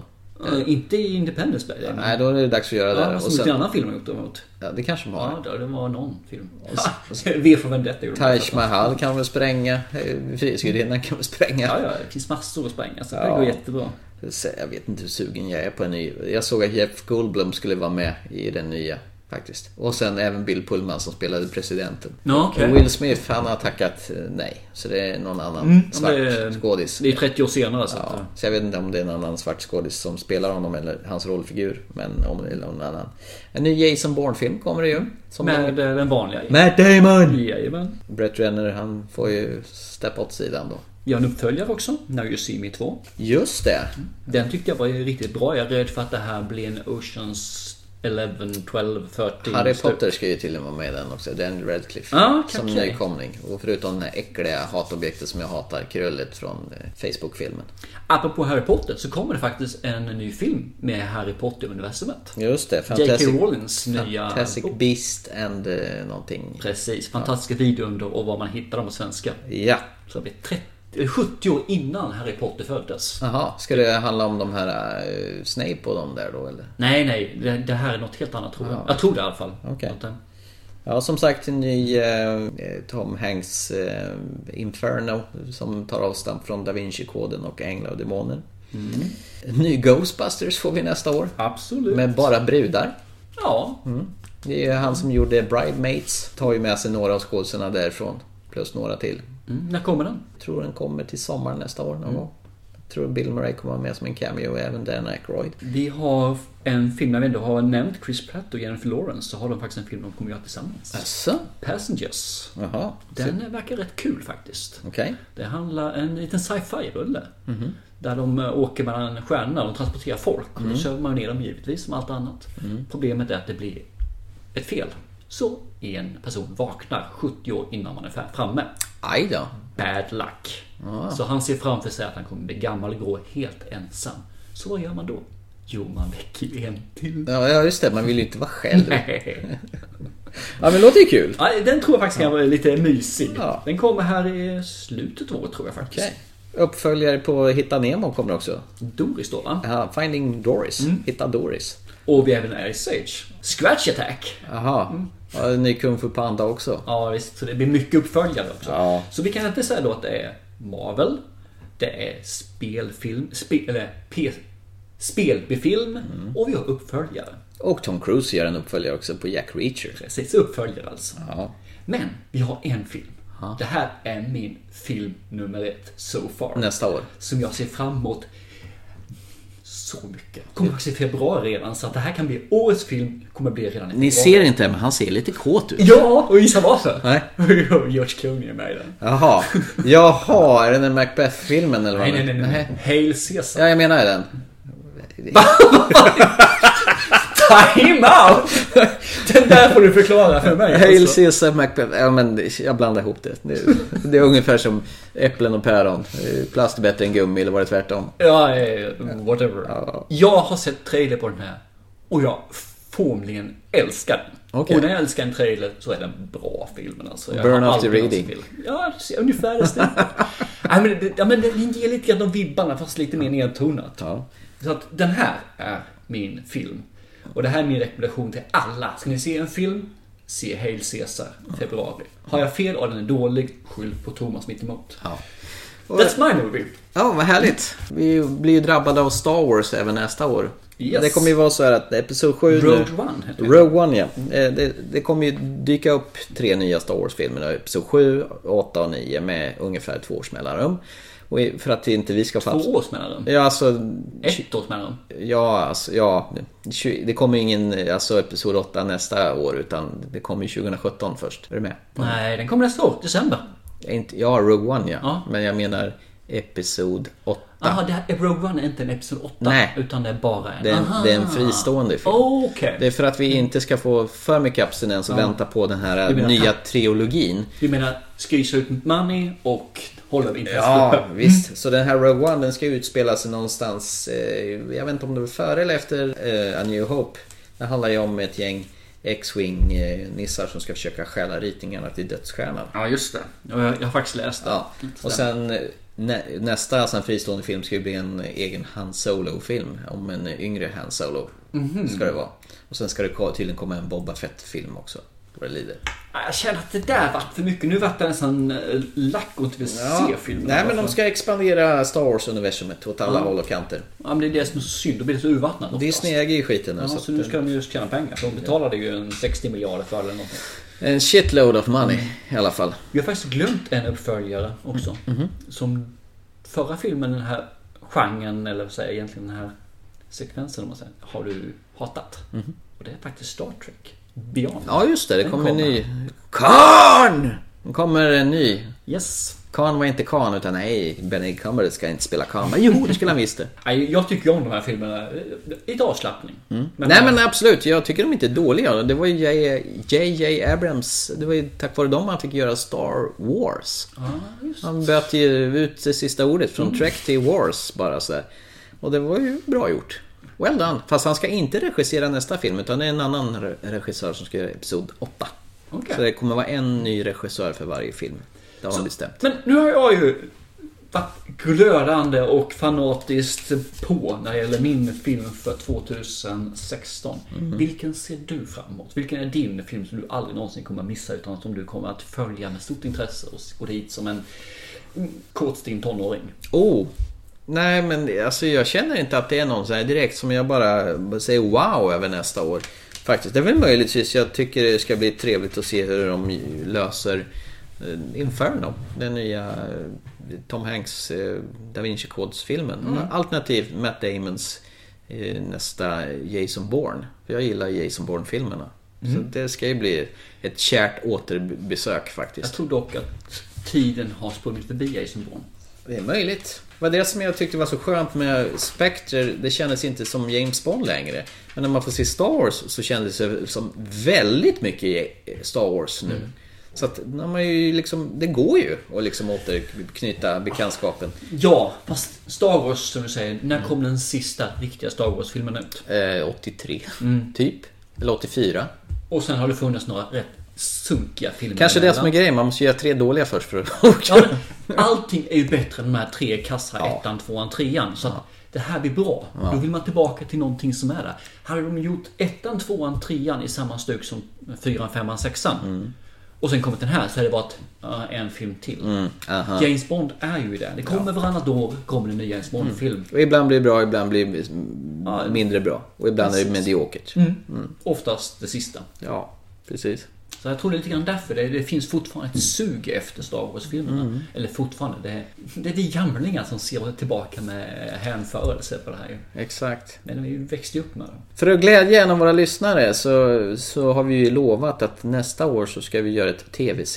S2: Eh, inte i Independence Day.
S1: Nej, då är det dags att göra
S2: Ja,
S1: det. här.
S2: fast någon annan film har gjort däremot.
S1: Ja, det kanske de har.
S2: Ja, det- det var någon film. V för Vendetta gjorde
S1: Taj
S2: de.
S1: Mahal kan väl spränga. eh, Frihetsgudinnan kan väl spränga.
S2: Ja, ja, det finns massor att spränga så det går jättebra.
S1: Så Jag vet inte hur sugen jag är på en ny. Jag såg att Jeff Goldblum skulle vara med i den nya faktiskt. Och sen även Bill Pullman som spelade presidenten.
S2: Ja, okej.
S1: Will Smith han har tackat eh, nej. Så det är någon annan
S2: Mm,
S1: svart
S2: det är-
S1: skådis.
S2: Det är 30 år senare så att... eh,
S1: Ja, så jag vet inte om det är någon annan svart skådis som spelar honom eller hans rollfigur. Men om det är någon annan. En ny Jason Bourne-film kommer det ju. Som
S2: Med eh, den vanliga.
S1: Matt Damon!
S2: Jajamän.
S1: Brett Renner han får ju steppa åt sidan då.
S2: Jag har en uppföljare också, Now You See Me 2.
S1: Just det!
S2: Den tyckte jag var ju riktigt bra. Jag är rädd för att det här blir en Oceans 11, 12, 13.
S1: Harry
S2: slut.
S1: Potter ska ju till och med vara med i den också. Den Radcliffe.
S2: Ah, okej,
S1: som
S2: okej.
S1: nykomling. Och förutom det här äckliga hatobjektet som jag hatar, krullet från eh, Facebook-filmen.
S2: Apropå Harry Potter så kommer det faktiskt en ny film med Harry Potter-universumet.
S1: Just det,
S2: J.K.
S1: Fantastic-
S2: Rowlings nya
S1: Fantastic
S2: bok.
S1: Beast and eh, någonting.
S2: Precis, fantastiska videounder och var man hittar dem på svenska.
S1: Ja.
S2: Så det blir 30, 70 år innan Harry Potter föddes.
S1: Jaha, ska det handla om de här eh, Snape och de där då eller?
S2: Nej, nej, det, det här är något helt annat tror jag.
S1: Ja.
S2: Jag tror det i alla fall.
S1: Okej.
S2: Att den-
S1: Ja, som sagt en ny eh, Tom Hanks eh, Inferno som tar avstamp från Da Vinci-koden och Änglar och Demoner.
S2: Mm.
S1: En ny Ghostbusters får vi nästa år.
S2: Absolut.
S1: Med bara brudar.
S2: Ja.
S1: Mm. Det är han som gjorde Bridemates. Tar ju med sig några av skådisarna därifrån. Plus några till.
S2: Mm. När kommer den?
S1: Jag tror den kommer till sommaren nästa år någon
S2: Mm.
S1: gång. Jag tror Bill Murray kommer vara med som en cameo och även Dan Aykroyd.
S2: Vi har en film, när vi ändå har nämnt Chris Pratt och Jennifer Lawrence, så har de faktiskt en film de kommer göra tillsammans.
S1: Asså?
S2: Passengers.
S1: Jaha.
S2: Den verkar rätt kul faktiskt.
S1: Okej.
S2: Det handlar en liten sci-fi-rulle.
S1: Mhm.
S2: Där de eh, åker mellan stjärnorna och transporterar folk. Och
S1: Mm.
S2: då kör man ner dem givetvis som allt annat.
S1: Mm.
S2: Problemet är att det blir ett fel. Så en person vaknar 70 år innan man är fa- framme.
S1: Aj då.
S2: Bad luck.
S1: Ah.
S2: Så han ser framför sig att han kommer bli gammal och grå helt ensam. Så vad gör man då? Jo, man väcker ju en till.
S1: Ja, ja, just det. Man vill ju inte vara själv.
S2: Nej.
S1: ja, men det låter ju kul.
S2: Ja, den tror jag faktiskt kan vara lite mysig. Den kommer här i slutet av året tror jag faktiskt.
S1: Uppföljare på Hitta Nemo kommer också.
S2: Doris då va?
S1: Ja, Finding Doris. Hitta Doris.
S2: Och vi även är i Sage. Scratch Attack.
S1: Jaha. Mm. Ja, en ny Kung Fu Panda också.
S2: Ja visst, så det blir mycket uppföljande också.
S1: Ja.
S2: Så vi kan inte säga då att det är Marvel. Det är spelfilm, spe, eller P, spelbefilm
S1: Mm.
S2: och vi har uppföljare.
S1: Och Tom Cruise gör en uppföljare också på Jack Reacher.
S2: Precis, uppföljare alltså.
S1: Ja.
S2: Men vi har en film. Det här är min film nummer ett so far.
S1: Nästa år.
S2: Som jag ser fram emot så mycket. Kommer faktiskt i februari redan så att det här kan bli årets film. Kommer bli redan i februari.
S1: Ni ser inte men han ser lite kåt ut.
S2: Ja, och gissa varför?
S1: Nej.
S2: Och George Clooney är med i den.
S1: Jaha. Jaha, är det den Macbeth-filmen eller vad?
S2: Nej, nej, nej. Alltså- nej. Hail Caesar.
S1: Ja, jag menar ju den.
S2: Time out! Den där får du förklara för mig.
S1: Hail
S2: alltså.
S1: Caesar Macbeth. Ja, men jag blandar ihop det. Det är, det är ungefär som äpplen och päron. Plast är bättre än gummi eller var det tvärtom?
S2: Ja, eh, whatever. Jag har sett trailer på den här och jag formligen älskar den.
S1: Okej.
S2: Och när jag älskar en trailer så är den bra filmen alltså. Jag
S1: Burn
S2: har
S1: after
S2: alltid älskat
S1: reading.
S2: film. Ja, se- ungefär det stämmer. Nej, men det- ja, men den ger lite grann de vibbarna fast lite mer nedtonat. Så att den här är min film. Och det här är min rekommendation till alla. Ska ni se en film? Se Hail Caesar, februari. Har jag fel och den är dålig, skyll på Thomas mittemot.
S1: Ja.
S2: That's my movie.
S1: Ja, vad härligt. Vi blir ju drabbade av Star Wars även nästa år.
S2: Yes.
S1: Det kommer ju vara så här att Episod 7 nu-
S2: Rogue One, heter det.
S1: Rogue One ja. Eh, Det, det kommer ju dyka upp tre nya Star Wars-filmer. nu. Episod 7, 8 och 9 med ungefär två års mellanrum. Och i- för att inte vi ska...
S2: Två års mellanrum?
S1: Ja, alltså...
S2: Ett års mellanrum?
S1: Ja, alltså, ja. tju- Det kommer ju ingen alltså, Episod 8 nästa år utan det kommer ju 2017 först. Är du med?
S2: Nej, den kommer nästa år, december.
S1: Inte, ja, Rogue One ja. Men jag menar Episod 8.
S2: Jaha, det här, Rogue One är inte en Episod 8.
S1: Nej.
S2: Utan det är bara en.
S1: Det är, en-
S2: Aha.
S1: det är en fristående film.
S2: Okej.
S1: Det är för att vi inte ska få för mycket abstinens och
S2: Ja.
S1: vänta på den här äh,
S2: Du menar-
S1: nya triologin.
S2: Du menar skrysa ut money och hålla upp infrastruktur?
S1: Ja, visst. Så den här Rogue One den ska ju utspela sig någonstans, eh, jag vet inte om det var före eller efter eh, A New Hope. Det handlar ju om ett gäng X-Wing eh, nissar som ska försöka stjäla ritningarna till dödsstjärnan.
S2: Ja, just det. Jag, jag har faktiskt läst det.
S1: Ja. Och sen eh, nä, nästa sen fristående film ska ju bli en egen Han Solo-film. Om en yngre Han Solo.
S2: Mhm.
S1: Ska det vara. Och sen ska det ko- tydligen komma en Boba Fett-film också. Vad det lider.
S2: Ja, Jag känner att det där vart för mycket. Nu vart jag nästan eh, lack och inte vill se filmen.
S1: Nej men de ska expandera Star Wars-universumet åt alla
S2: Ja.
S1: håll och kanter.
S2: Ja, men det är det som är så synd. Då blir det så urvattnat.
S1: Disney äger ju skiten nu.
S2: Ja,
S1: så
S2: så
S1: att,
S2: nu ska de ju tjäna pengar. För de betalade ju en 60 miljarder för det eller någonting.
S1: eh, En shitload of money i alla fall.
S2: Vi har faktiskt glömt en uppföljare också.
S1: Mhm.
S2: Som förra filmen, den här genren, eller vad säger jag egentligen, den här sekvensen om man säger, har du hatat.
S1: Mhm.
S2: Och det är faktiskt Star Trek. Beyond.
S1: Ja just det, det
S2: Den
S1: kommer en ny... Khan! Det kommer en ny.
S2: Yes.
S1: Khan var inte Khan utan nej, Benedict Cumberbatch ska inte spela Khan. Men jo, det skulle han visst det.
S2: Nej, Jag tycker ju om de här filmerna. Lite avslappning. Mm. Men-
S1: Nej men absolut, jag tycker de inte är dåliga. Det var ju JJ Abrams, det var ju tack vare dem han fick göra Star Wars. Han böt ju ut det sista ordet från
S2: Mm.
S1: Trek till Wars bara sådär. Och det var ju bra gjort. Well done. Fast han ska inte regissera nästa film utan det är en annan re- regissör som ska göra Episod 8.
S2: Okej.
S1: Så det kommer vara en ny regissör för varje film. Det har han bestämt.
S2: Men nu har jag ju varit glödande och fanatiskt på när det gäller min film för 2016.
S1: Mhm.
S2: Vilken ser du fram emot? Vilken är din film som du aldrig någonsin kommer att missa utan som du kommer att följa med stort intresse och gå dit som en kåtstinn tonåring?
S1: Oh. Nej men alltså jag känner inte att det är någon så här direkt som jag bara säger wow över nästa år. Faktiskt. Det är väl möjligtvis. Jag tycker det ska bli trevligt att se hur de löser eh, Inferno. Den nya eh, Tom Hanks eh, Da Vinci Codes-filmen.
S2: Mm.
S1: Alternativt Matt Damons eh, nästa Jason Bourne. För jag gillar Jason Bourne-filmerna. Så
S2: Mm.
S1: det ska ju bli ett kärt återbesök faktiskt.
S2: Jag tror dock att tiden har sprungit förbi Jason Bourne.
S1: Det är möjligt. Det var det som jag tyckte var så skönt med Spectre. Det kändes inte som James Bond längre. Men när man får se Star Wars så kändes det som väldigt mycket Star Wars nu.
S2: Mm.
S1: Så att när man ju liksom, det går ju att liksom återknyta bekantskapen.
S2: Ja, fast Star Wars som du säger, när
S1: Mm.
S2: kom den sista riktiga Star Wars-filmen ut? Mm.
S1: Eh, 83, typ. Eller 84.
S2: Och sen har det funnits några rätt sunkiga filmer.
S1: Kanske det som är
S2: emellan.
S1: grejen, man måste göra tre dåliga först för att...
S2: Ja, men allting är ju bättre än de här tre kassa ettan, tvåan, trean. Så att det här blir bra.
S1: Ja.
S2: Då vill man tillbaka till någonting som är där. Hade de gjort ettan, tvåan, trean i samma stök som fyran, femman, sexan. Och sen kommit den här så hade det varit eh, en film till.
S1: Mm, aha.
S2: James Bond är ju det. Det kommer varannat år kommer det en ny James Bond-film.
S1: Och ibland blir det bra, ibland blir det mindre bra. Och ibland är det
S2: Precis.
S1: mediokert.
S2: Mm. Oftast det sista.
S1: Ja, precis.
S2: Så jag tror det är lite grann därför det, det finns fortfarande ett sug efter Star Wars-filmerna.
S1: Mm.
S2: Eller fortfarande, det, det är vi gamlingar som ser tillbaka med hänförelse på det här ju.
S1: Exakt.
S2: Men vi växte ju upp med det.
S1: För att glädja en av våra lyssnare så, så har vi ju lovat att nästa år så ska vi göra ett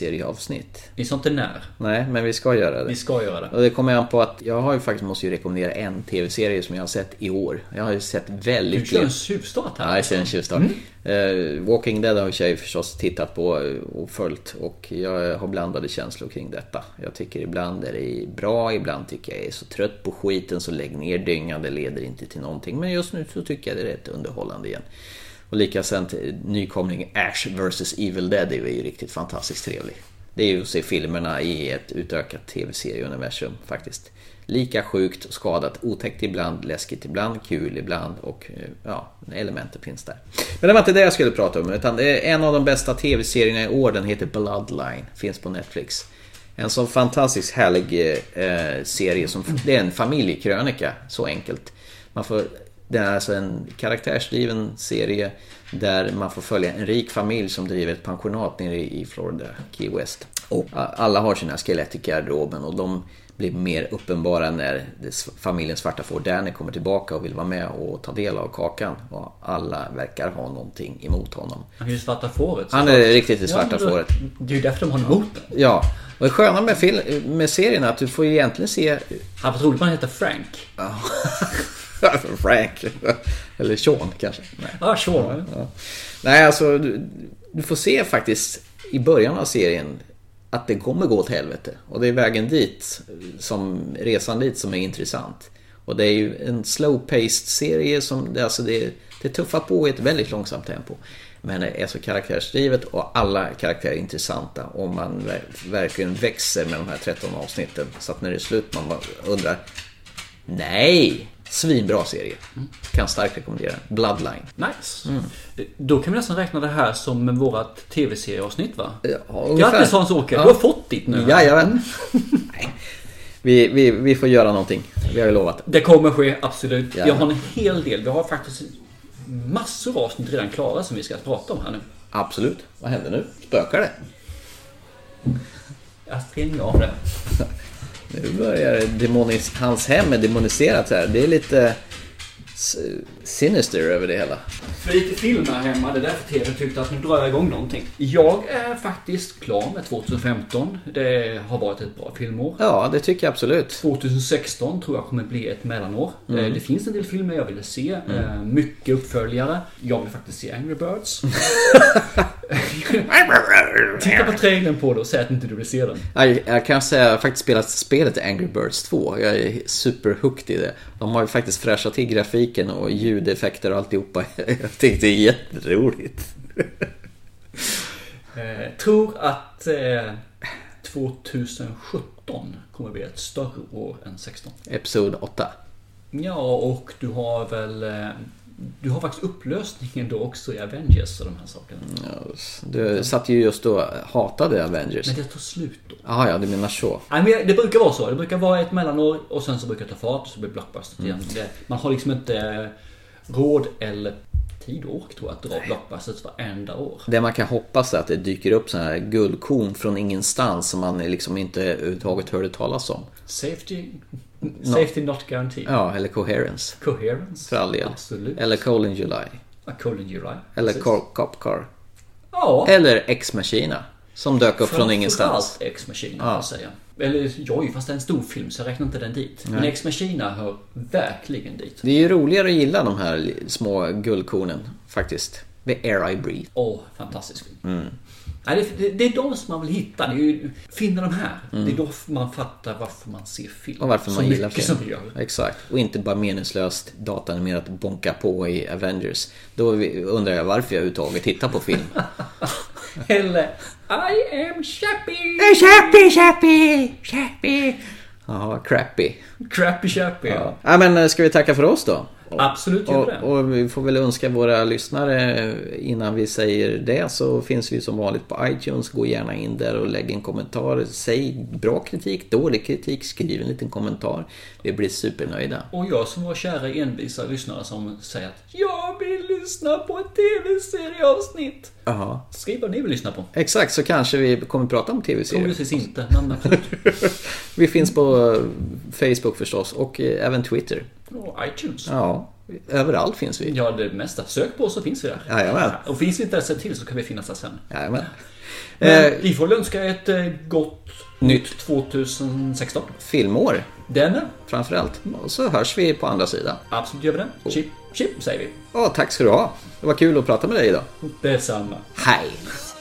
S1: tv-serieavsnitt.
S2: Vi sa inte när.
S1: Nej, men vi ska göra det.
S2: Vi ska göra det.
S1: Och det kommer an på att jag har ju faktiskt måste ju rekommendera en tv-serie som jag har sett i år. Jag har ju sett väldigt
S2: Du kör en tjuvstart här.
S1: Ja, jag kör en tjuvstart. Eh, Walking Dead har jag ju förstås tittat på och följt och jag har blandade känslor kring detta. Jag tycker ibland är det bra, ibland tycker jag är så trött på skiten så lägg ner dyngan, det leder inte till någonting. Men just nu så tycker jag det är rätt underhållande igen. Och likaså nykomling Ash vs Evil Dead är ju riktigt fantastiskt trevlig. Det är ju att se filmerna i ett utökat tv-serieuniversum faktiskt. Lika sjukt och skadat, otäckt ibland, läskigt ibland, kul ibland och eh, ja, elementet finns där. Men det var inte det jag skulle prata om, utan det är en av de bästa tv-serierna i år, den heter Bloodline, finns på Netflix. En så fantastiskt härlig eh, serie, som, det är en familjekrönika, så enkelt. Man får, det är alltså en karaktärsdriven serie där man får följa en rik familj som driver ett pensionat nere i Florida, Key West.
S2: Oh.
S1: Och a- alla har sina skelett i garderoben och de blir mer uppenbara när det s- familjen Svarta får Danny kommer tillbaka och vill vara med och ta del av kakan. Och alla verkar ha någonting emot honom.
S2: Han är ju svarta fåret.
S1: Han är
S2: såklart.
S1: riktigt i svarta
S2: men då-
S1: fåret.
S2: Det är ju därför de har honom emot.
S1: Ja, och det sköna med, fil- med serien är att du får ju egentligen se...
S2: Han var roligt man heter Frank.
S1: Ja. Frank. Eller Sean kanske. Nej.
S2: Ja, Sean.
S1: Ja. Nej, alltså du, du får se faktiskt i början av serien att det kommer gå åt helvete. Och det är vägen dit, som, resan dit, som är intressant. Och det är ju en slow-paced serie som det, alltså det, det tuffar på i ett väldigt långsamt tempo. Men det är så karaktärsdrivet och alla karaktärer är intressanta. Och man ver- verkligen växer med de här 13 avsnitten. Så att när det är slut man bara undrar Nej! Svinbra serie. Kan starkt rekommendera. Bloodline.
S2: Nice.
S1: Mm.
S2: Då kan vi nästan räkna det här som vårat tv-serieavsnitt va?
S1: ungefär.
S2: Grattis Hans-Åke,
S1: Ja.
S2: du har fått ditt nu.
S1: Jajamän. Vi, vi, vi får göra någonting. Vi har ju lovat.
S2: Det kommer ske, absolut.
S1: Ja.
S2: Jag har en hel del. Vi har faktiskt massor av avsnitt redan klara som vi ska prata om här nu.
S1: Absolut. Vad händer nu? Spökar det?
S2: Jag stänger av det.
S1: Nu börjar det demonis- hans hem är demoniserat här. Det är lite s- sinister över det hela.
S2: För lite film här hemma, det är därför TV tyckte att nu drar jag igång någonting. Jag är faktiskt klar med 2015. Det har varit ett bra filmår.
S1: Ja, det tycker jag absolut.
S2: 2016 tror jag kommer bli ett mellanår.
S1: Mm.
S2: Eh, Det finns en del filmer jag ville se. eh, Mycket uppföljare. Jag vill faktiskt se Angry Birds. Titta på trailern på det och säg att inte du vill se den.
S1: Jag, jag kan säga att jag har faktiskt spelat spelet Angry Birds 2. Jag är superhooked i det. De har ju faktiskt fräschat till grafiken och ljudeffekter och alltihopa. Jag tyckte det är jätteroligt.
S2: Eh, tror att eh, 2017 kommer bli ett större år än 16.
S1: Episod 8.
S2: Ja, och du har väl... eh, Du har faktiskt upplösningen då också i Avengers och de här sakerna.
S1: Du satt ju just då och hatade Avengers.
S2: Men det tar slut då.
S1: Jaha, ja, du menar så.
S2: Nej, men det brukar vara så. Det brukar vara ett mellanår och sen så brukar det ta fart så blir blockbusters igen. Det, man har liksom inte eh, råd eller tid och ork tror jag att dra blockbusters varenda år.
S1: Det man kan hoppas är att det dyker upp sådana här guldkorn från ingenstans som man liksom inte överhuvudtaget hörde talas om.
S2: Safety, safety not guaranteed.
S1: Ja, eller Coherence.
S2: Coherence.
S1: För all del.
S2: Absolut.
S1: Eller Coal in July.
S2: A Colin July.
S1: Eller
S2: Precis.
S1: Cor- Cop Car.
S2: Ja.
S1: Eller Ex Machina. Som dök upp från ingenstans.
S2: Framförallt Ex Machina kan jag säga. Eller jag fast det är en stor film så jag räknar inte den dit. Men
S1: Nej.
S2: Ex Machina hör verkligen dit.
S1: Det är ju roligare att gilla de här li- små guldkornen faktiskt. The Air I Breathe.
S2: Åh, fantastisk film.
S1: Mm.
S2: Nej, det, det, det är de som man vill hitta. Det är ju, finna de här.
S1: Mm.
S2: Det är då man fattar varför man ser film.
S1: Och varför
S2: så
S1: man gillar
S2: mycket
S1: film.
S2: som vi gör.
S1: Exakt. Och inte bara meningslöst datanimerat bonka på i Avengers. Då vi- undrar jag varför jag överhuvudtaget tittar på film.
S2: Eller I am Chappie!
S1: Chappie, Chappie, Chappie. Jaha, crappy.
S2: Crappy Chappie.
S1: Ja. ja, men eh, ska vi tacka för oss då?
S2: Absolut, gör
S1: Och,
S2: det.
S1: och vi får väl önska våra lyssnare eh, innan vi säger det så finns vi som vanligt på iTunes. Gå gärna in där och lägg en kommentar. Säg bra kritik, dålig kritik, skriv en liten kommentar. Vi blir supernöjda.
S2: Och jag som var kära envisa lyssnare som säger att jag vill lyssna på ett tv-serieavsnitt.
S1: Jaha.
S2: Skriv vad ni vill lyssna på.
S1: Exakt, så kanske vi kommer prata om tv-serier.
S2: Troligtvis inte, men absolut.
S1: Vi finns på eh, Facebook förstås och eh, även Twitter.
S2: Och iTunes.
S1: Ja, överallt finns vi.
S2: Ja, det mesta. Sök på oss så finns vi där.
S1: Jajamän.
S2: Och finns vi inte där sen till så kan vi finnas där sen.
S1: Jajamän.
S2: Men
S1: Eh,
S2: vi får väl önska ett eh, gott
S1: Nytt
S2: 2016.
S1: filmår
S2: Den
S1: framförallt. Och så hörs vi på andra sidan.
S2: absolut gör vi den. Chip, chip säger vi.
S1: Ja, tack ska du ha. Det var kul att prata med dig idag.
S2: Detsamma.
S1: Hej!